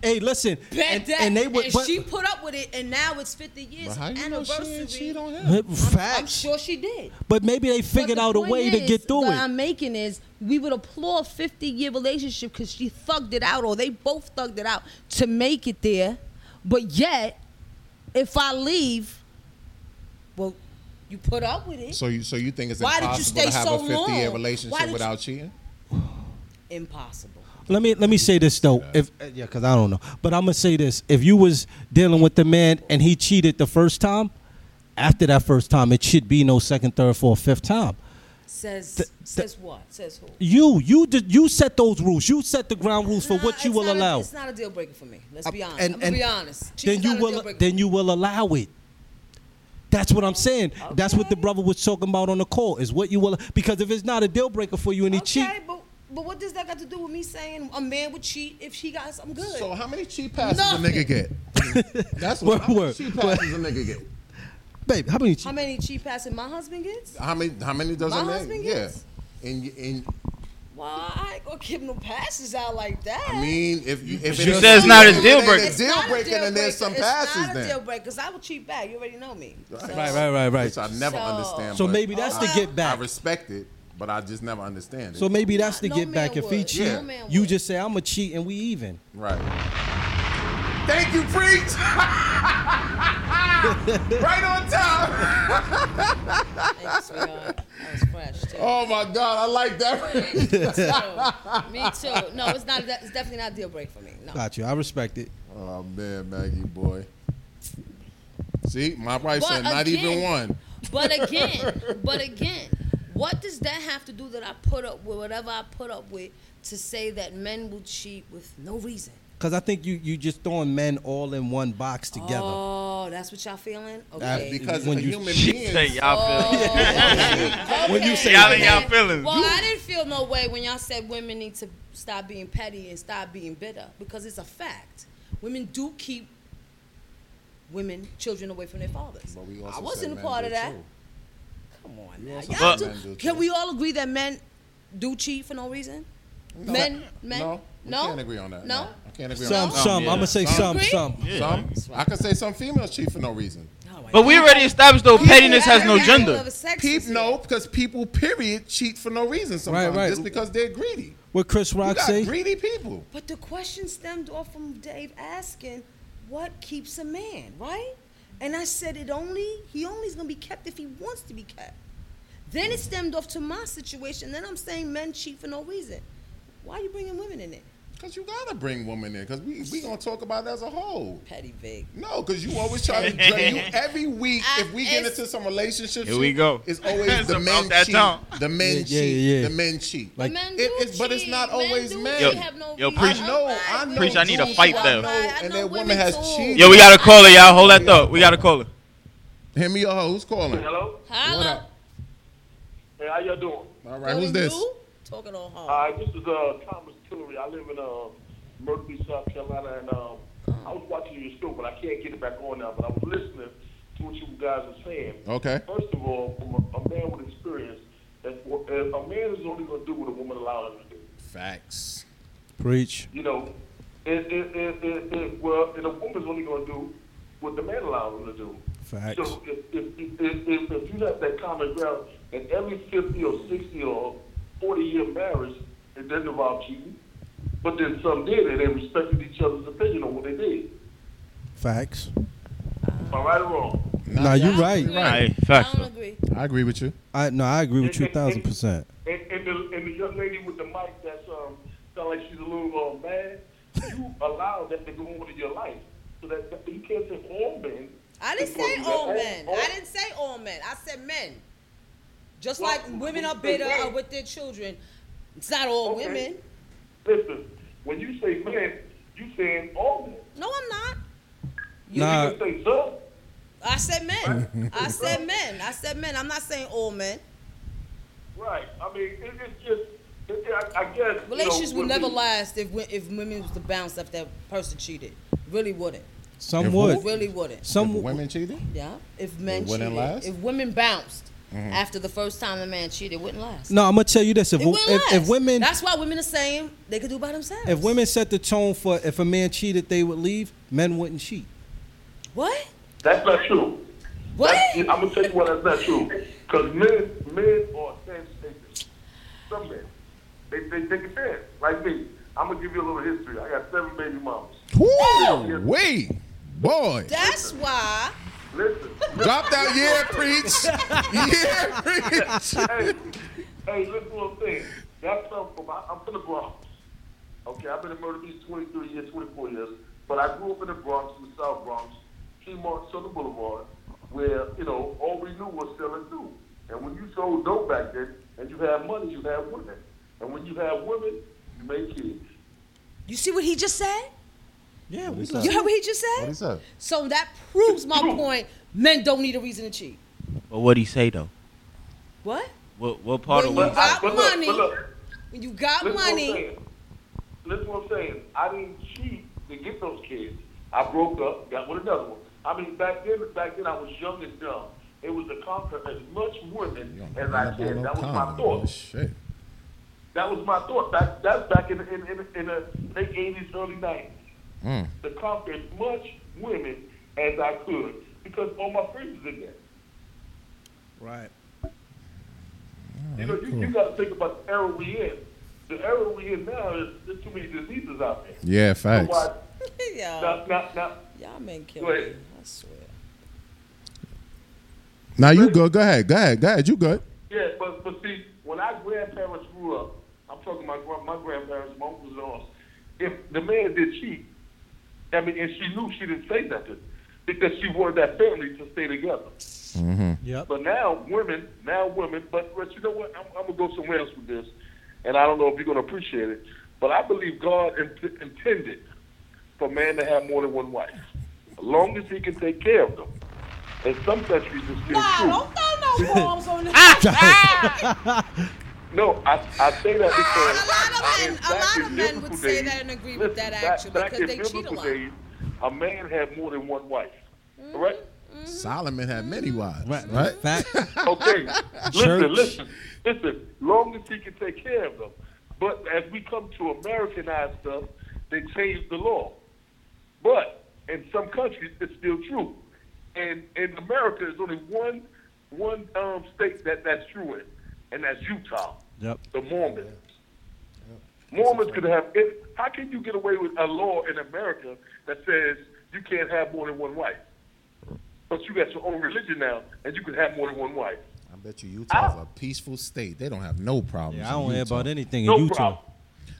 S6: Hey, listen.
S4: Bet
S6: and,
S4: that.
S6: and they would. but,
S4: she put up with it, and now it's 50 years
S5: But how you know she
S4: anniversary.
S5: didn't cheat on him?
S6: but
S4: I'm
S6: facts.
S4: sure she did.
S6: But maybe they
S4: But
S6: figured
S4: the
S6: out a
S4: point
S6: way to
S4: is,
S6: get through
S4: what
S6: it.
S4: I'm making is we would applaud 50 year relationship because she thugged it out or they both thugged it out to make it there. But yet, if I leave, well, you put up with it.
S5: So you so you think it's
S4: Why did you
S5: impossible
S4: stay
S5: to have
S4: so
S5: a 50 year
S4: long? Why did
S5: relationship
S4: you-
S5: without cheating?
S4: Impossible.
S6: Let me let me say this though. If uh, yeah, because I don't know, but I'm gonna say this. If you was dealing with the man and he cheated the first time, after that first time, it should be no second, third, fourth, fifth time.
S4: Says
S6: Th-
S4: says what? Says who?
S6: You you did, you set those rules. You set the ground rules for
S4: Nah,
S6: what you
S4: it's
S6: will
S4: not a-
S6: allow. Uh,
S4: it's not a deal breaker for me. Let's be honest.
S6: And-
S4: I'm gonna
S6: and
S4: be honest.
S6: then
S4: Cheating's
S6: you
S4: not a deal
S6: will
S4: breaker
S6: then you will allow it. That's what I'm saying. That's what the brother was talking about on the call. Is what you will because if it's not a deal breaker for you and he cheat,
S4: Okay, but but what does that got to do with me saying a man would cheat if she got something good?
S5: So how many cheap passes
S4: Nothing.
S5: a nigga get? [laughs] That's what.
S6: Word,
S5: how many
S6: word,
S5: cheap passes a nigga get?
S6: babe, how many? Cheat?
S4: How many cheap passes my husband gets?
S5: How many? How many does
S4: My
S5: a man?
S4: husband
S5: Yeah.
S4: gets?
S5: And and
S4: Well, I ain't gonna give no passes out like that.
S5: I mean, if you if
S3: You said it's not a deal
S5: ain't
S3: breaker.
S5: a deal
S4: not a
S5: breaker, then there's some
S4: it's
S5: passes
S4: not a deal
S5: then.
S4: breaker because I will cheat back. You already know me. So-
S6: Right, right, right, right.
S5: Which I never
S4: So-
S5: understand.
S6: So
S5: but
S6: maybe that's the
S5: I-
S6: get back.
S5: I respect it, but I just never understand it.
S6: So maybe that's the
S4: No
S6: get back.
S4: man
S6: If he
S4: would.
S6: cheat,
S5: No
S4: man
S6: you
S4: would.
S6: just say I'm a cheat and we even.
S5: right.
S12: Thank you,
S6: [laughs]
S12: preach. right on time.
S5: Oh my God, I like that.
S4: [laughs] Me too. No,
S6: [laughs]
S4: it's not. It's definitely not a deal break for me. No.
S6: Got you. I respect it.
S5: Oh man, Maggie boy. See, my wife
S4: But
S5: said not even
S4: again-
S5: one.
S4: But again, but again, what does that have to do that I put up with whatever I put up with to say that men will cheat with no reason?
S6: Because I think you you just throwing men all in one box together.
S4: Oh, that's what y'all feeling? Okay.
S6: That's because When a you- human
S3: She being- say y'all feeling.
S4: Oh,
S3: When you say Y'all in y'all feelings.
S4: Well,
S3: You-
S4: I didn't feel no way when y'all said women need to stop being petty and stop being bitter because it's a fact. Women do keep women, children away from their fathers. I wasn't a part of that. Come on now.
S5: also
S4: Y'all
S5: said
S4: do-
S5: men do
S4: can we all agree that men do cheat for no reason? Men, men,
S5: No, we
S4: no,
S5: can't agree on that.
S4: No,
S5: I can't agree on
S6: Some-
S5: that.
S6: some. I'ma say some,
S4: Agree?
S6: some.
S5: some. I could say some females cheat for no reason.
S3: But we already established though pettiness has no gender.
S5: Peep, no, because people period cheat for no reason sometimes,
S6: Right, right.
S5: just because they're greedy.
S6: What Chris
S5: You
S6: Rock
S5: got
S6: say?
S5: greedy people.
S4: But the question stemmed off from Dave asking, "What keeps a man?" Right? And I said, "It only he only is gonna be kept if he wants to be kept." Then it stemmed off to my situation. Then I'm saying men cheat for no reason. Why are you bringing women in it?
S5: Cause you gotta bring women in, cause we we gonna talk about it as a whole.
S4: Petty Vic.
S5: No, cause you always try to
S3: [laughs]
S5: drain you every week. if we get into some relationship,
S3: Here we go.
S5: It's
S3: [laughs]
S5: always
S3: It's
S5: the
S3: about
S5: men
S3: that
S5: cheat.
S3: time.
S5: The men
S6: Yeah, yeah,
S5: cheat.
S6: yeah.
S5: The men cheat.
S6: Like-
S4: Men
S5: It-
S4: do
S5: it's- but it's not
S4: cheat. Men
S5: always
S4: do
S5: men.
S4: cheat, have no
S3: yo,
S4: reason.
S3: preach-
S5: I know, I know.
S3: Preach, I need a
S5: dudes
S3: fight
S5: who I
S3: there.
S5: know, And that woman has cheated.
S3: Yo, we got a caller, y'all. Hold that thought. We got a caller.
S5: Hit me up. Who's calling?
S11: Hello.
S4: Hello.
S11: Hey, how y'all doing?
S5: All right, who's this?
S4: Talking all hard.
S11: Uh, this is uh, Thomas Tillery. I live in uh, Murphy, South Carolina, and um, I was watching your show, but I can't get it back on now. But I was listening to what you guys were saying.
S5: Okay.
S11: First of all, from a, a man with experience, if, if a man is only going to do what a woman allows him to do.
S5: Facts.
S6: Preach.
S11: You know, it, it, it, it, it, well, and a woman's only going to do what the man allows them to do.
S6: Facts.
S11: So if, if, if, if, if you have that common ground, and every 50 or 60 or 40 year marriage, it doesn't involve cheating. But then some did, and they respected each other's opinion on what they did.
S6: Facts.
S11: Am I right or wrong?
S6: Nah, you right.
S3: Right. Facts. though.
S4: agree.
S5: I agree with you.
S6: I no, I agree with you thousand percent.
S11: And, and, the, and the young lady with the mic that's um, sound like she's a little uh, mad,
S6: [laughs]
S11: you allow that to go on in your life. So that, that you can't say all men.
S4: I didn't
S11: because
S4: say
S11: that
S4: all men. I didn't say all men. I said men. Just
S11: Well,
S4: like women are bitter
S11: okay.
S4: uh, with their children. It's not all
S11: Okay.
S4: women.
S11: Listen, when you say men, you saying all men.
S4: No, I'm not.
S6: Nah.
S11: You can say some.
S4: I said men.
S5: [laughs]
S4: I said men. I said men. I'm not saying all men.
S11: Right. I mean, it, it's just, it, I, I guess.
S4: Relationships
S11: you know,
S4: would
S11: with
S4: never
S11: me-
S4: last if we- if women was to bounce if that person cheated. Really wouldn't.
S6: Some
S5: If
S6: would.
S5: who?
S4: Really wouldn't.
S6: Some
S5: If women cheated.
S4: Yeah. If men
S5: It wouldn't
S4: cheated,
S5: last? Mm-hmm.
S4: if women bounced after the first time the man cheated, it wouldn't last.
S6: No, I'm gonna tell you this. If
S4: It will
S6: if, if
S4: last.
S6: women
S4: That's why women are saying they could do by themselves.
S6: if women set the tone for if a man cheated, they would leave. Men wouldn't cheat.
S4: What?
S11: That's not true.
S4: What?
S11: I'm gonna tell you why that's not true. Because men, men are sense takers. Some men, they they take a chance, like me. I'm gonna give you a little history. I got seven baby mamas.
S5: Woo! Wait, boy.
S4: That's why.
S11: Listen,
S5: Dropped out. Yeah, preach. Yeah, preach.
S11: hey, hey, listen to what I'm saying. That's something from I, I'm from the Bronx. Okay, I've been in Myrtle Beach 23 years, 24 years, but I grew up in the Bronx, in the South Bronx, Tremont Southern Boulevard, where you know all we knew was selling dope. And when you sold dope back then, and you had money, you had women. And when you had women, you made kids.
S4: [laughs] You see what he just said?
S6: Yeah, we
S5: What's
S4: You
S5: up?
S4: heard what he just said?
S5: What he said?
S4: So that proves my point. Men don't need a reason to cheat.
S3: But what he say though?
S4: What?
S3: What what part of
S4: When
S3: what?
S4: you got
S11: But look,
S4: money,
S11: but look.
S4: when you got
S11: Listen what I'm [laughs]
S4: money,
S11: saying. Listen what I'm saying. I didn't cheat to get those kids. I broke up, got with another one. I mean, back then, back then I was young and dumb. It was to conquer as much women as I
S5: Ain't
S11: can.
S5: no
S11: That was my
S5: condom.
S11: thought.
S5: Shit.
S11: That was my thought. That, that's back in, in, in, in the late 80s, early 90s.
S5: Mm.
S11: To conquer as much women as I could because all my friends was in there.
S6: Right.
S11: You know, you, you got to think about the era we in. The era we in now is there's too many diseases out there.
S5: Yeah,
S4: [laughs]
S11: So
S5: facts.
S11: why-
S4: yeah.
S11: no, no, no.
S4: Y'all men kill
S11: Go ahead.
S4: me. I swear.
S5: Now you good. Go ahead. Go ahead. Go ahead. You good.
S11: Yeah, but but see, when our grandparents grew up, I'm talking my grand- my grandparents, my uncles and aunts. If the man did cheat, I mean, and she knew she didn't say nothing because she wanted that family to stay together.
S5: Mm-hmm.
S11: But now women, now women, but but you know what? I'm, I'm gonna go somewhere else with this, and I don't know if you're gonna appreciate it, but I believe God int- intended for man to have more than one wife, as long as he can take care of them. And some countries it's still
S12: Nah,
S11: true.
S12: don't throw no bombs
S4: [laughs]
S12: on this.
S11: [laughs]
S4: Ah!
S5: [laughs]
S11: No, I, I say that because
S4: A lot of men would say that and agree with that actually
S11: back,
S4: because they
S11: in
S4: cheat a
S11: biblical
S4: lot.
S11: days, a man had more than one wife,
S4: Mm-hmm.
S11: right?
S10: Mm-hmm.
S5: Solomon had many wives, right? [laughs]
S11: okay,
S5: Church.
S11: listen, listen, listen. Long as he can take care of them, but as we come to Americanized stuff, they change the law. But in some countries, it's still true. And in America, there's only one one um, state that that's true in, and that's Utah.
S10: Yep.
S11: The Mormons. Mormons could have. It, how can you get away with a law in America that says you can't have more than one wife? But you got your own religion now, and you can have more than one wife.
S5: I bet you Utah's a peaceful state. They don't have no problems.
S11: Yeah,
S10: I don't
S5: in
S10: hear
S5: Utah.
S10: about anything in No Utah. problem.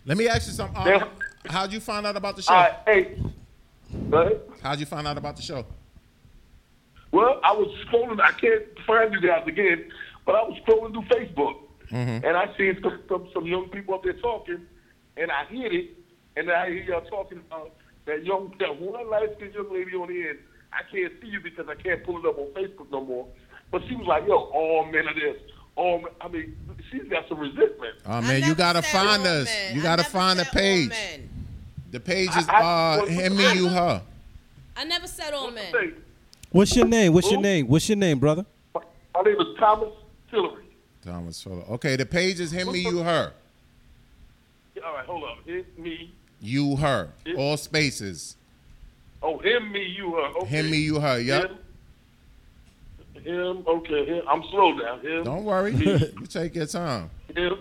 S5: Let me ask you something. Uh,
S10: They're-
S5: how'd you find out about the show?
S11: Uh, hey,
S5: how'd you find out about the show?
S11: Well, I was scrolling. I can't find you guys again, but I was scrolling through Facebook,
S5: Mhm.
S11: and I seen some, some some young people up there talking, and I hear it, and I hear y'all talking about that young that one light skinned young lady on the end. I can't see you because I can't pull it up on Facebook no more. But she was like, "Yo, all men are this." All men. I mean, she's got some resentment.
S5: Oh man, you gotta find us. You gotta find the page. The page is uh, him, me, you, her.
S4: I never said all men.
S10: What's your name? What's your name? What's your name, brother?
S11: My name is Thomas Hillary.
S5: Thomas Fuller. Okay, the page is him, me, you, her.
S11: All right, hold up. Hit me.
S5: You, her. All spaces.
S11: Oh, him, me, you, her. Okay.
S5: Him, me, you, her. Yep.
S11: Him, okay, him. I'm slow now. Him,
S5: Don't worry. [laughs] you take your time.
S11: him.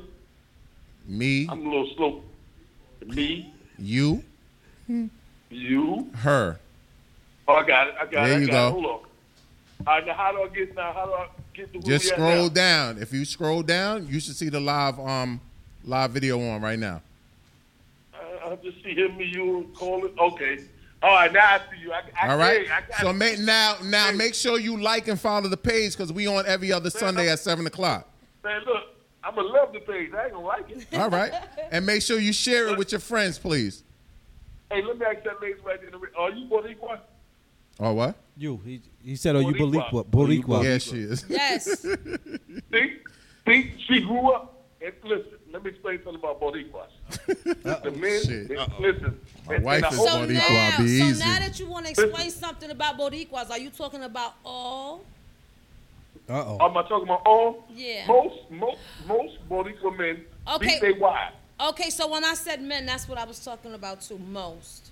S5: Me,
S11: I'm a little slow. Me,
S5: you,
S11: you.
S5: her.
S11: Oh, I got it. I got it.
S5: There
S11: I
S5: you
S11: got
S5: go.
S11: It. Hold on. All right, now how do I get now? How do I get to where
S5: Just
S11: we at
S5: scroll
S11: now?
S5: down. If you scroll down, you should see the live um live video on right now.
S11: I, I just see him, me, you, and call it. Okay. All right, now I see you. I, I,
S5: All right.
S11: I, got
S5: So
S11: it.
S5: make now now make sure you like and follow the page because we on every other Sunday at seven o'clock.
S11: man, look, I'm gonna love the page. I ain't gonna like it.
S5: All right. And make sure you share it with your friends, please.
S11: [laughs] Hey, let me ask that lady right there. Are you Boricua?
S5: Or what?
S10: You. He, he said, "Are
S6: "Oh,
S10: you
S11: Boricua.
S10: Boricua?" Boricua.
S5: Yeah,
S6: [laughs]
S5: she is.
S11: [laughs]
S4: Yes.
S11: See, see, she grew up. And listen, let me explain something about Boricuas. the men, they- listen.
S5: My
S11: and-
S5: wife
S11: and I
S5: is
S11: hope-
S5: Boricua.
S4: Now, so
S5: Be easy.
S4: now that you want to explain something about Boricuas, are you talking about all?
S10: Uh
S11: Am I talking about all?
S4: Yeah.
S11: Most, most, most Boricua men
S4: Okay.
S11: beat their wives.
S4: Okay, so when I said men, that's what I was talking about too. Most.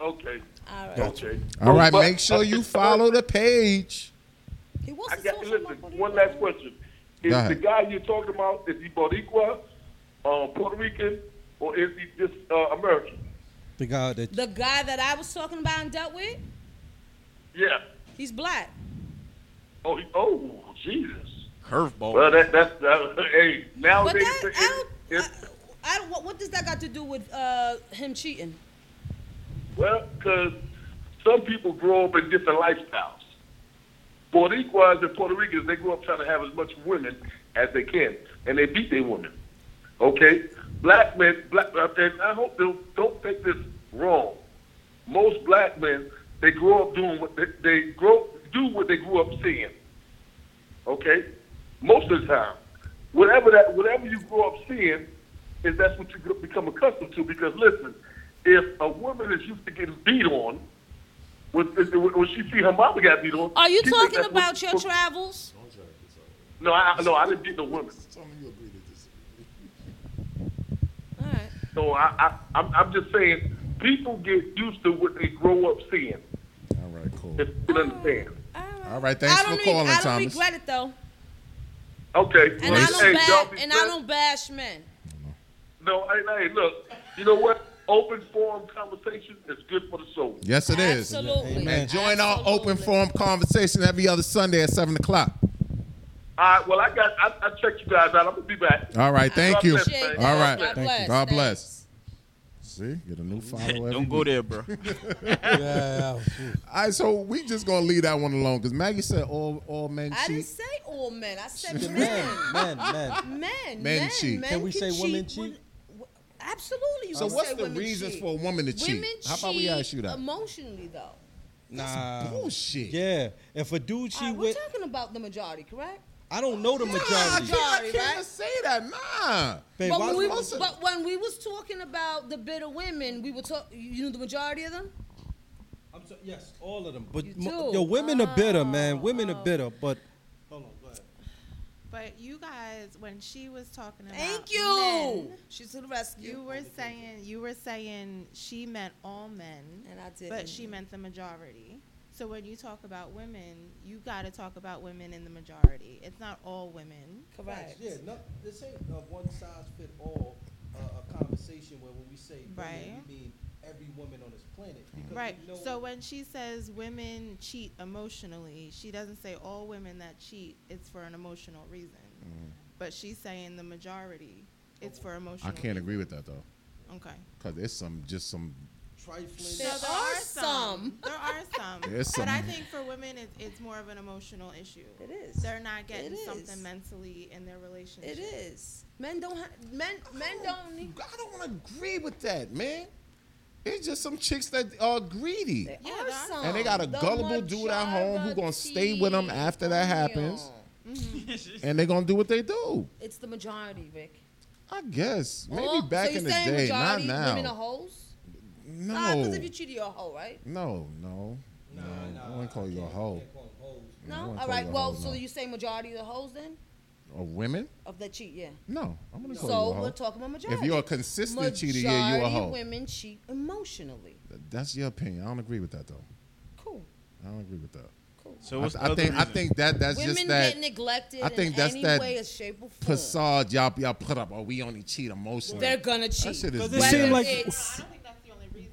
S11: Okay.
S4: All right.
S11: Okay.
S5: All right,
S11: But-
S5: make sure you follow the page.
S4: He wants
S11: I got, listen, one last question. Is
S5: Go ahead.
S11: the guy you're talking about, is he Boricua, um, Puerto Rican, or is he just uh, American?
S10: The guy that
S4: The guy that I was talking about and dealt with,
S11: Yeah.
S4: he's black.
S11: Oh, he, oh, Jesus.
S13: Curveball.
S11: Well, that, that's, that, hey,
S4: But
S11: nowadays,
S4: that, uh,
S11: it-
S4: I
S11: it-
S4: don't, I, I don't. What, what does that got to do with uh, him cheating?
S11: Well, because some people grow up in different lifestyles. Boricuas and Puerto Ricans, they grow up trying to have as much women as they can, and they beat their women. Okay, black men, black, uh, and I hope they don't take this wrong. Most black men, they grow up doing what they, they grow do what they grew up seeing. Okay, most of the time, whatever that whatever you grow up seeing, is that's what you become accustomed to. Because listen, if a woman is used to getting beat on, when, when she see her mama got beat on,
S4: Are you
S11: she think
S4: talking
S11: that's what-
S4: about your travels?
S11: No, I I- no, I didn't beat no women. So I, I I'm, I'm just saying, people get used to what they grow up seeing.
S5: All right, cool.
S11: If you understand.
S5: All right, thanks
S4: I
S5: for
S4: don't, re-
S5: calling,
S4: I don't
S5: Thomas.
S4: regret it though,
S11: Okay.
S4: and I don't bash, and I don't bash men.
S11: No, hey, hey, look, you know what? open forum conversation is good for the soul.
S5: Yes, it is.
S11: Absolutely.
S5: And join our open forum conversation every other Sunday at 7 o'clock.
S11: All right. Well, I got. I, I checked you guys out. I'm gonna be back.
S5: All right. Thank
S11: God
S5: you.
S11: bless, man.
S5: All right.
S11: God
S5: thank you.
S11: bless.
S5: God bless. See, get
S3: [laughs]
S5: a new follower.
S3: Don't go there,
S5: [laughs]
S3: bro.
S5: yeah. All right, so we just gonna leave that one alone because Maggie said all all men
S4: I didn't
S5: cheat.
S4: say all men. I said men.
S5: Men, men, men.
S4: Men.
S5: Men
S4: Men.
S5: cheat.
S4: Men
S5: Can we say women
S4: when- w- absolutely. You
S5: So
S4: can
S5: what's
S4: say
S5: the
S4: women
S5: reasons
S4: cheat.
S5: for a woman to cheat?
S4: Women
S5: How about we
S4: cheat
S5: ask you that?
S4: Emotionally, though.
S6: Nah.
S5: bullshit.
S6: Yeah. If a dude
S4: All
S6: she
S4: right, we're
S6: with,
S4: talking about the majority, correct?
S6: I don't know the majority.
S4: Majority, right?
S5: say that. Nah.
S6: Babe,
S4: but,
S6: why
S4: when
S6: is
S4: we
S6: it-
S4: was, but when we was talking about the bitter women, we were talking. You knew the majority of them.
S6: I'm so, yes, all of them. But
S4: do? Oh.
S6: mo- yo, women are bitter, man. Women are bitter. But
S7: But you guys, when she was talking about
S4: Thank you.
S7: men,
S4: She's to the rescue.
S7: you were saying you were saying she meant all men,
S4: And I
S7: but
S4: didn't.
S7: she meant the majority. So when you talk about women, you got to talk about women in the majority. It's not all women.
S4: Correct.
S6: Yeah, no, this ain't a one size fit all uh, a conversation where when we say women,
S7: Right.
S6: we mean every woman on this planet. Because
S7: Right.
S6: we know-
S7: So when she says women cheat emotionally, she doesn't say all women that cheat. It's for an emotional reason. But she's saying the majority. It's for emotional.
S5: Mm-hmm. Mm. I can't agree with that though,
S7: Okay.
S5: because there's some just some.
S6: trifling.
S4: There
S7: No, there
S4: are
S7: are some. [laughs] There are some.
S5: There's
S7: But I
S5: some.
S7: think for women, it, it's more of an emotional issue.
S4: It is.
S7: They're not getting
S4: It is.
S7: something mentally in their relationship.
S4: It is. Men don't have. Men. Men don't need.
S5: I don't agree with that, man. It's just some chicks that are greedy.
S4: Yeah, there are some.
S5: and they got a
S4: The
S5: gullible dude at home who gonna stay with them after that happens,
S4: majority.
S5: and they gonna do what they do.
S4: It's the majority, Rick.
S5: I guess maybe
S4: Or-
S5: back
S4: so you
S5: in the
S4: saying
S5: day, not
S4: majority Women are
S5: now.
S4: hoes.
S5: No,
S4: because if you cheat, you're a hoe, right?
S5: no, no, no, I wouldn't call you a
S4: No.
S5: hoe. I wouldn't
S4: All
S5: call
S4: right.
S5: you a
S4: Well,
S5: hoe,
S4: so
S5: no.
S4: you say majority of the hoes then
S5: Or women?
S4: of that cheat, yeah.
S5: No, I'm gonna call you a
S4: So
S5: hoe.
S4: we're talking about majority.
S5: If you're a consistent cheater, yeah, you a
S4: Majority
S5: hoe.
S4: women cheat emotionally.
S5: That's your opinion. I don't agree with that though.
S4: Cool.
S5: I don't agree with that.
S3: So
S5: I-
S3: what's the
S5: I,
S3: other
S5: think I
S3: reason?
S5: think that that's
S4: Women
S5: just that.
S4: get neglected
S5: I think
S4: in
S5: that's
S4: any
S5: that
S4: way, or shape, or form.
S5: facade y'all y'all put up. Oh, we only cheat emotionally.
S4: They're gonna
S5: That
S4: cheat.
S5: shit is
S6: Does it
S5: bad.
S6: seem like-
S4: it's-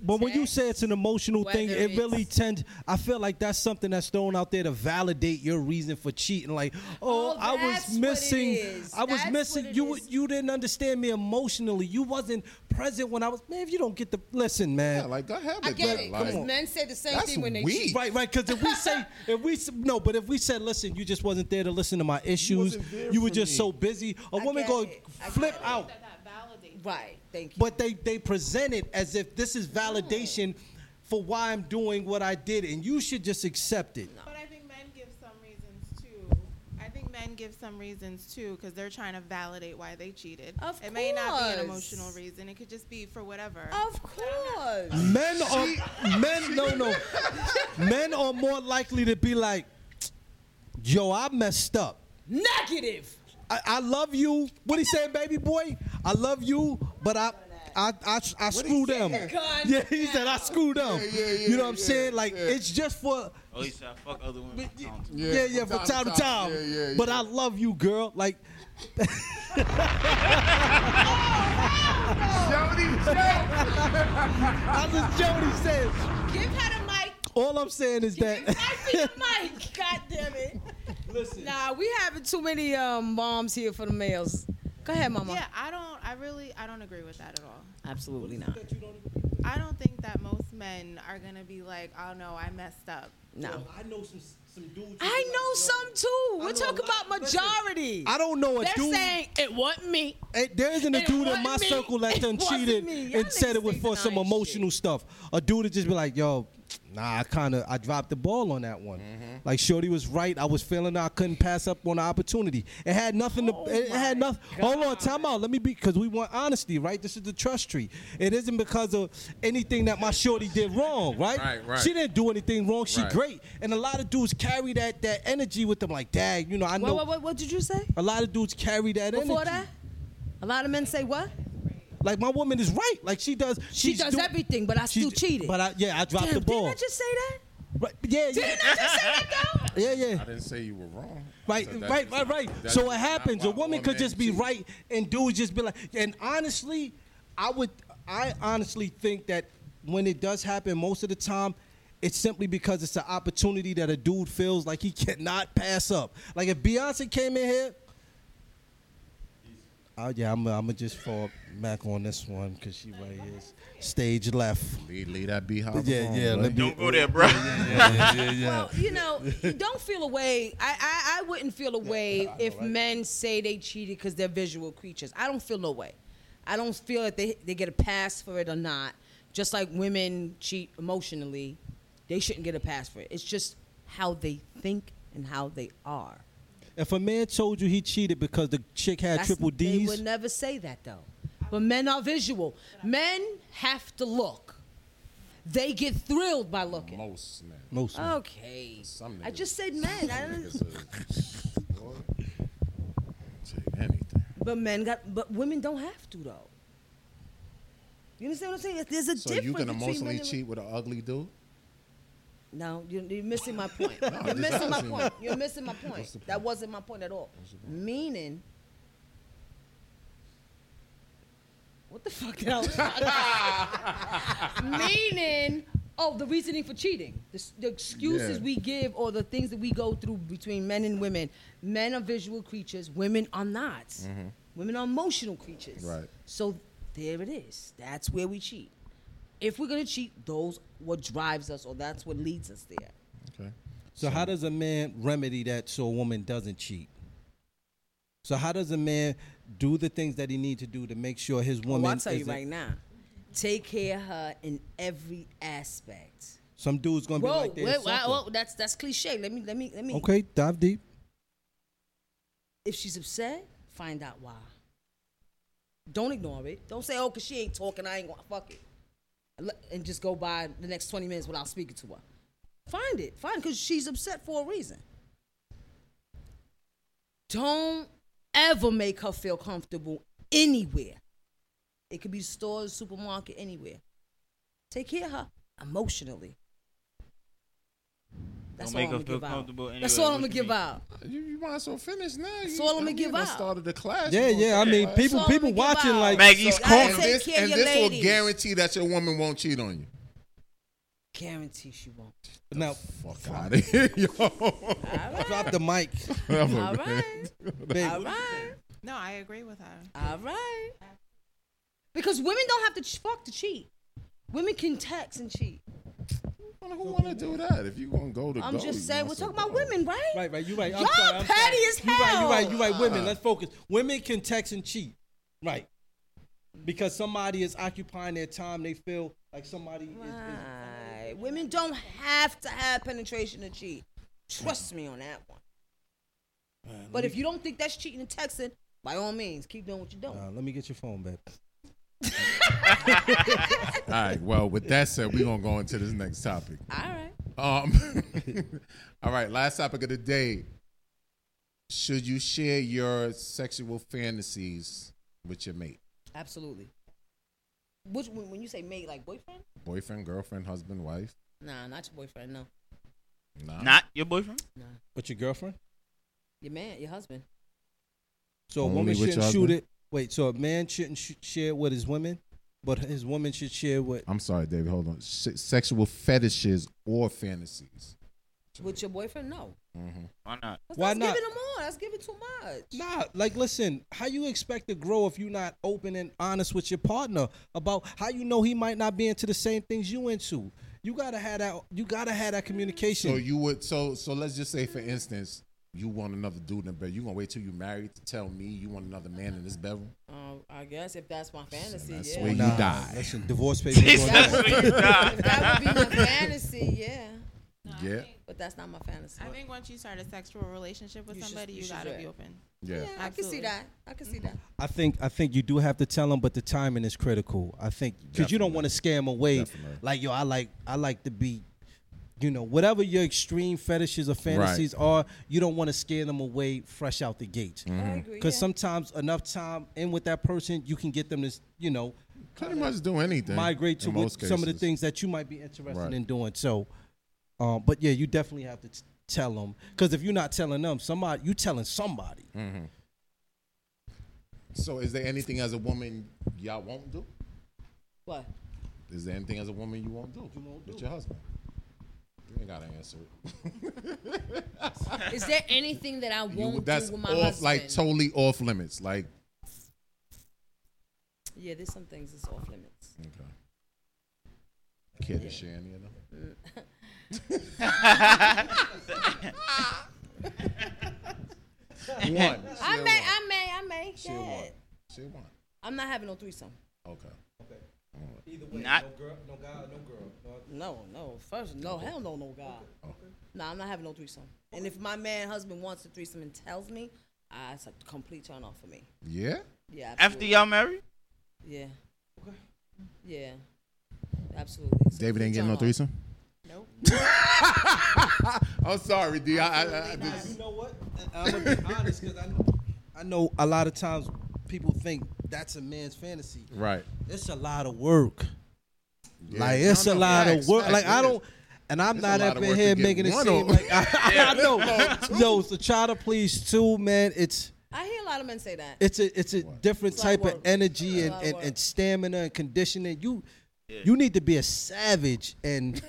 S6: But when you say it's an emotional thing,
S4: Whether
S6: it really
S4: it's-
S6: tends. I feel like that's something that's thrown out there to validate your reason for cheating. Like, oh,
S4: Oh,
S6: I
S4: that's
S6: was
S4: what it
S6: missing.
S4: is.
S6: I was
S4: That's
S6: missing.
S4: what it
S6: You
S4: is.
S6: you didn't understand me emotionally. You wasn't present when I was. Man, if you don't get the listen, man.
S5: Yeah, like go ahead with
S4: I get
S5: that.
S4: it.
S5: Like,
S4: Because men say the same
S5: That's
S4: thing when they
S5: weak.
S4: cheat.
S6: Right, right. Because
S4: [laughs]
S6: if we say,
S5: [laughs]
S6: if we s- no, but if we said, listen, you just wasn't there to listen to my issues.
S5: wasn't
S6: You,
S5: there
S6: were
S5: for
S6: just
S5: me."
S6: so busy. A
S4: I
S6: woman
S4: get
S6: go
S4: it. I
S6: flip
S4: get it.
S6: out.
S4: Right. Thank you.
S6: But they they present it as if this is validation for why I'm doing what I did, and you should just accept it.
S7: But I think men give some reasons too. I think men give some reasons too because they're trying to validate why they cheated.
S4: Of
S7: it may not be an
S4: course.
S7: emotional reason. It could just be for whatever.
S4: of course.
S6: Men are men no
S5: [laughs]
S6: no. Men are more likely to be like, yo, I messed up.
S4: Negative.
S6: I, I love you. What he saying, baby boy? I love you, but I. I, I, I screwed them.
S4: Gun
S6: Yeah, he said I screwed them. you know what I'm saying? Like it's just for
S3: Oh, he said I fuck other women. I don't.
S6: yeah, yeah, from time to time.
S5: Yeah, yeah,
S6: But
S5: yeah.
S6: I love you, girl. Like [laughs] I just Jody says.
S4: Give her the mic.
S6: All I'm saying is that
S4: I see the mic.
S6: [laughs]
S4: God damn it. Listen. Nah, we having too many um, moms here for the males. Go ahead, mama.
S7: Yeah, I don't. I really, I don't agree with that at all.
S4: Absolutely not.
S7: I don't think that most men are gonna be like, oh no, I messed up.
S4: No.
S6: I know some some dudes.
S4: I know some too.
S6: I
S4: We're
S6: know a
S4: talking
S6: lot-
S4: about majority.
S6: I don't know a
S4: They're
S6: dude.
S4: saying it wasn't me.
S6: Hey, there isn't a
S4: It
S6: dude in my
S4: wasn't me.
S6: circle that
S4: It
S6: done
S4: wasn't
S6: cheated
S4: me. Y'all
S6: and said it
S4: niggas
S6: was
S4: be
S6: for some
S4: denying
S6: emotional stuff. A dude would just be like, yo, nah, I kind of, I dropped the ball on that one.
S4: Mm-hmm.
S6: Like, Shorty was right. I was feeling I couldn't pass up on the opportunity. It had nothing
S4: Oh
S6: to, it had nothing. Hold on, time out. Let me be, because we want honesty, right? This is the trust tree. It isn't because of anything that my Shorty did wrong,
S4: [laughs]
S6: right?
S5: Right, right.
S6: She didn't do anything wrong. She
S5: Right.
S6: great. And a lot of dudes carry that that energy with them, like, dang, you know, I know.
S4: What, what, what, what did you say?
S6: A lot of dudes carry that
S4: Before
S6: energy.
S4: that? A lot of men say what?
S6: Like my woman is right. Like she does.
S4: She
S6: she's
S4: does
S6: do-
S4: everything, but I
S6: she's-
S4: still cheated.
S6: But I, yeah, I dropped
S4: Damn,
S6: the ball.
S4: Didn't I just say that?
S6: right, yeah, yeah,
S4: Didn't I just say that though?
S6: yeah, yeah.
S5: I didn't say you were wrong.
S6: Right,
S5: I said that
S6: right,
S5: is-
S6: right, right.
S5: that
S6: So
S5: is
S6: what
S5: not
S6: happens?
S5: why
S6: A woman
S5: all
S6: could
S5: men
S6: just be
S5: cheat.
S6: right, and dudes just be like. And honestly, I would. I honestly think that when it does happen, most of the time, it's simply because it's an opportunity that a dude feels like he [laughs] cannot pass up. Like if Beyonce came in here, Oh yeah, I'm gonna just fall back on this one because she right here, is stage left.
S5: Leave, that be
S6: how. Yeah, yeah.
S5: alone,
S6: let
S5: right?
S6: me-
S5: Don't go there, bro.
S6: Yeah, yeah, yeah, yeah, yeah.
S4: Well,
S6: [laughs]
S4: you know, you don't feel a way. I, I, I wouldn't feel a way if men say they cheated because they're visual creatures. I don't feel no way. I don't feel that they, they get a pass for it or not. Just like women cheat emotionally, they shouldn't get a pass for it. It's just how they think and how they are.
S6: If a man told you he cheated because the chick had
S4: That's-
S6: triple
S4: They
S6: D's,
S4: would never say that though. But men are visual. Men have to look. They get thrilled by looking.
S5: Most men.
S6: Most men.
S4: Okay.
S5: Some
S4: I
S5: niggas-
S4: just said men. I
S1: [laughs]
S4: don't,
S5: anything.
S4: but men got. But women don't have to though. You understand what I'm saying? There's a
S5: So
S4: difference
S5: you can
S4: between
S5: emotionally
S4: men and-
S5: cheat with an ugly dude?
S4: No, you're, you're missing my point.
S5: No, I'm
S4: you're
S5: just
S4: missing my
S5: asking.
S4: point. You're missing my point.
S5: What's the
S4: That wasn't my point at all. Meaning. What the fuck did I was
S5: [laughs]
S4: Meaning, oh, the reasoning for cheating, the, s- the excuses
S1: Yeah.
S4: we give or the things that we go through between men and women. Men are visual creatures. Women are not.
S5: Mhm.
S4: Women are emotional creatures.
S5: Right.
S4: So there it is. That's where we cheat. If we're gonna cheat, those what drives us or that's what leads us there.
S5: Okay.
S6: So, how does a man remedy that so a woman doesn't cheat? So how does a man do the things that he needs to do to make sure his woman?
S4: well, Oh, I'll tell you
S6: isn't-
S4: right now. Take care of her in every aspect.
S6: Some dude's gonna
S4: Whoa,
S6: be like
S4: wait,
S6: this.
S4: whoa, whoa, that's that's cliche. Let me let me let me
S6: Okay, dive deep.
S4: If she's upset, find out why. Don't ignore it. Don't say, oh, because she ain't talking, I ain't gonna fuck it. And let- And just go by the next 20 minutes without speaking to her. Find it. Find because she's upset for a reason. Don't ever make her feel comfortable anywhere. It could be stores, supermarket, anywhere. Take care of her emotionally. That's
S3: Don't make
S4: all
S3: her
S4: I'm gonna
S3: feel
S4: give
S3: comfortable
S4: out. That's
S3: anywhere.
S4: all I'm
S3: What
S4: gonna
S3: you
S4: give
S3: mean?
S4: out.
S5: You, you might as well finish now.
S4: That's
S5: You-
S4: all I'm gonna
S5: you
S4: give
S5: done
S4: out.
S5: started the clash.
S6: Yeah,
S5: You
S6: yeah. I
S5: gonna-
S6: mean, people,
S5: all
S6: people watching like
S5: So- And this, and this will guarantee that your woman won't cheat on you.
S4: Guarantee she won't.
S6: Now,
S5: fuck out of [laughs] here, yo.
S6: Drop the mic.
S5: All right.
S6: Babe,
S4: All right.
S7: No, I agree with her.
S4: All right. Because women don't have to ch- fuck to cheat. Women can text and cheat.
S5: Who wanna do that? If you gonna go to
S4: I'm
S5: go,
S4: just
S5: you
S4: saying,
S5: must
S4: we're
S5: have
S4: talking about women, right?
S6: Right, right. You right. I'm
S4: Y'all
S6: sorry, I'm
S4: petty
S6: sorry.
S4: as
S6: You right. You right. You right.
S4: hell.
S6: Women. Let's focus. Women can text and cheat. Right. Because somebody is occupying their time. They feel like somebody is- is
S4: Right. Women don't have to have penetration to cheat. Trust me on that one. But if you don't think that's cheating and texting, by all means, keep doing what you're doing.
S6: Uh, let me get your phone, babe.
S5: All right. Well, with that said, we're gonna go into this next topic.
S4: All right.
S5: Um. [laughs] all right. Last topic of the day. Should you share your sexual fantasies with your mate,
S4: Absolutely. Which when when you say mate, like boyfriend?
S5: boyfriend, girlfriend, husband, wife?
S4: Nah, not your boyfriend. No,
S5: Nah.
S3: Not your boyfriend?
S4: Nah.
S6: But your girlfriend?
S4: your man, your husband.
S6: So a
S5: Only
S6: woman
S5: with your
S6: shouldn't shoot
S5: husband?
S6: it. Wait. So a man shouldn't sh- share with his women, but his woman should share with.
S5: I'm sorry, David. Hold on. Se- sexual fetishes or fantasies?
S4: With your boyfriend? No.
S5: Mm-hmm.
S3: Why not?
S6: Why
S4: That's
S6: not?
S4: giving them all. That's giving too much.
S6: Nah, like listen, how you expect to grow if you're not open and honest with your partner about how you know he might not be into the same things you into. You gotta have that. You gotta have that communication.
S5: So you would so so let's just say for instance, you want another dude in bed. You gonna wait till you married to tell me you want another man in this bedroom?
S4: Um, I guess if that's my fantasy,
S5: That's
S4: yeah.
S5: where
S6: Nah,
S5: you die.
S6: listen, [laughs] divorce papers That's going where down. you die.
S4: If [laughs] that would be my fantasy, yeah.
S5: Yeah.
S4: But that's not my fantasy.
S7: I think once you start a sexual relationship with
S4: You should-
S7: somebody,
S4: you
S7: you,
S4: should
S7: gotta
S4: do it.
S7: be open.
S6: Yeah. Yeah,
S4: I can see that. I can see that.
S6: I think I think you do have to tell them, but the timing is critical. I think because you don't want to scare them away. Like yo, I like I like to be, you know, whatever your extreme fetishes or fantasies are, you don't want to scare them away fresh out the gate.
S5: Mhm.
S6: Because sometimes enough time in with that person, you can get them to, s- you know,
S5: Pretty much do anything.
S6: migrate to
S5: in
S6: what,
S5: most
S6: some of the
S5: cases.
S6: things that you might be interested
S5: Right.
S6: in doing. So, um, but yeah, you definitely have to t- tell them because if you're not telling them, somebody you telling somebody.
S5: Mhm. So is there anything as a woman y'all won't do?
S4: What?
S5: Is there anything as a woman you won't do? You
S10: won't
S5: with your husband. You ain't gotta answer it.
S4: Is there anything that I
S5: [laughs] You-
S4: won't
S5: that's
S4: do with my
S5: off,
S4: husband?
S5: like totally off limits. Like
S4: yeah, there's some things that's off limits.
S5: okay. Care to share any of them? One.
S4: I
S5: Share
S4: may,
S5: one.
S4: I may, I may. Go
S5: Share one.
S4: ahead.
S5: Share one.
S4: I'm not having no threesome.
S5: Okay.
S6: Okay.
S5: Either
S6: way,
S4: Not-
S6: no girl, no guy, no girl.
S4: No, no. First, no, hell no, no God. No, I'm not having no threesome. And if my man husband wants a threesome and tells me, ah, it's a complete turn off for me.
S5: Yeah.
S4: Yeah.
S3: After
S4: absolutely.
S3: y'all married?
S4: Yeah. Yeah. Absolutely. [laughs] It's a
S5: David
S4: complete
S5: ain't getting no
S4: turn-off.
S5: threesome.
S4: Nope.
S5: I'm sorry, D. I, I, I, this,
S6: You know what? I'm gonna be
S5: [laughs]
S6: honest because I know, I know a lot of times people think that's a man's fantasy.
S5: Right.
S6: It's a lot of work.
S5: Yeah.
S6: Like it's
S5: No,
S6: a
S5: no,
S6: lot
S5: facts,
S6: of work.
S5: facts,
S6: like I
S5: it
S6: don't,
S5: is.
S6: and I'm
S5: It's a
S6: not
S5: lot
S6: up
S5: of
S6: in
S5: work to
S6: here
S5: get
S6: making it
S5: one
S6: seem
S5: over.
S6: like [laughs] I,
S5: Yeah, [laughs]
S6: know.
S5: let's go,
S6: Yo, so try to please too, man. It's
S4: I hear a lot of men say that.
S6: it's a it's a different
S4: It's a lot of
S6: type of
S4: work.
S6: energy
S4: It's a
S6: and,
S4: lot of
S6: and,
S4: work.
S6: and stamina and conditioning. You
S3: Yeah.
S6: you need to be a savage
S5: [laughs]
S6: and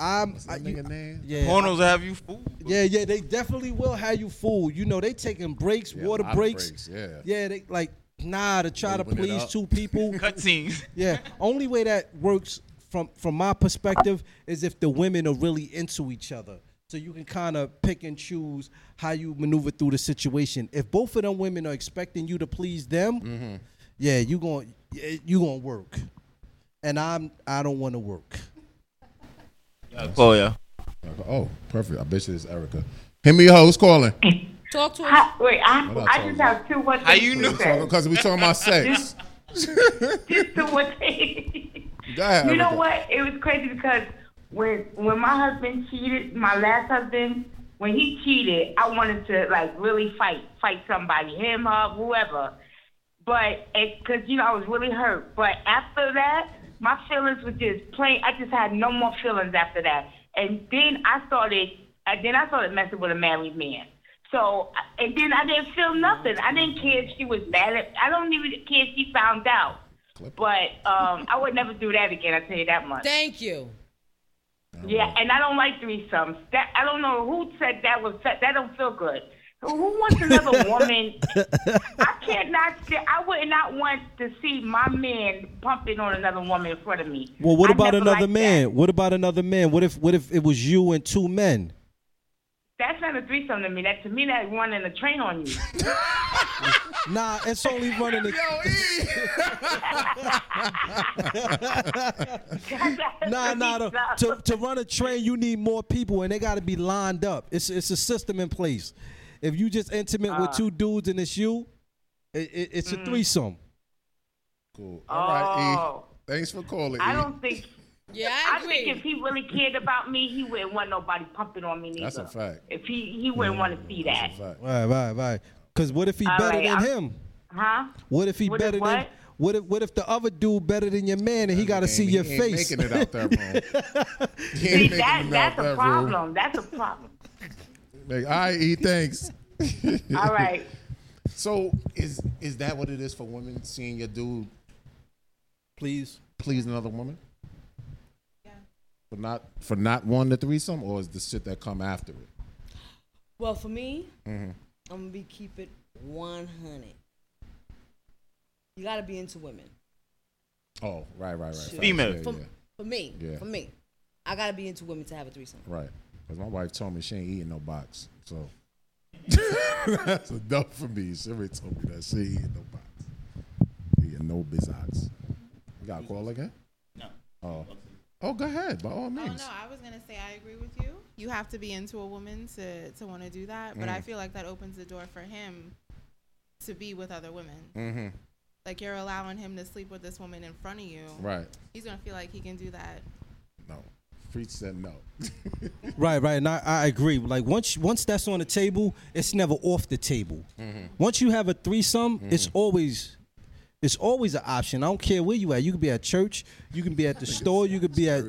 S6: I'm I, you,
S5: nigga name?
S6: yeah.
S3: Pornos have you fooled.
S6: Yeah, yeah, they definitely will have you fooled. You know, they taking breaks,
S5: Yeah, a
S6: water
S5: lot of
S6: breaks.
S5: breaks, yeah.
S6: yeah, they like nah to try to
S5: Open it
S6: please
S5: up.
S6: two people.
S3: Cutscenes.
S6: yeah, only way that works from from my perspective is if the women are really into each other. So you can kind of pick and choose how you maneuver through the situation. If both of them women are expecting you to please them,
S9: Mm-hmm.
S6: yeah, you going you gonna work. And I'm I don't want to work.
S3: Oh yeah.
S5: Oh, perfect. I bet you it's Erica. Hit me, ho.
S9: [laughs]
S5: Who's calling?
S4: Talk to
S9: us. Wait, I,
S5: What up,
S9: I just
S5: Charles?
S9: have two one things
S3: How you
S9: to
S3: knew?
S9: say.
S5: Because we talking about sex.
S9: Just, just two one things.
S5: Go ahead,
S9: You know
S5: Erica.
S9: what? It was crazy because when when my husband cheated, my last husband, when he cheated, I wanted to like really fight, fight somebody, him, her, whoever. But because you know I was really hurt. But after that, my feelings were just plain. I just had no more feelings after that. And then I started, and then I started messing with a married man. So and then I didn't feel nothing. I didn't care if she was mad. At, I don't even care if she found out. But um, I would never do that again. I tell you that much.
S4: Thank you.
S9: Yeah, and I don't like threesomes. That I don't know who said that was that that don't feel good. Who wants
S4: [laughs]
S9: another woman? I can't not. sta- I would not want to see my man pumping on another woman in front of me.
S6: Well, what
S9: I
S6: about
S9: never
S6: another
S9: liked
S6: man? What about another man? What if what if it was you and two men?
S9: That's not a threesome to me. That to me, that running a train on
S4: [laughs]
S9: you.
S6: Nah, it's only
S9: [laughs]
S6: running. A,
S9: [laughs]
S6: nah, nah. To, to, to run a train, you need more people, and they got to be lined up. It's it's a system in place. If you just intimate with
S9: Ah. Mm.
S6: two dudes and it's you, it, it, it's a threesome.
S5: Cool. All right,
S9: Oh.
S5: E. Thanks for calling.
S9: I
S5: E.
S9: don't think.
S4: Yeah,
S9: I, think if he really cared about me, he wouldn't want nobody pumping on me neither.
S5: That's a fact.
S9: If he he wouldn't want to see that,
S6: Right, right, right. Because what if he
S9: All
S6: better
S9: right,
S6: than
S9: I'm-
S6: him?
S9: huh?
S6: What if he
S9: What if
S6: better than?
S9: what?
S6: What if what if the other dude better than your man and he got to see your
S5: he ain't
S6: face?
S5: making it out that
S6: [laughs]
S5: room. [laughs] He
S9: See,
S5: ain't making
S9: that,
S5: it out
S9: that's a
S5: that
S9: problem.
S5: room.
S9: That's a problem.
S5: Like, all right, E. Thanks. [laughs]
S9: All right.
S5: So is is that what it is for women seeing your dude
S6: Please.
S5: please another woman? For not for not wanting the threesome, or is the shit that come after it?
S4: Well, for me,
S5: Mm-hmm.
S4: I'm gonna be keep it 100. You gotta be into women.
S5: Oh, right, right, right. facts.
S3: Female.
S5: Yeah,
S4: For,
S5: yeah.
S4: for me,
S5: Yeah.
S4: for me, I gotta be into women to have a threesome.
S5: Right. Because my wife told me she ain't eating no box. So [laughs] that's enough for me. She already told me that she ain't eating no box. Eating no bizox. You got a call again? No. Oh. Oh, go ahead. By all
S7: Oh
S5: means.
S7: no, I was gonna say I agree with you. You have to be into a woman to to want to do that, but I
S5: Mm.
S7: feel like that opens the door for him to be with other women.
S5: Mm-hmm.
S7: Like you're allowing him to sleep with this woman in front of you.
S5: Right.
S7: He's gonna feel like he can do that.
S5: No. Preach said no. [laughs]
S6: Right, right, and I, I agree. Like once once that's on the table, it's never off the table. Once you have a threesome, it's always it's always an option. I don't care where you at. You can be at church, you can be at the store, you could be at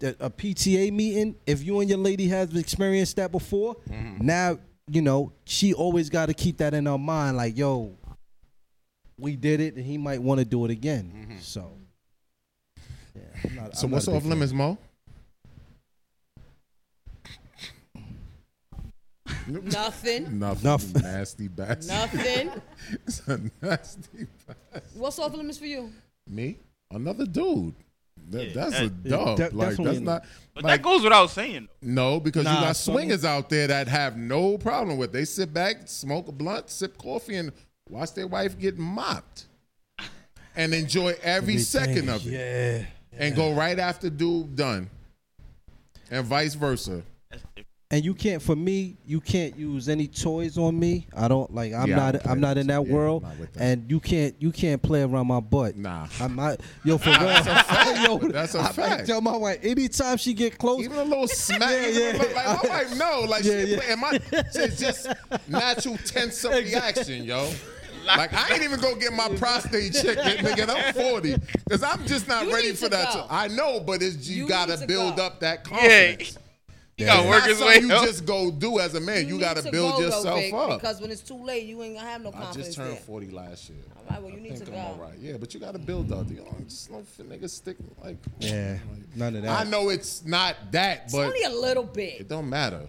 S6: the- a PTA meeting. If you and your lady has experienced that before, now you know she always got to keep that in her mind. Like yo, we did it, and he might want to do it again. So I'm not-
S5: So
S6: I'm
S5: what's
S6: not a
S5: off
S6: big
S5: limits, Mo?
S4: Oh, Nothing.
S5: [laughs] Nothing. Nothing. Nasty bastard.
S4: Nothing.
S5: [laughs] it's a nasty bastard.
S4: What's off limits for you?
S5: Me? Another dude. That,
S3: Yeah,
S5: that's a
S3: that- yeah,
S5: dub.
S3: that-
S5: like
S3: that's
S5: that's
S3: what-
S5: not.
S3: But
S5: like-
S3: that goes without saying.
S5: No, because you
S3: Nah,
S5: got
S3: some-
S5: swingers out there that have no problem with. They sit back, smoke a blunt, sip coffee, and watch their wife get mopped, and enjoy every
S6: Everything,
S5: second of it.
S6: yeah,
S5: and go right after dude done, and vice versa.
S6: and you can't for me you can't use any toys on me i don't like i'm
S5: Yeah, I don't
S6: not
S5: play
S6: i'm not in that world and you can't you can't play around my butt
S5: nah
S6: i'm not yo for real
S5: [laughs] That's a fact.
S6: Yo,
S5: That's a
S6: I- I
S5: fact.
S6: tell my wife anytime she get close
S5: Even a little
S6: [laughs]
S5: smack.
S6: yeah,
S5: even a
S6: yeah.
S5: little- [laughs] like my wife know, like
S6: Yeah,
S5: she
S6: yeah.
S5: playing my
S6: [laughs]
S5: it's just natural tense up
S3: [laughs]
S5: reaction, yo. Like I ain't even gonna get my prostate checked, nigga. I'm 40, cause I'm just not
S4: You
S5: ready
S4: need
S5: for
S4: to
S5: that.
S4: go.
S5: I know, but it's you,
S4: You
S5: gotta
S4: need to
S5: build
S4: go.
S5: up that confidence.
S3: [laughs] You gotta
S5: It's
S3: work
S5: not
S3: his
S5: something
S3: way
S5: You
S3: up.
S5: just go do as a man. you
S4: need
S5: gotta
S4: to
S5: build
S4: go, though,
S5: yourself
S4: Vic,
S5: up.
S4: Because when it's too late, you ain't gonna have no
S5: I
S4: confidence.
S5: just turned
S4: there.
S5: 40 last year.
S4: All right, well, you need
S5: I
S4: to
S5: think
S4: go.
S5: I'm all right. Yeah, but you gotta build up. You know, just no niggas stick like.
S6: yeah none of
S5: I
S6: that
S5: know it's not that,
S4: It's
S5: but
S4: only a little bit.
S5: it don't matter.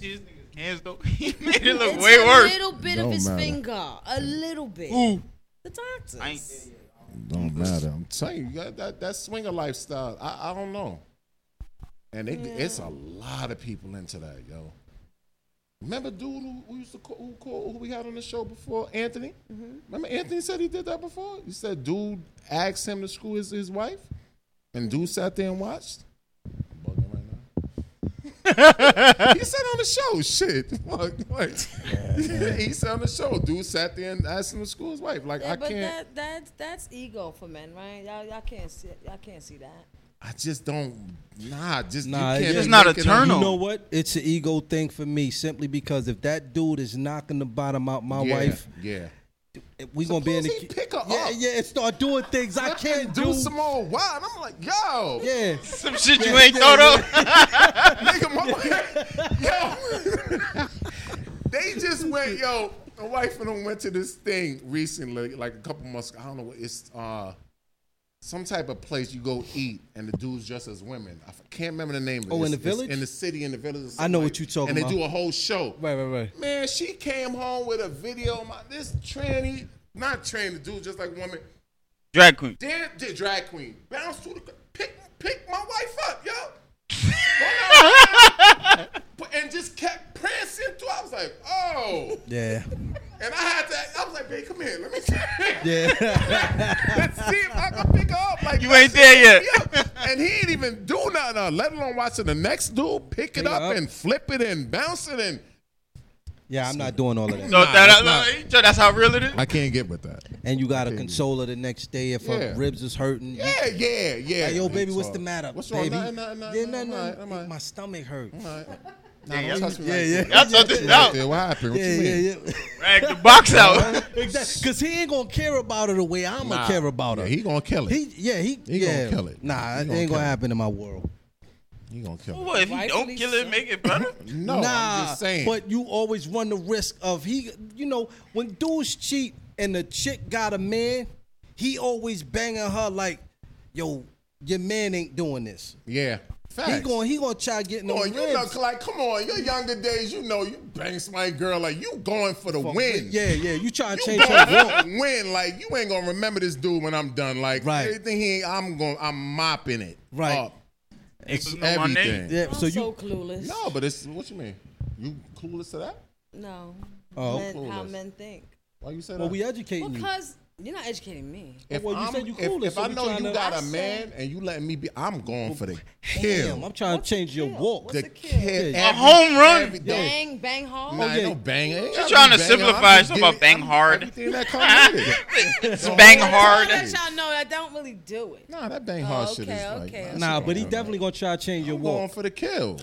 S3: See this nigga's hands though. [laughs] He made it look
S4: It's
S3: way
S4: a
S3: worse.
S4: little bit
S5: Don't
S4: of his
S5: matter.
S4: finger. A little bit.
S3: Ooh.
S4: The doctors.
S3: I ain't-
S5: Don't matter. I'm telling you, that, that, that swinger lifestyle, I, I don't know. And it, it's a lot of people into that, yo. Remember, dude, who, who used to call, who, call, who we had on the show before, Anthony?
S4: Mm-hmm.
S5: Remember, Anthony said he did that before. He said, dude, asked him to screw his, his wife, and dude sat there and watched. I'm bugging
S4: [laughs]
S5: right now. he said on the show, shit. [laughs] Like, like, [laughs] he said on the show, dude sat there and asked him to screw his wife. Like,
S4: Yeah,
S5: I
S4: but
S5: can't.
S4: that that's that's ego for men, right? Y'all, y'all can't see y'all can't see that.
S5: I just don't. Nah, just
S6: Nah,
S5: you can't
S6: yeah.
S5: be
S6: It's not
S5: making
S3: eternal.
S6: You know what? It's an ego thing for me, simply because if that dude is knocking the bottom out my
S5: Yeah,
S6: wife,
S5: Yeah,
S6: we gonna be in
S5: Suppose he
S6: the
S5: pick her
S6: yeah,
S5: up.
S6: yeah, and start doing things I can't
S5: do
S6: do.
S5: some more wild. I'm like, yo,
S6: yeah,
S3: Some shit you ain't thought of.
S5: [laughs] nigga, my yo. they just went, yo. My wife and them went to this thing recently, like a couple months. ago. I don't know what it's. uh some type of place you go eat and the dudes dressed as women. I f- can't remember the name of it.
S6: Oh, in
S5: It's-
S6: the
S5: it's
S6: village?
S5: In the city, in the village. or
S6: I know what
S5: something like-
S6: you talking
S5: And they
S6: about.
S5: do a whole show.
S6: right, right, right.
S5: Man, she came home with a video. My this tranny, not tranny, dude, just like woman.
S3: Drag queen.
S5: Dan did drag queen. Bounce to the pick, pick my wife
S3: [laughs]
S5: up, yo. Run out, run out. and just kept prancing through. I was like, oh.
S6: Yeah,
S5: And I had to. I was like, babe, come here. Let me. See.
S6: yeah.
S5: Let's see if I can pick her up. Like
S3: You
S5: that
S3: ain't
S5: shit
S3: there
S5: picked me up. And he ain't even do nothing. uh, Let alone watching the next dude pick it
S6: Pick it
S5: up,
S6: up.
S5: and flip it and bounce it and.
S6: [laughs] yeah, I'm not doing all of that.
S3: So
S5: Nah,
S3: that,
S5: that's not-
S3: so that's how real it is.
S5: I can't get with that.
S6: And you gotta console her the next day if
S5: Yeah.
S6: her ribs is hurting. You-
S5: Yeah, yeah, yeah.
S6: Like, yo, baby, what's the
S5: Talk.
S6: matter,
S5: What's
S6: baby?
S5: wrong? Nah, nah, nah,
S6: yeah,
S5: nah,
S6: nah,
S5: I'm
S6: nah,
S5: alright, I'm alright.
S6: My stomach hurt. [laughs]
S5: All right. Nah, don't touch me
S6: Yeah,
S5: right
S6: yeah.
S5: there.
S3: Y'all thought this
S5: Right
S3: out.
S5: there, What happened? What
S6: Yeah,
S5: you mean?
S6: yeah, yeah.
S3: [laughs] Drag the
S6: [laughs]
S3: box out.
S6: exactly. Cause he ain't gonna care about her the way I'm
S5: Nah.
S6: gonna care about her.
S5: Yeah, he gonna kill it.
S6: He, yeah, he,
S5: He gonna
S6: yeah.
S5: kill it.
S6: Nah,
S5: He
S6: it
S5: gonna
S6: ain't
S5: kill
S6: gonna
S5: it.
S6: happen in my world.
S5: He gonna kill it.
S3: What if you don't
S4: Rightfully
S3: kill it,
S4: so.
S3: make it better?
S5: No,
S6: nah,
S5: I'm just saying.
S6: but you always run the risk of he, you know, when dudes cheat and the chick got a man, he always banging her like, yo, your man ain't doing this.
S5: yeah, facts.
S6: He going, he gonna try getting
S5: Come
S6: no
S5: on, you
S6: ribs.
S5: look like, come on, your younger days, you know, you bang somebody girl, like, you going for the win.
S6: Yeah, yeah, you trying to
S5: You
S6: change her
S5: going
S6: world.
S5: for the win. Like, you ain't gonna remember this dude when I'm done. Like,
S6: Right.
S5: everything he ain't, I'm going, I'm mopping it.
S6: Right.
S5: Up.
S3: It's
S5: Everything.
S6: Yeah,
S4: I'm
S6: so
S4: so,
S6: you,
S4: clueless.
S5: No, but it's, what you mean? You clueless to that?
S4: No.
S6: Oh,
S4: men, how
S5: clueless.
S4: men think.
S5: Why you say that?
S6: well, we educating you.
S4: Because you're not educating me.
S5: If
S6: Oh, Well, you
S5: I'm-
S6: said you
S5: if-
S6: clueless,
S5: If,
S6: so
S5: I
S6: we
S5: know you
S6: tryna-
S5: got
S4: I
S5: a
S4: said-
S5: man and you letting me be, I'm going for the
S6: Damn,
S5: kill.
S6: I'm trying
S4: What's
S6: to change
S4: a
S6: your
S4: kill?
S6: walk.
S4: What's
S5: The
S4: a kill? Oh,
S5: kill.
S3: A home run.
S5: Every day.
S4: Bang, bang hard.
S5: Nah,
S6: Oh,
S5: it
S6: yeah.
S5: don't bang.
S3: She's trying to simplify. She's talking about bang hard.
S5: Everything that comes [laughs] with it.
S3: It's bang
S4: Tell
S3: hard.
S4: that y'all know I don't really do it.
S5: Nah, that bang hard
S4: Oh,
S5: shit
S4: okay,
S5: is like.
S4: okay,
S5: that
S4: okay.
S5: shit
S6: Nah,
S5: don't
S6: but he
S5: happen.
S6: definitely gonna try to change your
S5: I'm going
S6: walk.
S5: for
S6: [laughs]
S5: the kill.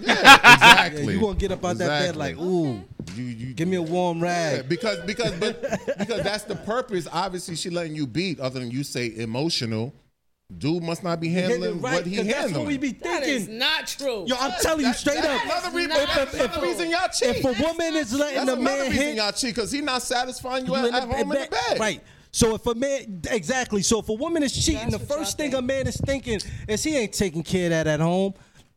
S5: Yeah, exactly.
S6: you gonna get up out that bed like, ooh,
S5: you, you,
S6: give me a warm
S5: Yeah,
S6: rag.
S5: because because
S6: [laughs]
S5: but because that's the purpose. Obviously, she letting you beat. Other than you say emotional, dude must not be handling
S6: Right,
S5: what he
S6: 'cause
S5: handling.
S6: that's what we be
S4: That is
S6: thinking.
S4: not true.
S6: Yo, I'm telling you straight
S5: That's
S6: up.
S5: another, re-
S4: That's
S5: that's
S4: not
S5: another
S4: true.
S5: reason y'all cheat.
S6: If a woman is letting
S5: That's
S6: the
S5: another
S6: man
S5: reason
S6: hit,
S5: y'all cheat because he not satisfying you,
S6: you
S5: at,
S6: in the-
S5: at home in the bed.
S6: Right. So if a man exactly, so if a woman is cheating, the first thing a man is thinking is he ain't taking care of that at home.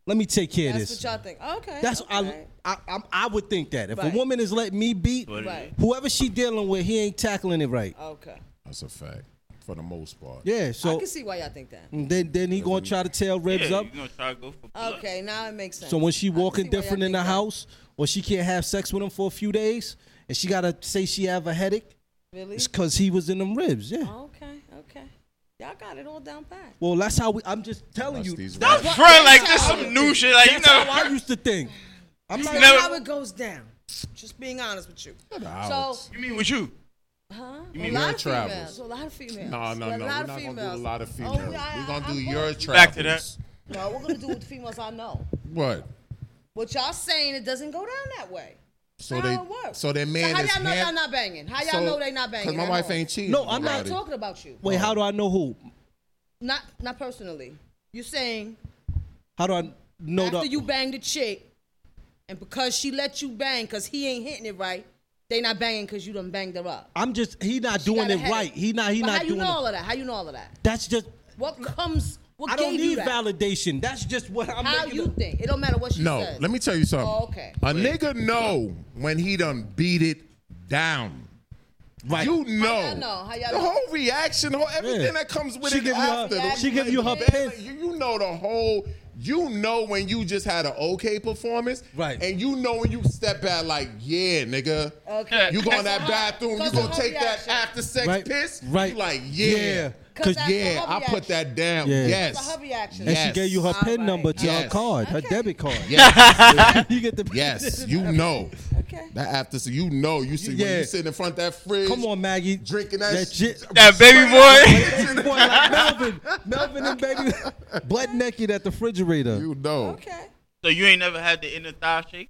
S6: Let me take care of
S4: That's
S6: this.
S4: what y'all think. Oh, Okay.
S6: That's
S4: okay.
S6: I, I I'm- I would think that if
S4: Right.
S6: a woman is letting me beat,
S4: What it Right. is.
S6: whoever she dealing with, he ain't tackling it right.
S4: Okay.
S5: That's a fact, for the most part.
S6: Yeah,
S4: I
S6: so
S4: can see why y'all think that.
S6: then then he gonna try to tell ribs
S3: Yeah,
S6: up.
S3: you gonna try to go for
S4: Okay, now it makes sense.
S6: So when she
S4: I can
S6: walking
S4: see why y'all
S6: different in the
S4: think
S6: house, or she can't have sex with him for a few days, and she gotta say she have a headache,
S4: that. really?
S6: it's cause he was in them ribs. Yeah.
S4: Okay, okay. Y'all got it all down pat.
S6: Well, that's how we. I'm just telling you.
S4: That's That's right, like, how this some it- new
S3: shit, like, you
S6: that's
S3: know-
S6: how I used to think. I'm
S4: That's
S6: like,
S4: how it goes down. Just being honest with you. So
S3: you mean with you?
S4: Huh?
S5: You mean
S4: a lot
S5: your
S4: of
S5: travels.
S4: females. A lot of females.
S5: No, no,
S4: a
S5: no. We're
S4: lot
S5: not
S4: of
S5: gonna do a
S4: females.
S5: lot of
S4: Oh,
S5: females.
S4: yeah,
S5: We're gonna
S4: I-
S5: do
S4: I'm
S5: your travels.
S3: Back to that.
S4: No, we're gonna do with females I know.
S5: What?
S4: What y'all saying? It doesn't go down that way.
S5: So
S4: How
S5: they.
S4: it works.
S5: So that
S4: So
S5: man
S4: how
S5: is.
S4: y'all know
S5: hand-
S4: y'all not banging? How y'all
S5: So-
S4: know they not banging?
S5: 'cause my
S4: at
S5: wife
S4: all?
S5: ain't cheating.
S6: No, I'm
S4: I ain't
S6: not.
S4: talking about you.
S6: Wait, how do I know who?
S4: Not not personally. You're saying
S6: How do I know
S4: after
S6: the?
S4: you banged a chick, and because she let you bang, cause he ain't hitting it right, they not banging cause you done banged her up.
S6: I'm just. He not doing
S4: got a
S6: it right.
S4: headache.
S6: He not. He
S4: but
S6: not
S4: how you
S6: doing
S4: know all
S6: it.
S4: of that? How you know all of that?
S6: That's just.
S4: What comes? What
S6: I don't
S4: gave you
S6: need
S4: that?
S6: validation. That's just what I'm.
S4: How
S6: making
S4: you
S6: up.
S4: think? It don't matter what she
S5: No,
S4: says.
S5: let me tell you something.
S4: Oh, okay.
S5: A nigga know when he done beat it down. Right. You know.
S4: y'all know? How y'all
S5: the
S4: know?
S5: whole reaction, the whole, everything
S6: Yeah.
S5: that comes with
S6: She
S5: it
S6: give you her-
S5: after. the-
S6: she give you her
S5: like,
S6: pen.
S5: You, you know the whole. You know when you just had an okay performance,
S6: Right.
S5: And you know when you step out like, yeah, nigga.
S4: Okay.
S5: You go in that
S4: That's a-
S5: bathroom, you
S4: that's a
S5: gonna
S4: whole
S5: take that
S4: reaction.
S5: after sex
S6: Right,
S5: piss.
S6: right.
S5: You like,
S6: Yeah.
S5: yeah,
S4: 'Cause that's
S5: yeah,
S4: a
S5: I
S4: hubby
S5: put that [laughs] down.
S6: Yeah.
S5: Yes,
S4: That's a hubby action.
S6: And she gave you her
S4: All
S6: pin
S4: right.
S6: number to her
S5: Yes.
S6: card, her
S4: Okay.
S6: debit card.
S5: Yes.
S6: [laughs] you get the.
S5: Yes,
S6: [laughs]
S5: you know.
S4: Okay.
S5: That after, so you know, you see, when
S6: Yeah.
S5: you sitting in front of that fridge,
S6: Come on, Maggie.
S5: drinking that,
S6: That
S5: shit.
S6: shit.
S3: That baby boy.
S6: Boy, like Melvin,
S3: [laughs]
S6: Melvin and
S5: [laughs]
S6: baby, butt naked at the refrigerator.
S5: You know.
S4: Okay.
S3: so you ain't never had the inner thigh shake?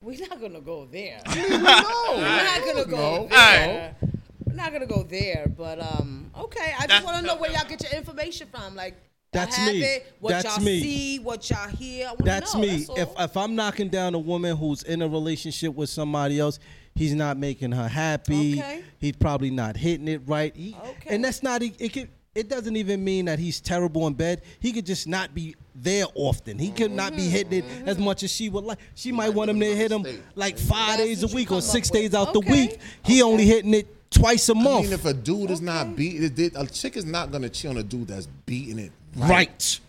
S4: We're not gonna go
S5: [laughs]
S4: there.
S5: You
S4: We're
S5: know.
S4: not gonna go
S5: No.
S4: there. We're not gonna go there, but um, okay. I just
S3: That's-
S4: want to know where y'all get your information from. Like, y'all
S6: That's
S4: have
S6: me.
S4: It, what
S6: That's
S4: y'all
S6: me.
S4: see, what y'all hear. I wanna
S6: That's
S4: know,
S6: me.
S4: all.
S6: if if I'm knocking down a woman who's in a relationship with somebody else, he's not making her happy.
S4: Okay.
S6: He's probably not hitting it right. He,
S4: Okay.
S6: And that's not e, it could it doesn't even mean that he's terrible in bed. He could just not be there often. He could not
S4: Mm-hmm.
S6: be hitting it as much as she would like. She might want him to hit him like five
S4: That's
S6: days a
S4: what you
S6: week or
S4: come
S6: six
S4: up with.
S6: days out the
S4: Okay.
S6: week. He only hitting it twice a
S5: I
S6: month.
S5: mean, if a dude is not beating, a chick is not gonna cheat on a dude that's beating it.
S6: right.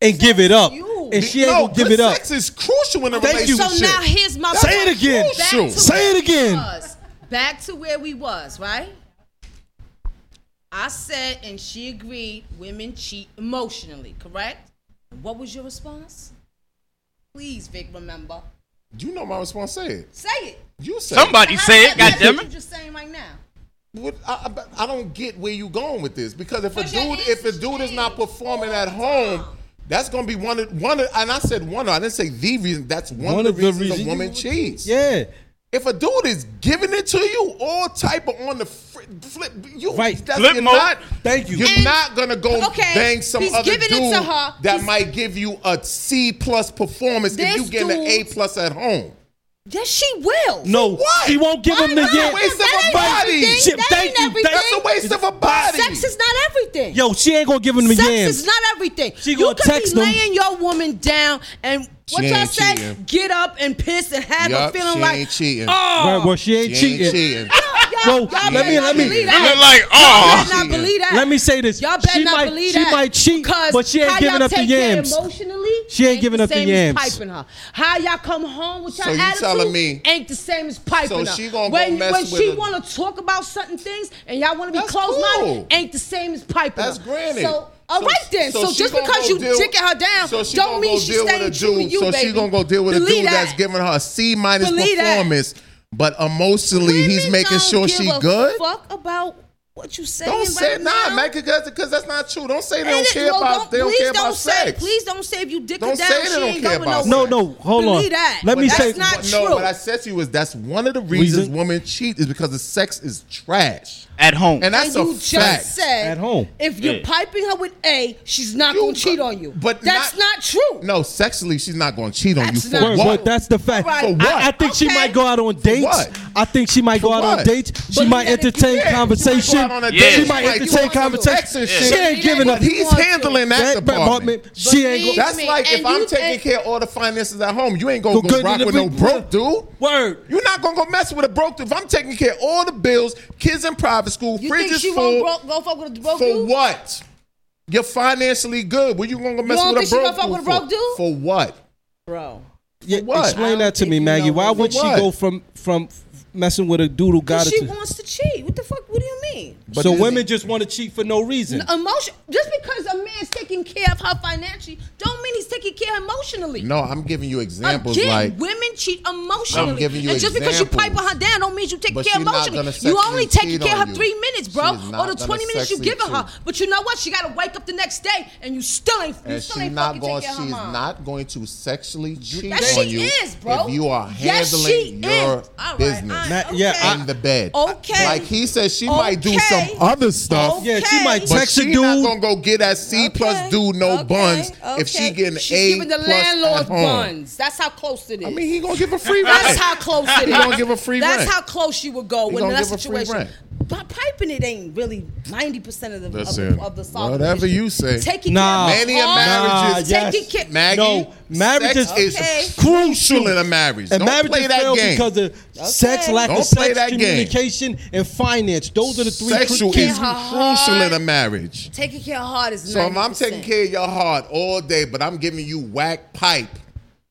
S6: And give it up.
S4: you.
S6: And she ain't
S5: no,
S6: gonna give
S5: good
S6: it up.
S5: sex is crucial in a
S6: Thank you.
S5: relationship.
S4: So now here's my
S6: Say
S4: point.
S6: it again.
S4: Back
S5: Shoot.
S4: to
S6: Say
S4: where
S6: it
S4: we
S6: again.
S4: was. Back to where we was, right? I said, and she agreed, women cheat emotionally, correct? What was your response? Please, Vic, remember.
S5: You know my response. Say it.
S4: Say it.
S5: You say It.
S3: Somebody
S4: How
S3: say
S4: does
S3: it,
S4: that match
S3: goddamn
S4: what
S3: it.
S4: you just saying right now.
S5: What, I, I, I don't get where you going with this because if a
S4: But your
S5: dude if a
S4: answers
S5: dude is not
S4: change
S5: performing
S4: all
S5: at
S4: the
S5: home,
S4: time.
S5: that's gonna be one of one of, and I said one of I didn't say the reason. That's one, of the reasons, a woman cheats.
S6: Yeah.
S5: If a dude is giving it to you, all type of on the fri- flip, you
S6: Right.
S5: that's,
S3: Flip
S5: you're
S3: mode.
S5: not.
S6: Thank you.
S5: You're
S4: And-
S5: not gonna go
S4: Okay,
S5: bang some
S4: he's
S5: other dude
S4: giving it to her.
S5: that
S4: He's-
S5: might give you a C plus performance if you
S4: This
S5: get an A
S4: dude-
S5: plus at home.
S4: Yes, she will.
S6: No,
S5: What?
S6: she won't give him
S4: Why
S6: the
S4: not?
S6: yet.
S5: Waste of
S4: That
S5: a
S4: ain't
S5: body.
S4: everything.
S6: Shit,
S4: That
S6: thank
S4: ain't
S6: you.
S4: everything.
S5: That's a waste of a body.
S4: Sex is not everything.
S6: Yo, she ain't gonna give him the
S4: Sex
S6: yams.
S4: is not everything.
S6: She
S4: you
S6: gonna
S4: could
S6: text
S4: be
S6: them.
S4: laying your woman down and what
S5: She
S4: y'all
S5: ain't
S4: say?
S5: cheating.
S4: Get up and piss and have
S5: Yup,
S4: a feeling
S5: she
S4: like
S5: ain't cheating.
S4: Oh,
S6: Right, well, she ain't
S5: She ain't
S6: cheating.
S5: cheating.
S6: Well,
S4: y'all, y'all
S6: let
S4: better
S6: me-
S4: not
S6: let me-
S4: believe
S3: You
S4: that.
S3: look like,
S4: Y'all
S3: oh.
S4: better not believe that.
S6: Let me say this.
S4: Y'all better
S6: She
S4: not
S6: might-
S4: believe
S6: she
S4: that.
S6: might cheat,
S4: because
S6: but she ain't
S4: how
S6: giving
S4: y'all
S6: up the
S4: take care
S6: yams.
S4: Emotionally,
S6: She ain't giving
S4: the
S6: up the
S4: same
S6: yams.
S4: As piping her. How y'all come home with your
S5: So you
S4: attitude
S5: telling me-
S4: ain't the same as piping
S5: So
S4: her.
S5: she gonna go
S4: when
S5: mess
S4: when
S5: with
S4: she
S5: a-
S4: want to talk about certain things and y'all want to be
S5: That's
S4: closed minded,
S5: cool.
S4: ain't the same as piping
S5: That's
S4: her.
S5: granted.
S4: So all
S5: So-
S4: right then.
S5: so
S4: So,
S5: she
S4: just
S5: gonna
S4: because
S5: go
S4: you
S5: deal-
S4: dicking her down,
S5: So she
S4: don't
S5: gonna
S4: mean
S5: go
S4: she's
S5: deal with a
S4: staying true to
S5: dude-
S4: you,
S5: So
S4: baby.
S5: she gonna go deal with a
S4: Believe
S5: dude that's
S4: that.
S5: giving her a C minus
S4: Believe that.
S5: performance, but emotionally he's
S4: Women
S5: making
S4: don't
S5: sure
S4: give
S5: she
S4: a
S5: good.
S4: Fuck about what you saying.
S5: Don't say
S4: right
S5: nah,
S4: now.
S5: man, because that's not true. Don't say they
S4: And
S5: don't
S4: it-
S5: care
S4: well,
S5: about they don't
S4: please
S5: care about
S4: say,
S5: sex.
S4: Please don't say if you dick
S5: Don't
S4: her down,
S5: say they
S4: she
S5: don't
S4: ain't
S5: care
S4: going
S5: about
S6: No,
S4: nowhere.
S5: sex.
S6: no, hold
S4: Believe
S6: on.
S4: that.
S6: Let me
S4: That's
S6: say
S4: not
S5: No,
S4: true.
S5: what I said to you is that's one of the reasons
S6: Reason?
S5: women cheat is because the sex is trash.
S9: At home. And
S5: that's
S4: and you
S5: a
S4: just
S5: fact.
S4: said
S5: At home.
S4: If you're
S5: Yeah.
S4: piping her with A, she's not going to
S5: uh,
S4: cheat on you. But that's not, true.
S5: No, sexually, she's not going to cheat on you for
S6: Word,
S5: what?
S6: But that's the fact.
S5: Right. For what?
S6: I, I think she might go out on dates.
S5: what?
S6: I think she might go out on
S5: what?
S6: dates. She
S5: But you
S6: might
S5: gotta-
S6: entertain
S5: yeah, she might go
S6: conversation.
S5: out on a date.
S6: She
S5: Yeah.
S6: might
S5: Like, you
S6: entertain
S5: want to sex
S6: conversation.
S5: and
S6: She
S5: shit.
S6: ain't giving up.
S5: But he's handling that department.
S6: She ain't. go-
S5: That's like if I'm taking care of all the finances at home, you ain't gonna go,
S6: good
S5: rock
S6: to
S5: with
S6: the
S5: no
S6: big-
S5: broke dude.
S6: Word.
S5: You're not gonna go mess with a broke dude. If I'm taking care of all the bills, kids in private school,
S4: You
S5: fridge
S4: think
S5: is
S4: she won't
S5: full.
S4: bro- go fuck with a broke
S5: for
S4: dude?
S5: what? You're financially good. What you gonna go mess
S4: don't
S5: with
S4: think
S5: a
S4: she gonna
S5: broke,
S4: fuck
S5: dude,
S4: with a broke
S5: for?
S4: dude?
S5: For what?
S4: Bro.
S6: Yeah,
S5: what? I
S6: Explain that to me, Maggie. Why would she
S5: what?
S6: go from from f- messing with a doodle god
S4: Because she
S6: to?
S4: wants to cheat. What the fuck? What do you mean?
S6: So women just want to cheat for no reason.
S4: Emotion. Just because a man's taking care of her financially, don't mean he's taking care of her emotionally.
S5: No, I'm giving you examples
S4: Again,
S5: like
S4: women cheat emotionally.
S5: I'm giving you
S4: and just because you pipe
S5: examples.
S4: her down don't mean you take
S5: But
S4: care
S5: she not
S4: emotionally.
S5: gonna
S4: You only
S5: sexually
S4: take
S5: cheat
S4: care
S5: on
S4: of her
S5: you.
S4: three minutes, bro,
S5: She's
S4: or
S5: not
S4: the
S5: gonna
S4: 20 minutes you
S5: sexually
S4: giving her.
S5: cheat.
S4: But you know what? She got to wake up the next day and you still ain't, you
S5: and
S4: still
S5: she's
S4: ain't
S5: not
S4: fucking
S5: going.
S4: taking
S5: She's
S4: care of her mom.
S5: not going to sexually cheat
S4: That
S5: on
S4: she
S5: you
S4: is, bro.
S5: if you are
S4: Yes, she
S5: handling
S4: is.
S5: your
S4: All right,
S5: business.
S4: I- Not- yeah, okay.
S5: in the bed.
S4: Okay.
S5: Like he says, she might do some other stuff.
S4: Yeah, she might Okay.
S5: but
S6: text a
S5: she not gonna go get that C plus dude no buns if she
S4: Okay.
S5: getting
S4: She's
S5: A
S4: giving the
S5: plus
S4: landlord
S5: at home.
S4: buns. That's how close it is. I mean,
S5: he gonna give a free rent.
S4: That's how close it is.
S5: He gonna give a free
S4: That's
S5: rent.
S4: how close you would go
S5: He
S4: when in
S5: gonna
S4: that
S5: give a free
S4: situation.
S5: rent.
S4: But piping it ain't really ninety percent of the of,
S5: Listen,
S4: the- of the solve
S5: whatever
S4: issue.
S5: you say.
S4: Taking
S6: Nah.
S4: care of
S5: Many a
S4: all-
S5: marriages- Nah,
S4: taking
S5: yes.
S4: care.
S5: Maggie,
S6: No, marriage
S5: sex
S6: is
S5: is Okay. crucial in a marriage.
S6: And
S5: Don't
S6: marriage
S5: play
S6: is
S5: that
S6: failed
S5: game.
S6: because of sex,
S5: Okay.
S6: lack of
S5: Don't play
S6: sex,
S5: that game.
S6: communication, and finance. Those are the three
S5: Sexual
S6: key-
S5: is crucial in a marriage.
S4: Taking care of heart is.
S5: So if I'm taking care of your heart all day, but I'm giving you whack pipe.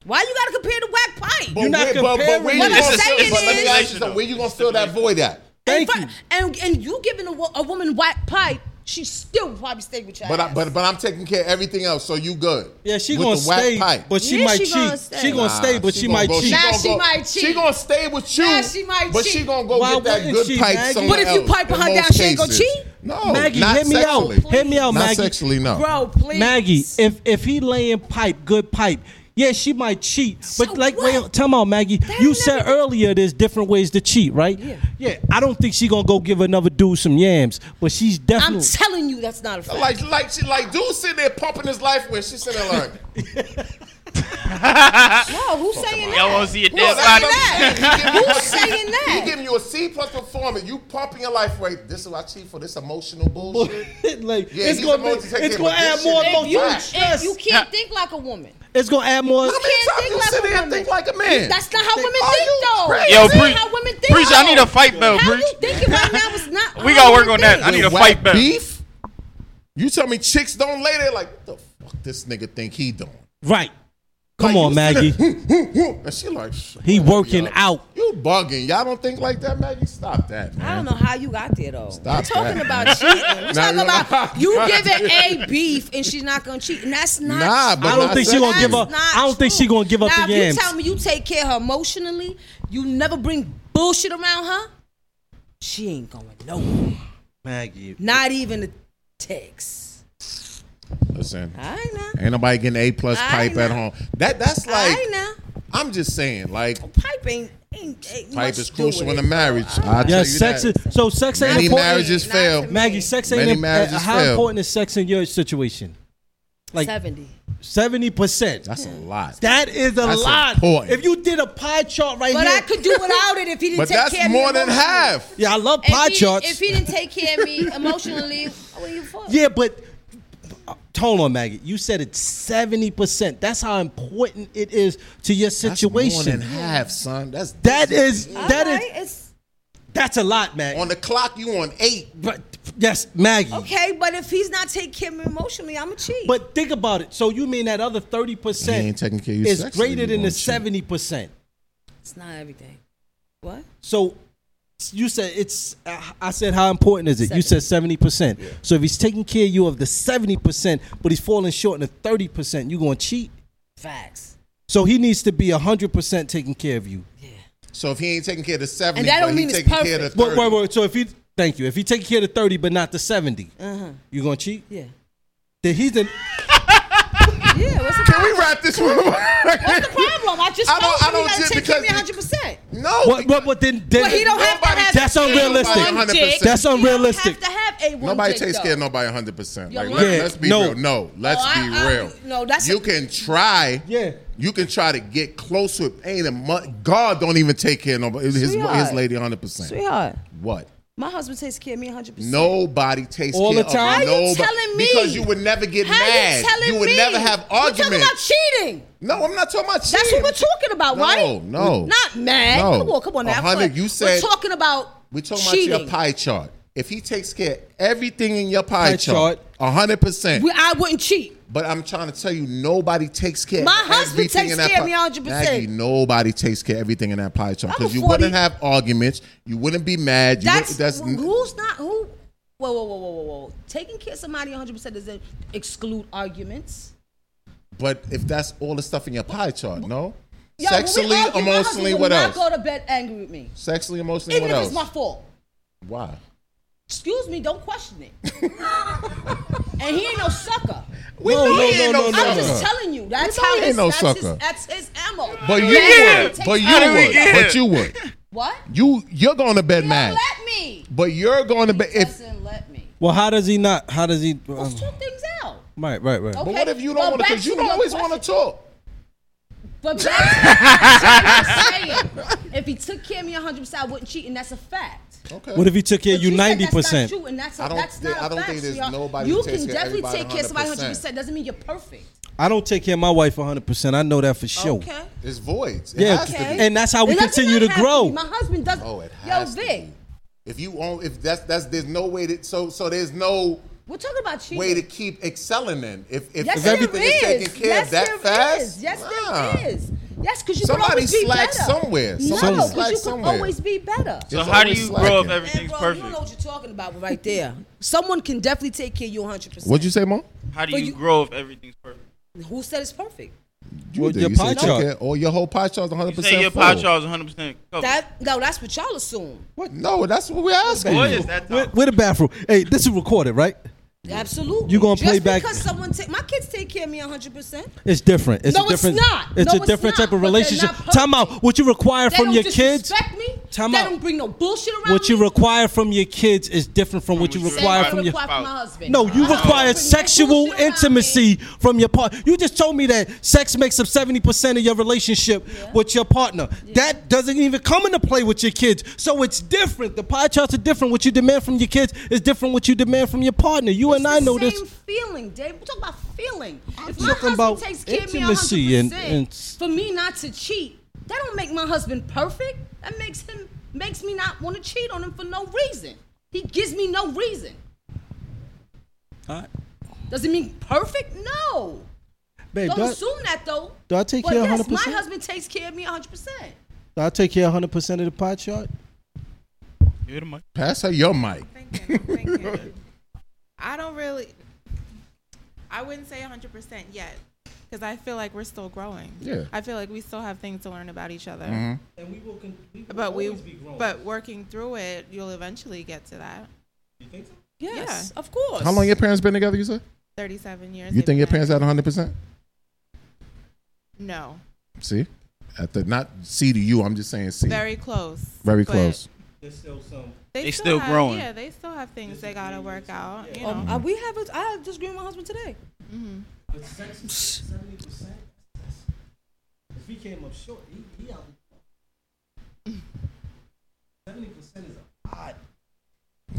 S4: Why you gotta compare the whack pipe?
S5: But where- but- but where you
S4: What
S5: gonna
S4: I'm
S5: fill-
S4: saying
S5: but let me
S4: is-
S5: ask you something. Where you gonna fill that void at?
S4: and, fir- and and you giving a, wo- a woman whack pipe, she still would probably stay with you.
S5: But I, but but I'm taking care of everything else, so you good.
S6: Yeah, she
S5: With
S6: gonna
S5: the whack
S6: stay,
S5: pipe.
S6: but she Yeah, might she gonna cheat. stay. She gonna stay, but she
S5: gonna
S6: might
S5: go-
S6: cheat.
S5: she
S4: now
S5: gonna
S4: she
S5: go-
S4: might cheat.
S5: She gonna stay with you.
S4: Now she might
S5: But
S4: cheat.
S5: she gonna go
S6: Why
S5: get that
S6: wouldn't
S5: good
S6: she,
S5: pipe
S6: Maggie?
S5: somewhere
S4: But if you
S5: else,
S4: pipe
S5: in
S4: her down,
S5: most
S4: she ain't gonna
S5: cases.
S4: cheat?
S5: No,
S6: Maggie,
S5: not
S6: hear me
S5: sexually.
S6: out. Hear me out,
S5: Not
S6: Maggie.
S5: sexually, no.
S4: Bro, please.
S6: Maggie, if if he laying pipe, good pipe. Yeah, she might cheat, but like, wait, tell me, Maggie, you said earlier there's different ways to cheat, right? Yeah. yeah, I don't think she gonna go give another dude some yams, but she's
S4: I'm
S6: definitely.
S4: telling you, that's not a fact.
S5: Like like she like dude sitting there pumping his life when she's sitting there like.
S6: [laughs]
S4: no, who's saying that?
S9: Y'all wanna see a
S5: Well,
S9: dead
S5: that's
S9: body?
S5: what I'm saying. He giving you
S4: Who's
S5: a C-
S4: saying that?
S5: He giving you a C plus performance. You pumping your life rate. This is what I cheat for. This emotional
S6: [laughs]
S5: bullshit.
S6: like
S5: Yeah,
S6: it's
S5: he's
S6: gonna be,
S5: supposed to take
S6: it's
S5: care
S6: gonna
S5: of
S6: add
S5: this
S6: more
S5: shit.
S4: If you,
S6: emotional
S4: if
S6: stress.
S4: you can't think like a woman.
S6: It's gonna add more.
S4: You can't think like a woman.
S5: like a man.
S4: That's not how women
S5: Are
S4: think,
S5: you
S4: though.
S5: crazy?
S9: Yo,
S4: That's not
S9: Preach-
S4: how women think.
S9: Preach, I need a fight belt,
S4: How
S9: Preach.
S4: you thinking right now is not.
S9: We
S4: how
S9: gotta
S4: you
S9: work on that.
S4: think.
S9: I need a
S5: With
S9: fight
S5: whack
S9: back.
S5: Beef? You tell me chicks don't lay there like what the fuck this nigga think he doing?
S6: Right. Come
S5: Like,
S6: on,
S5: you
S6: Maggie.
S5: sit there, "Hmm, hmm, hmm," and she like "Shh,
S6: He
S5: whatever,
S6: working
S5: y'all."
S6: out.
S5: You bugging? Y'all don't think like that, Maggie? Stop that, man.
S4: I don't know how you got there though.
S5: Stop
S4: We're talking
S5: that.
S4: about cheating.
S5: [laughs]
S4: We're
S5: Now
S4: talking
S5: you-
S4: about you giving a beef and she's not gonna cheat, and that's not.
S5: Nah, but
S6: I don't
S5: not
S6: think she gonna give
S5: sexually.
S6: up. I don't think she gonna give up
S4: now,
S6: the
S4: if
S6: yams.
S4: you tell me you take care of her emotionally, you never bring bullshit around her. She ain't going nowhere.
S6: Maggie.
S4: Not even a text.
S5: Listen,
S4: All right now.
S5: ain't nobody getting a plus
S4: I
S5: pipe at
S4: know.
S5: home. That that's like
S4: All right now.
S5: I'm just saying like
S4: Pipe ain't. ain't, ain't
S5: pipe
S4: much
S5: is
S4: to
S5: crucial
S4: it.
S5: in a marriage. I tell you
S6: Yeah, sex
S5: that.
S6: is so sex ain't
S5: Many
S6: important.
S5: marriages fail.
S6: Maggie, sex ain't
S5: Many
S6: imp-
S5: marriages
S6: How
S5: fail.
S6: important is sex in your situation? Like
S4: Seventy.
S6: seventy percent.
S5: That's a lot.
S6: That is a
S5: That's
S6: lot.
S5: important.
S6: If you did a pie chart right
S4: But
S6: here,
S4: I could do
S6: [laughs]
S4: without it if he didn't
S5: But
S4: take
S5: that's
S4: care of me.
S5: more than
S4: emotionally.
S5: half.
S6: yeah, I love
S4: If
S6: pie
S4: he-
S6: charts.
S4: If he didn't take care
S6: [laughs]
S4: of me emotionally, what
S5: [laughs]
S4: you for?
S6: yeah, but hold on, Maggie. You said it's seventy percent. That's how important it is to your
S5: More
S6: situation.
S5: than half, son. That's
S6: That is
S4: All
S6: that is
S4: right, it's
S6: that's a lot, Maggie.
S5: on the clock. You on eight.
S6: But yes, Maggie.
S4: okay, but if he's not taking care of me emotionally, I'm a cheat.
S6: But think about it. So you mean that other thirty
S5: He ain't
S6: percent
S5: taking care of you
S6: is
S5: sexually,
S6: greater
S5: you
S6: than
S5: gonna
S6: the
S5: cheat.
S6: seventy percent?
S4: it's not everything. What?
S6: So you said it's. I I said how important is it? You said seventy percent. So if he's taking care of you of the seventy percent, but he's falling short in the thirty percent, you gonna cheat.
S4: Facts.
S6: So he needs to be hundred percent taking care of you.
S5: So if he ain't taking care of the seventy,
S4: And that don't
S5: but he
S4: mean it's
S5: taking care of
S4: perfect.
S5: the
S6: Wait,
S5: thirty.
S6: wait, wait. So if he, thank you. If he taking care of the
S4: Uh-huh.
S6: thirty but not the seventy, you gonna cheat?
S4: Yeah.
S6: Then he's the.
S4: Yeah, what's the
S5: Can we
S4: problem?
S5: wrap this one up?
S4: What's the problem? I just
S5: I don't-
S4: told you
S5: I don't
S4: he
S5: just
S4: gotta take
S5: because-
S4: me 100. percent
S5: No.
S6: What, what, what then, then
S4: Well, he don't have to have
S6: that's
S4: a
S6: unrealistic.
S4: one dick.
S6: That's unrealistic.
S4: To have a one
S5: Nobody
S4: dick,
S5: takes
S4: though.
S5: care of nobody 100%. Like,
S4: You're
S5: let,
S4: lying.
S5: us be
S6: No.
S5: real. No, let's
S4: Oh, I-
S5: be
S4: I-
S5: real.
S4: no, that's
S5: You
S4: a-
S5: can try.
S6: Yeah.
S5: You can try to get close with pain and mu- God don't even take care of nobody. His, his
S4: Sweetheart.
S5: lady 100%.
S4: Sweetheart.
S5: What?
S4: My husband takes care of me 100. percent
S5: Nobody takes
S6: All
S5: care
S6: the time?
S5: of
S4: How you
S5: nobody.
S4: telling me?
S5: Because you would never get
S4: How
S5: mad.
S4: you telling
S5: would
S4: me?
S5: never have arguments.
S4: We're talking about cheating.
S5: No, I'm not talking about cheating.
S4: That's what we're talking about,
S5: No,
S4: right?
S5: no.
S4: Not mad.
S5: No.
S4: Come on, come on
S5: A
S4: now.
S5: hundred,
S4: Come on.
S5: you said-
S4: we're talking about
S5: We're talking
S4: cheating.
S5: about your pie chart. If he takes care of everything in your pie,
S6: Pie
S5: chart,
S6: chart.
S5: hundred percent.
S4: We- I wouldn't cheat.
S5: But I'm trying to tell you, nobody takes care.
S4: My
S5: of
S4: husband
S5: everything
S4: takes
S5: in that
S4: care of
S5: pie-
S4: me 100%.
S5: Maggie, nobody takes care of everything in that pie chart
S4: I'm a
S5: because you
S4: 40
S5: wouldn't have arguments. You wouldn't be mad. You
S4: That's,
S5: wouldn't- that's
S4: who's not who. Whoa, whoa, whoa, whoa, whoa, whoa! Taking care of somebody 100 percent doesn't exclude arguments.
S5: But if that's all the stuff in your pie chart, no.
S4: Yo, when we argue,
S5: sexually,
S4: my husband
S5: emotionally,
S4: will
S5: what
S4: not
S5: else?
S4: Go to bed angry with me,
S5: Sexually, emotionally,
S4: even
S5: what
S4: if
S5: else?
S4: it's my fault.
S5: Why?
S4: Excuse me, don't question it.
S5: [laughs]
S4: and he ain't no sucker.
S5: We
S6: No,
S5: know
S6: no,
S5: he ain't
S6: no, no,
S4: I'm
S6: no.
S4: just telling you. That's
S5: know he
S4: how
S5: ain't
S4: his,
S5: no
S4: that's
S5: sucker.
S4: His, that's his ammo.
S5: But you
S4: That's how
S5: would. But
S4: he takes
S5: you
S4: care of
S5: would.
S4: me.
S5: But you would.
S4: What?
S5: You you're going to bed mad.
S4: Don't let me.
S5: But you're going to bed if.
S4: Doesn't let me.
S6: Well, how does he not? How does he? um,
S4: Let's talk things out.
S6: right, right, right.
S5: But
S4: Okay,
S5: what if you don't
S4: well,
S5: want to?
S4: back
S5: Because you
S4: to
S5: don't
S4: your
S5: always want to
S4: question.
S5: talk.
S4: But back to what I'm saying. if he took care of me 100, percent I wouldn't cheat, and that's a fact.
S5: Okay.
S6: What if he took care of
S4: But
S6: you
S4: said
S6: ninety
S4: That's
S6: percent?
S4: not true, and that's a,
S5: I don't
S4: that's
S5: thi-
S4: not a
S5: I don't
S4: fact,
S5: think there's
S4: sweetheart.
S5: nobody
S4: You
S5: who takes
S4: can
S5: care of
S4: definitely
S5: everybody
S4: take care of somebody 100.
S5: 100%.
S4: percent Doesn't mean you're perfect.
S6: I don't take care of my wife one hundred percent. I know that for sure.
S4: Okay.
S5: It's voids. It
S6: Yeah,
S5: has to be.
S6: and that's how we
S4: It doesn't
S6: continue to
S4: have be.
S6: grow.
S4: My husband does.
S5: oh, it
S4: Yo,
S5: has to
S4: Vic,
S5: be. If you own, if that's that's there's no way to so so there's no
S4: we're talking about cheating.
S5: way to keep excelling in. If if,
S4: yes,
S5: if
S4: there
S5: everything is. taken care
S4: yes,
S5: of that
S4: there
S5: fast,
S4: is. Yes,
S5: nah.
S4: there is. Yes, because you
S5: Somebody
S4: can always be
S5: slack
S4: better.
S5: somewhere.
S4: No,
S5: Somebody
S4: because
S5: slack
S4: you can
S5: somewhere.
S4: always be better.
S5: It's
S3: So how do
S5: always
S3: you
S5: slacking.
S3: grow if
S4: And
S3: everything's
S4: bro, you don't know
S3: perfect?
S4: what you're talking about right there. Someone can definitely take care of you 100. percent
S5: What'd you say, Mom?
S3: How do
S4: But
S3: you
S4: you-
S3: grow if everything's perfect?
S4: Who said it's perfect?
S5: You
S6: Well,
S5: did.
S6: your
S5: You said
S6: pie
S5: take
S6: chart.
S5: care- Or your whole pie chart is 100
S3: You
S5: percent
S3: say your pie chart is 100% covered.
S4: That no, that's what y'all assume.
S5: What? No, that's what we're asking.
S3: what
S5: you.
S3: is that?
S6: Where,
S3: talk?
S6: where the bathroom? Hey, this is recorded, right?
S4: Absolutely.
S6: You gonna
S4: Just
S6: play back-
S4: because someone take my kids take care of me 100. percent
S6: It's different. It's
S4: No,
S6: a
S4: it's
S6: different.
S4: not.
S6: It's
S4: No,
S6: a
S4: it's
S6: different
S4: not,
S6: type of
S4: but they're
S6: relationship.
S4: not
S6: Time out. What you require
S4: They
S6: from
S4: don't
S6: your kids?
S4: disrespect me.
S6: Time
S4: they
S6: out.
S4: don't bring no bullshit around
S6: What you
S4: me.
S6: require from your kids is different from what you
S3: what you
S6: require
S4: Same
S6: from
S4: as
S6: your.
S4: I require Oh. from my husband.
S6: No, you
S4: I don't bring
S6: require
S4: no
S6: sexual
S4: bullshit around me.
S6: intimacy from your partner. You just told me that sex makes up 70% of your relationship with your partner. That doesn't even come into play with your kids. So it's different. The pie charts are different. What you demand from your kids is different what you demand from your partner. You
S4: It's
S6: and I
S4: the
S6: know
S4: same
S6: this.
S4: feeling, Dave. We're talking about feeling. if
S6: talking
S4: my husband
S6: about
S4: takes care of me
S6: intimacy
S4: 100%,
S6: and- and-
S4: for me not to cheat, that don't make my husband perfect. That makes him makes me not want to cheat on him for no reason. He gives me no reason.
S6: All right.
S4: Does it mean perfect? No.
S6: Babe,
S4: Don't
S6: do I,
S4: assume that though.
S6: do I take
S4: But
S6: care of
S4: yes,
S6: 100%?
S4: my husband takes care of me 100%.
S6: do I take care of 100% of the pie chart?
S3: Give it a mic.
S5: Pass her your mic.
S7: thinking, I'm thinking. I don't really. I wouldn't say 100% yet because I feel like we're still growing.
S5: Yeah.
S7: I feel like we still have things to learn about each other.
S4: Mm-hmm.
S6: And we will, we
S7: But we, but working through it, you'll eventually get to that.
S4: Yes, of course.
S5: How long your parents been together? You said.
S7: 37 years.
S5: You
S7: they've
S5: think your
S7: been
S5: parents at 100 percent?
S7: married. No,
S5: See, at the not C to you. I'm just saying C.
S7: very close.
S5: Very
S7: but
S5: close.
S3: They still
S7: have,
S3: growing.
S7: Yeah, they still have things they gotta work out. You know, Mm-hmm.
S4: Um, uh, we have a, I disagree with my husband today.
S6: If he came up short, he, he out. Seventy percent is a lot.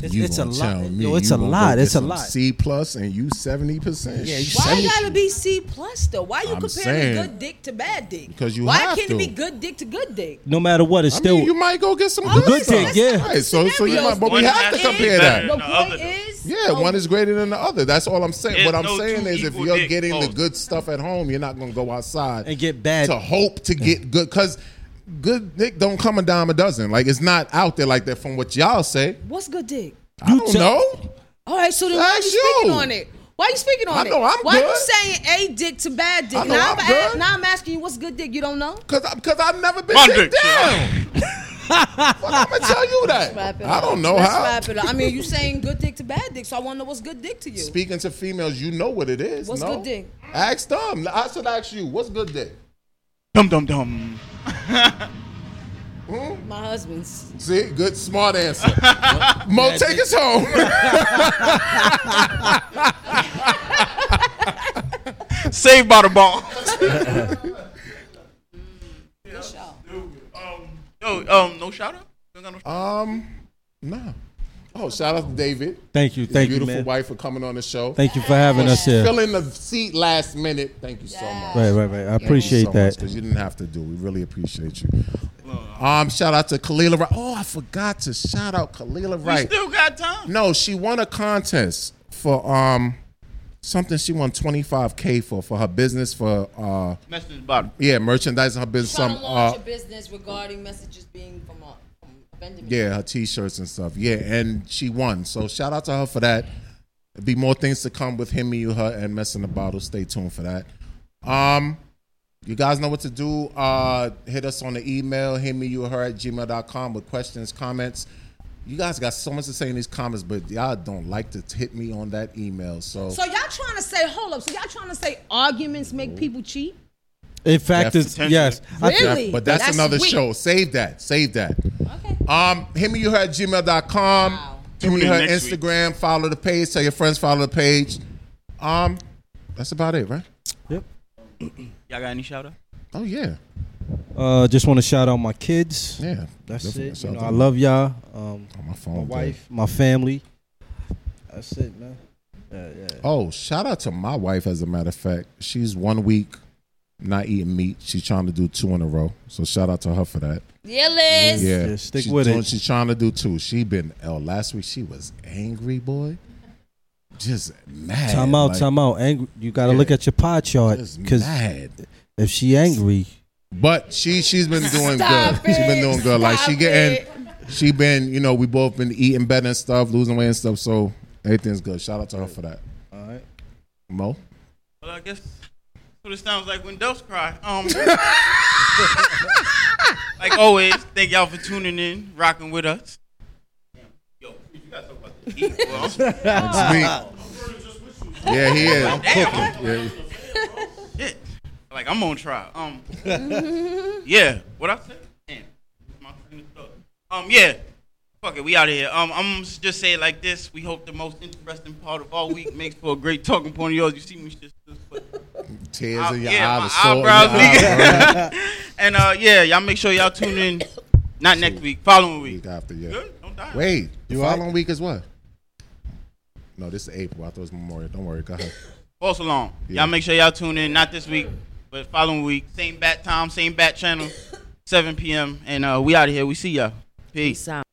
S6: It's,
S5: You
S6: it's a
S5: gonna
S6: lot.
S5: tell me
S6: Yo, it's
S5: you
S6: a
S5: gonna
S6: lot.
S5: go
S6: It's
S5: get
S6: a
S5: some
S6: lot.
S5: C plus and you 70 percent.
S6: Yeah, you
S4: Why
S6: Seventy-
S4: you gotta be C plus though? Why you
S5: I'm
S4: comparing
S5: saying-
S4: good dick to bad dick?
S5: Because you
S4: Why
S5: have
S4: can't
S5: to.
S4: it be good dick to good dick?
S6: no matter what, it's
S5: I
S6: still
S5: mean, you might go get some
S4: All
S5: good,
S6: good
S5: stuff.
S6: dick, yeah.
S5: Right, so so you
S4: Scenarios.
S5: might, but we
S3: One
S5: have to
S3: has to be
S5: compare
S3: better.
S5: that.
S4: The
S3: No,
S4: point
S3: other though.
S4: is,
S5: Yeah,
S4: oh,
S5: one is greater than the other. That's all I'm saying. What I'm
S3: There's no
S5: saying
S3: two
S5: is, if
S3: equal
S5: you're
S3: dick
S5: getting the
S3: balls.
S5: good stuff at home, you're not gonna go outside
S6: and get bad. Mm.
S5: to hope to get good because good dick don't come a dime a dozen. Like it's not out there like that from what y'all say.
S4: what's good dick?
S5: I don't
S6: tell-
S5: know.
S4: All right, so then why are you
S5: That's
S4: speaking
S5: you.
S4: on it? Why are you speaking on
S5: I know
S4: it?
S5: I'm
S4: why are you
S5: good.
S4: saying a dick to bad dick?
S5: I know
S4: now,
S5: I'm
S4: a-
S5: good.
S4: now I'm asking you, what's good dick? You don't know?
S5: Cause, I, Cause I've never been
S6: [laughs]
S3: One
S5: dick
S3: dick.
S5: down. I'm gonna tell you that.
S4: Wrap it
S5: I
S4: up.
S5: don't know
S4: Let's
S5: how.
S4: Wrap it up. I mean, you saying good dick to bad dick, so I want to know what's good dick to you.
S5: Speaking to females, you know what it is.
S4: What's
S5: no?
S4: good dick?
S5: Ask them. I should ask you. What's good dick?
S3: Dum dum
S5: [laughs]
S3: dum.
S4: My husband's.
S5: See, good, smart answer. Mo, take us home.
S3: Saved by the
S5: [laughs]
S3: ball. [laughs] No, um, no shout out. Don't got no-
S5: um, no. Oh, shout out to David.
S6: Thank you,
S5: His
S6: thank you,
S5: beautiful
S6: man.
S5: wife for coming on the show.
S6: Thank you for having
S5: For
S6: us here.
S5: Filling the seat last minute. Thank you so much.
S6: Right, right, right. I appreciate that.
S5: because you didn't have to do. We really appreciate you. Um, shout out to Kalila Wright. Oh, I forgot to shout out Kalila
S3: We
S5: Wright.
S3: still got time.
S5: No, she won a contest for um something she won 25k for for her business for uh
S3: Message bottom.
S5: yeah merchandise in her business
S4: Trying
S5: some
S4: to launch
S5: uh
S4: a business regarding messages being from a from a vendor.
S5: yeah her t-shirts and stuff yeah and she won so shout out to her for that There'll be more things to come with him you her and messing the bottle stay tuned for that um you guys know what to do uh hit us on the email him you her at gmail.com with questions comments you guys got so much to say in these comments but y'all don't like to hit me on that email so
S4: So y'all trying to say, hold up. So y'all trying to say arguments make people cheat?
S6: In fact,
S5: Def-
S6: it's yes. I think-
S4: Really?
S5: But that's,
S4: That's
S5: another
S4: weak.
S5: show. Save that. Save that. Okay. Um, him and you her at gmail.com. Wow. Him and
S3: Tune
S5: you
S3: in
S5: her
S3: next week.
S5: Instagram. Follow the page. Tell your friends, follow the page. Um, that's about it, right?
S3: Y'all got any shout out?
S5: Oh yeah.
S6: Uh, just want to shout out my kids.
S5: Yeah.
S6: That's
S5: Definitely.
S6: it.
S5: Shout
S6: You know,
S5: out
S6: I
S5: to-
S6: love y'all. Um,
S5: Oh, my phone.
S6: my
S5: dead.
S6: wife, my family. That's it, man. Yeah, yeah.
S5: Oh, shout out to my wife, as a matter of fact. She's one week not eating meat. She's trying to do two in a row. So shout out to her for that.
S4: Yeah, Liz.
S5: Yeah.
S6: Yeah, stick
S5: she's
S6: with
S5: doing-
S6: it.
S5: She's trying to do two. She been oh, last week she was angry, boy. Just mad.
S6: Time out,
S5: like,
S6: time out. Angry. You got to
S5: Yeah.
S6: look at your pie chart
S5: Just
S6: because
S5: mad.
S6: if she angry,
S5: But she she's been doing
S4: Stop
S5: good. She's been
S4: it.
S5: doing good. Like she
S4: Stop
S5: getting,
S4: it.
S5: she been you know we both been eating better and stuff, losing weight and stuff. So everything's good. Shout out to her for that.
S6: all right.
S5: Mo,
S3: Well, I guess what it sounds like when doves cry. Um, like always, thank y'all for tuning in, rocking with us. Yo, you got something about to eat, bro.
S5: Sweet. Yeah, he is. I'm cooking. Yeah.
S3: Shit. Like I'm on trial. Um, yeah. What I said? Damn. My train of thought. Um, yeah. Fuck it, we out of here. Um, I'm gonna just say it like this. We hope the most interesting part of all week makes for a great talking point of yours. You see me just, just
S5: Tears
S3: Eyebrow-
S5: in your
S3: yeah,
S5: eye,
S3: my
S5: the salt in your
S3: eyebrows
S5: eye, bro.
S3: [laughs] And uh, yeah, y'all make sure y'all tune in. Not next week, following week.
S5: Week after, yeah.
S3: Good, don't die.
S5: Wait, the
S6: all right?
S5: following week is what? No, this is April. I thought it was Memorial. Don't worry. Go ahead.
S3: False alarm.
S5: Yeah.
S3: Y'all make sure y'all tune in. Not this week, but following week. Same bat time, same bat channel, 7 p.m. And uh, we out of here. We see y'all. Peace.
S4: Sound.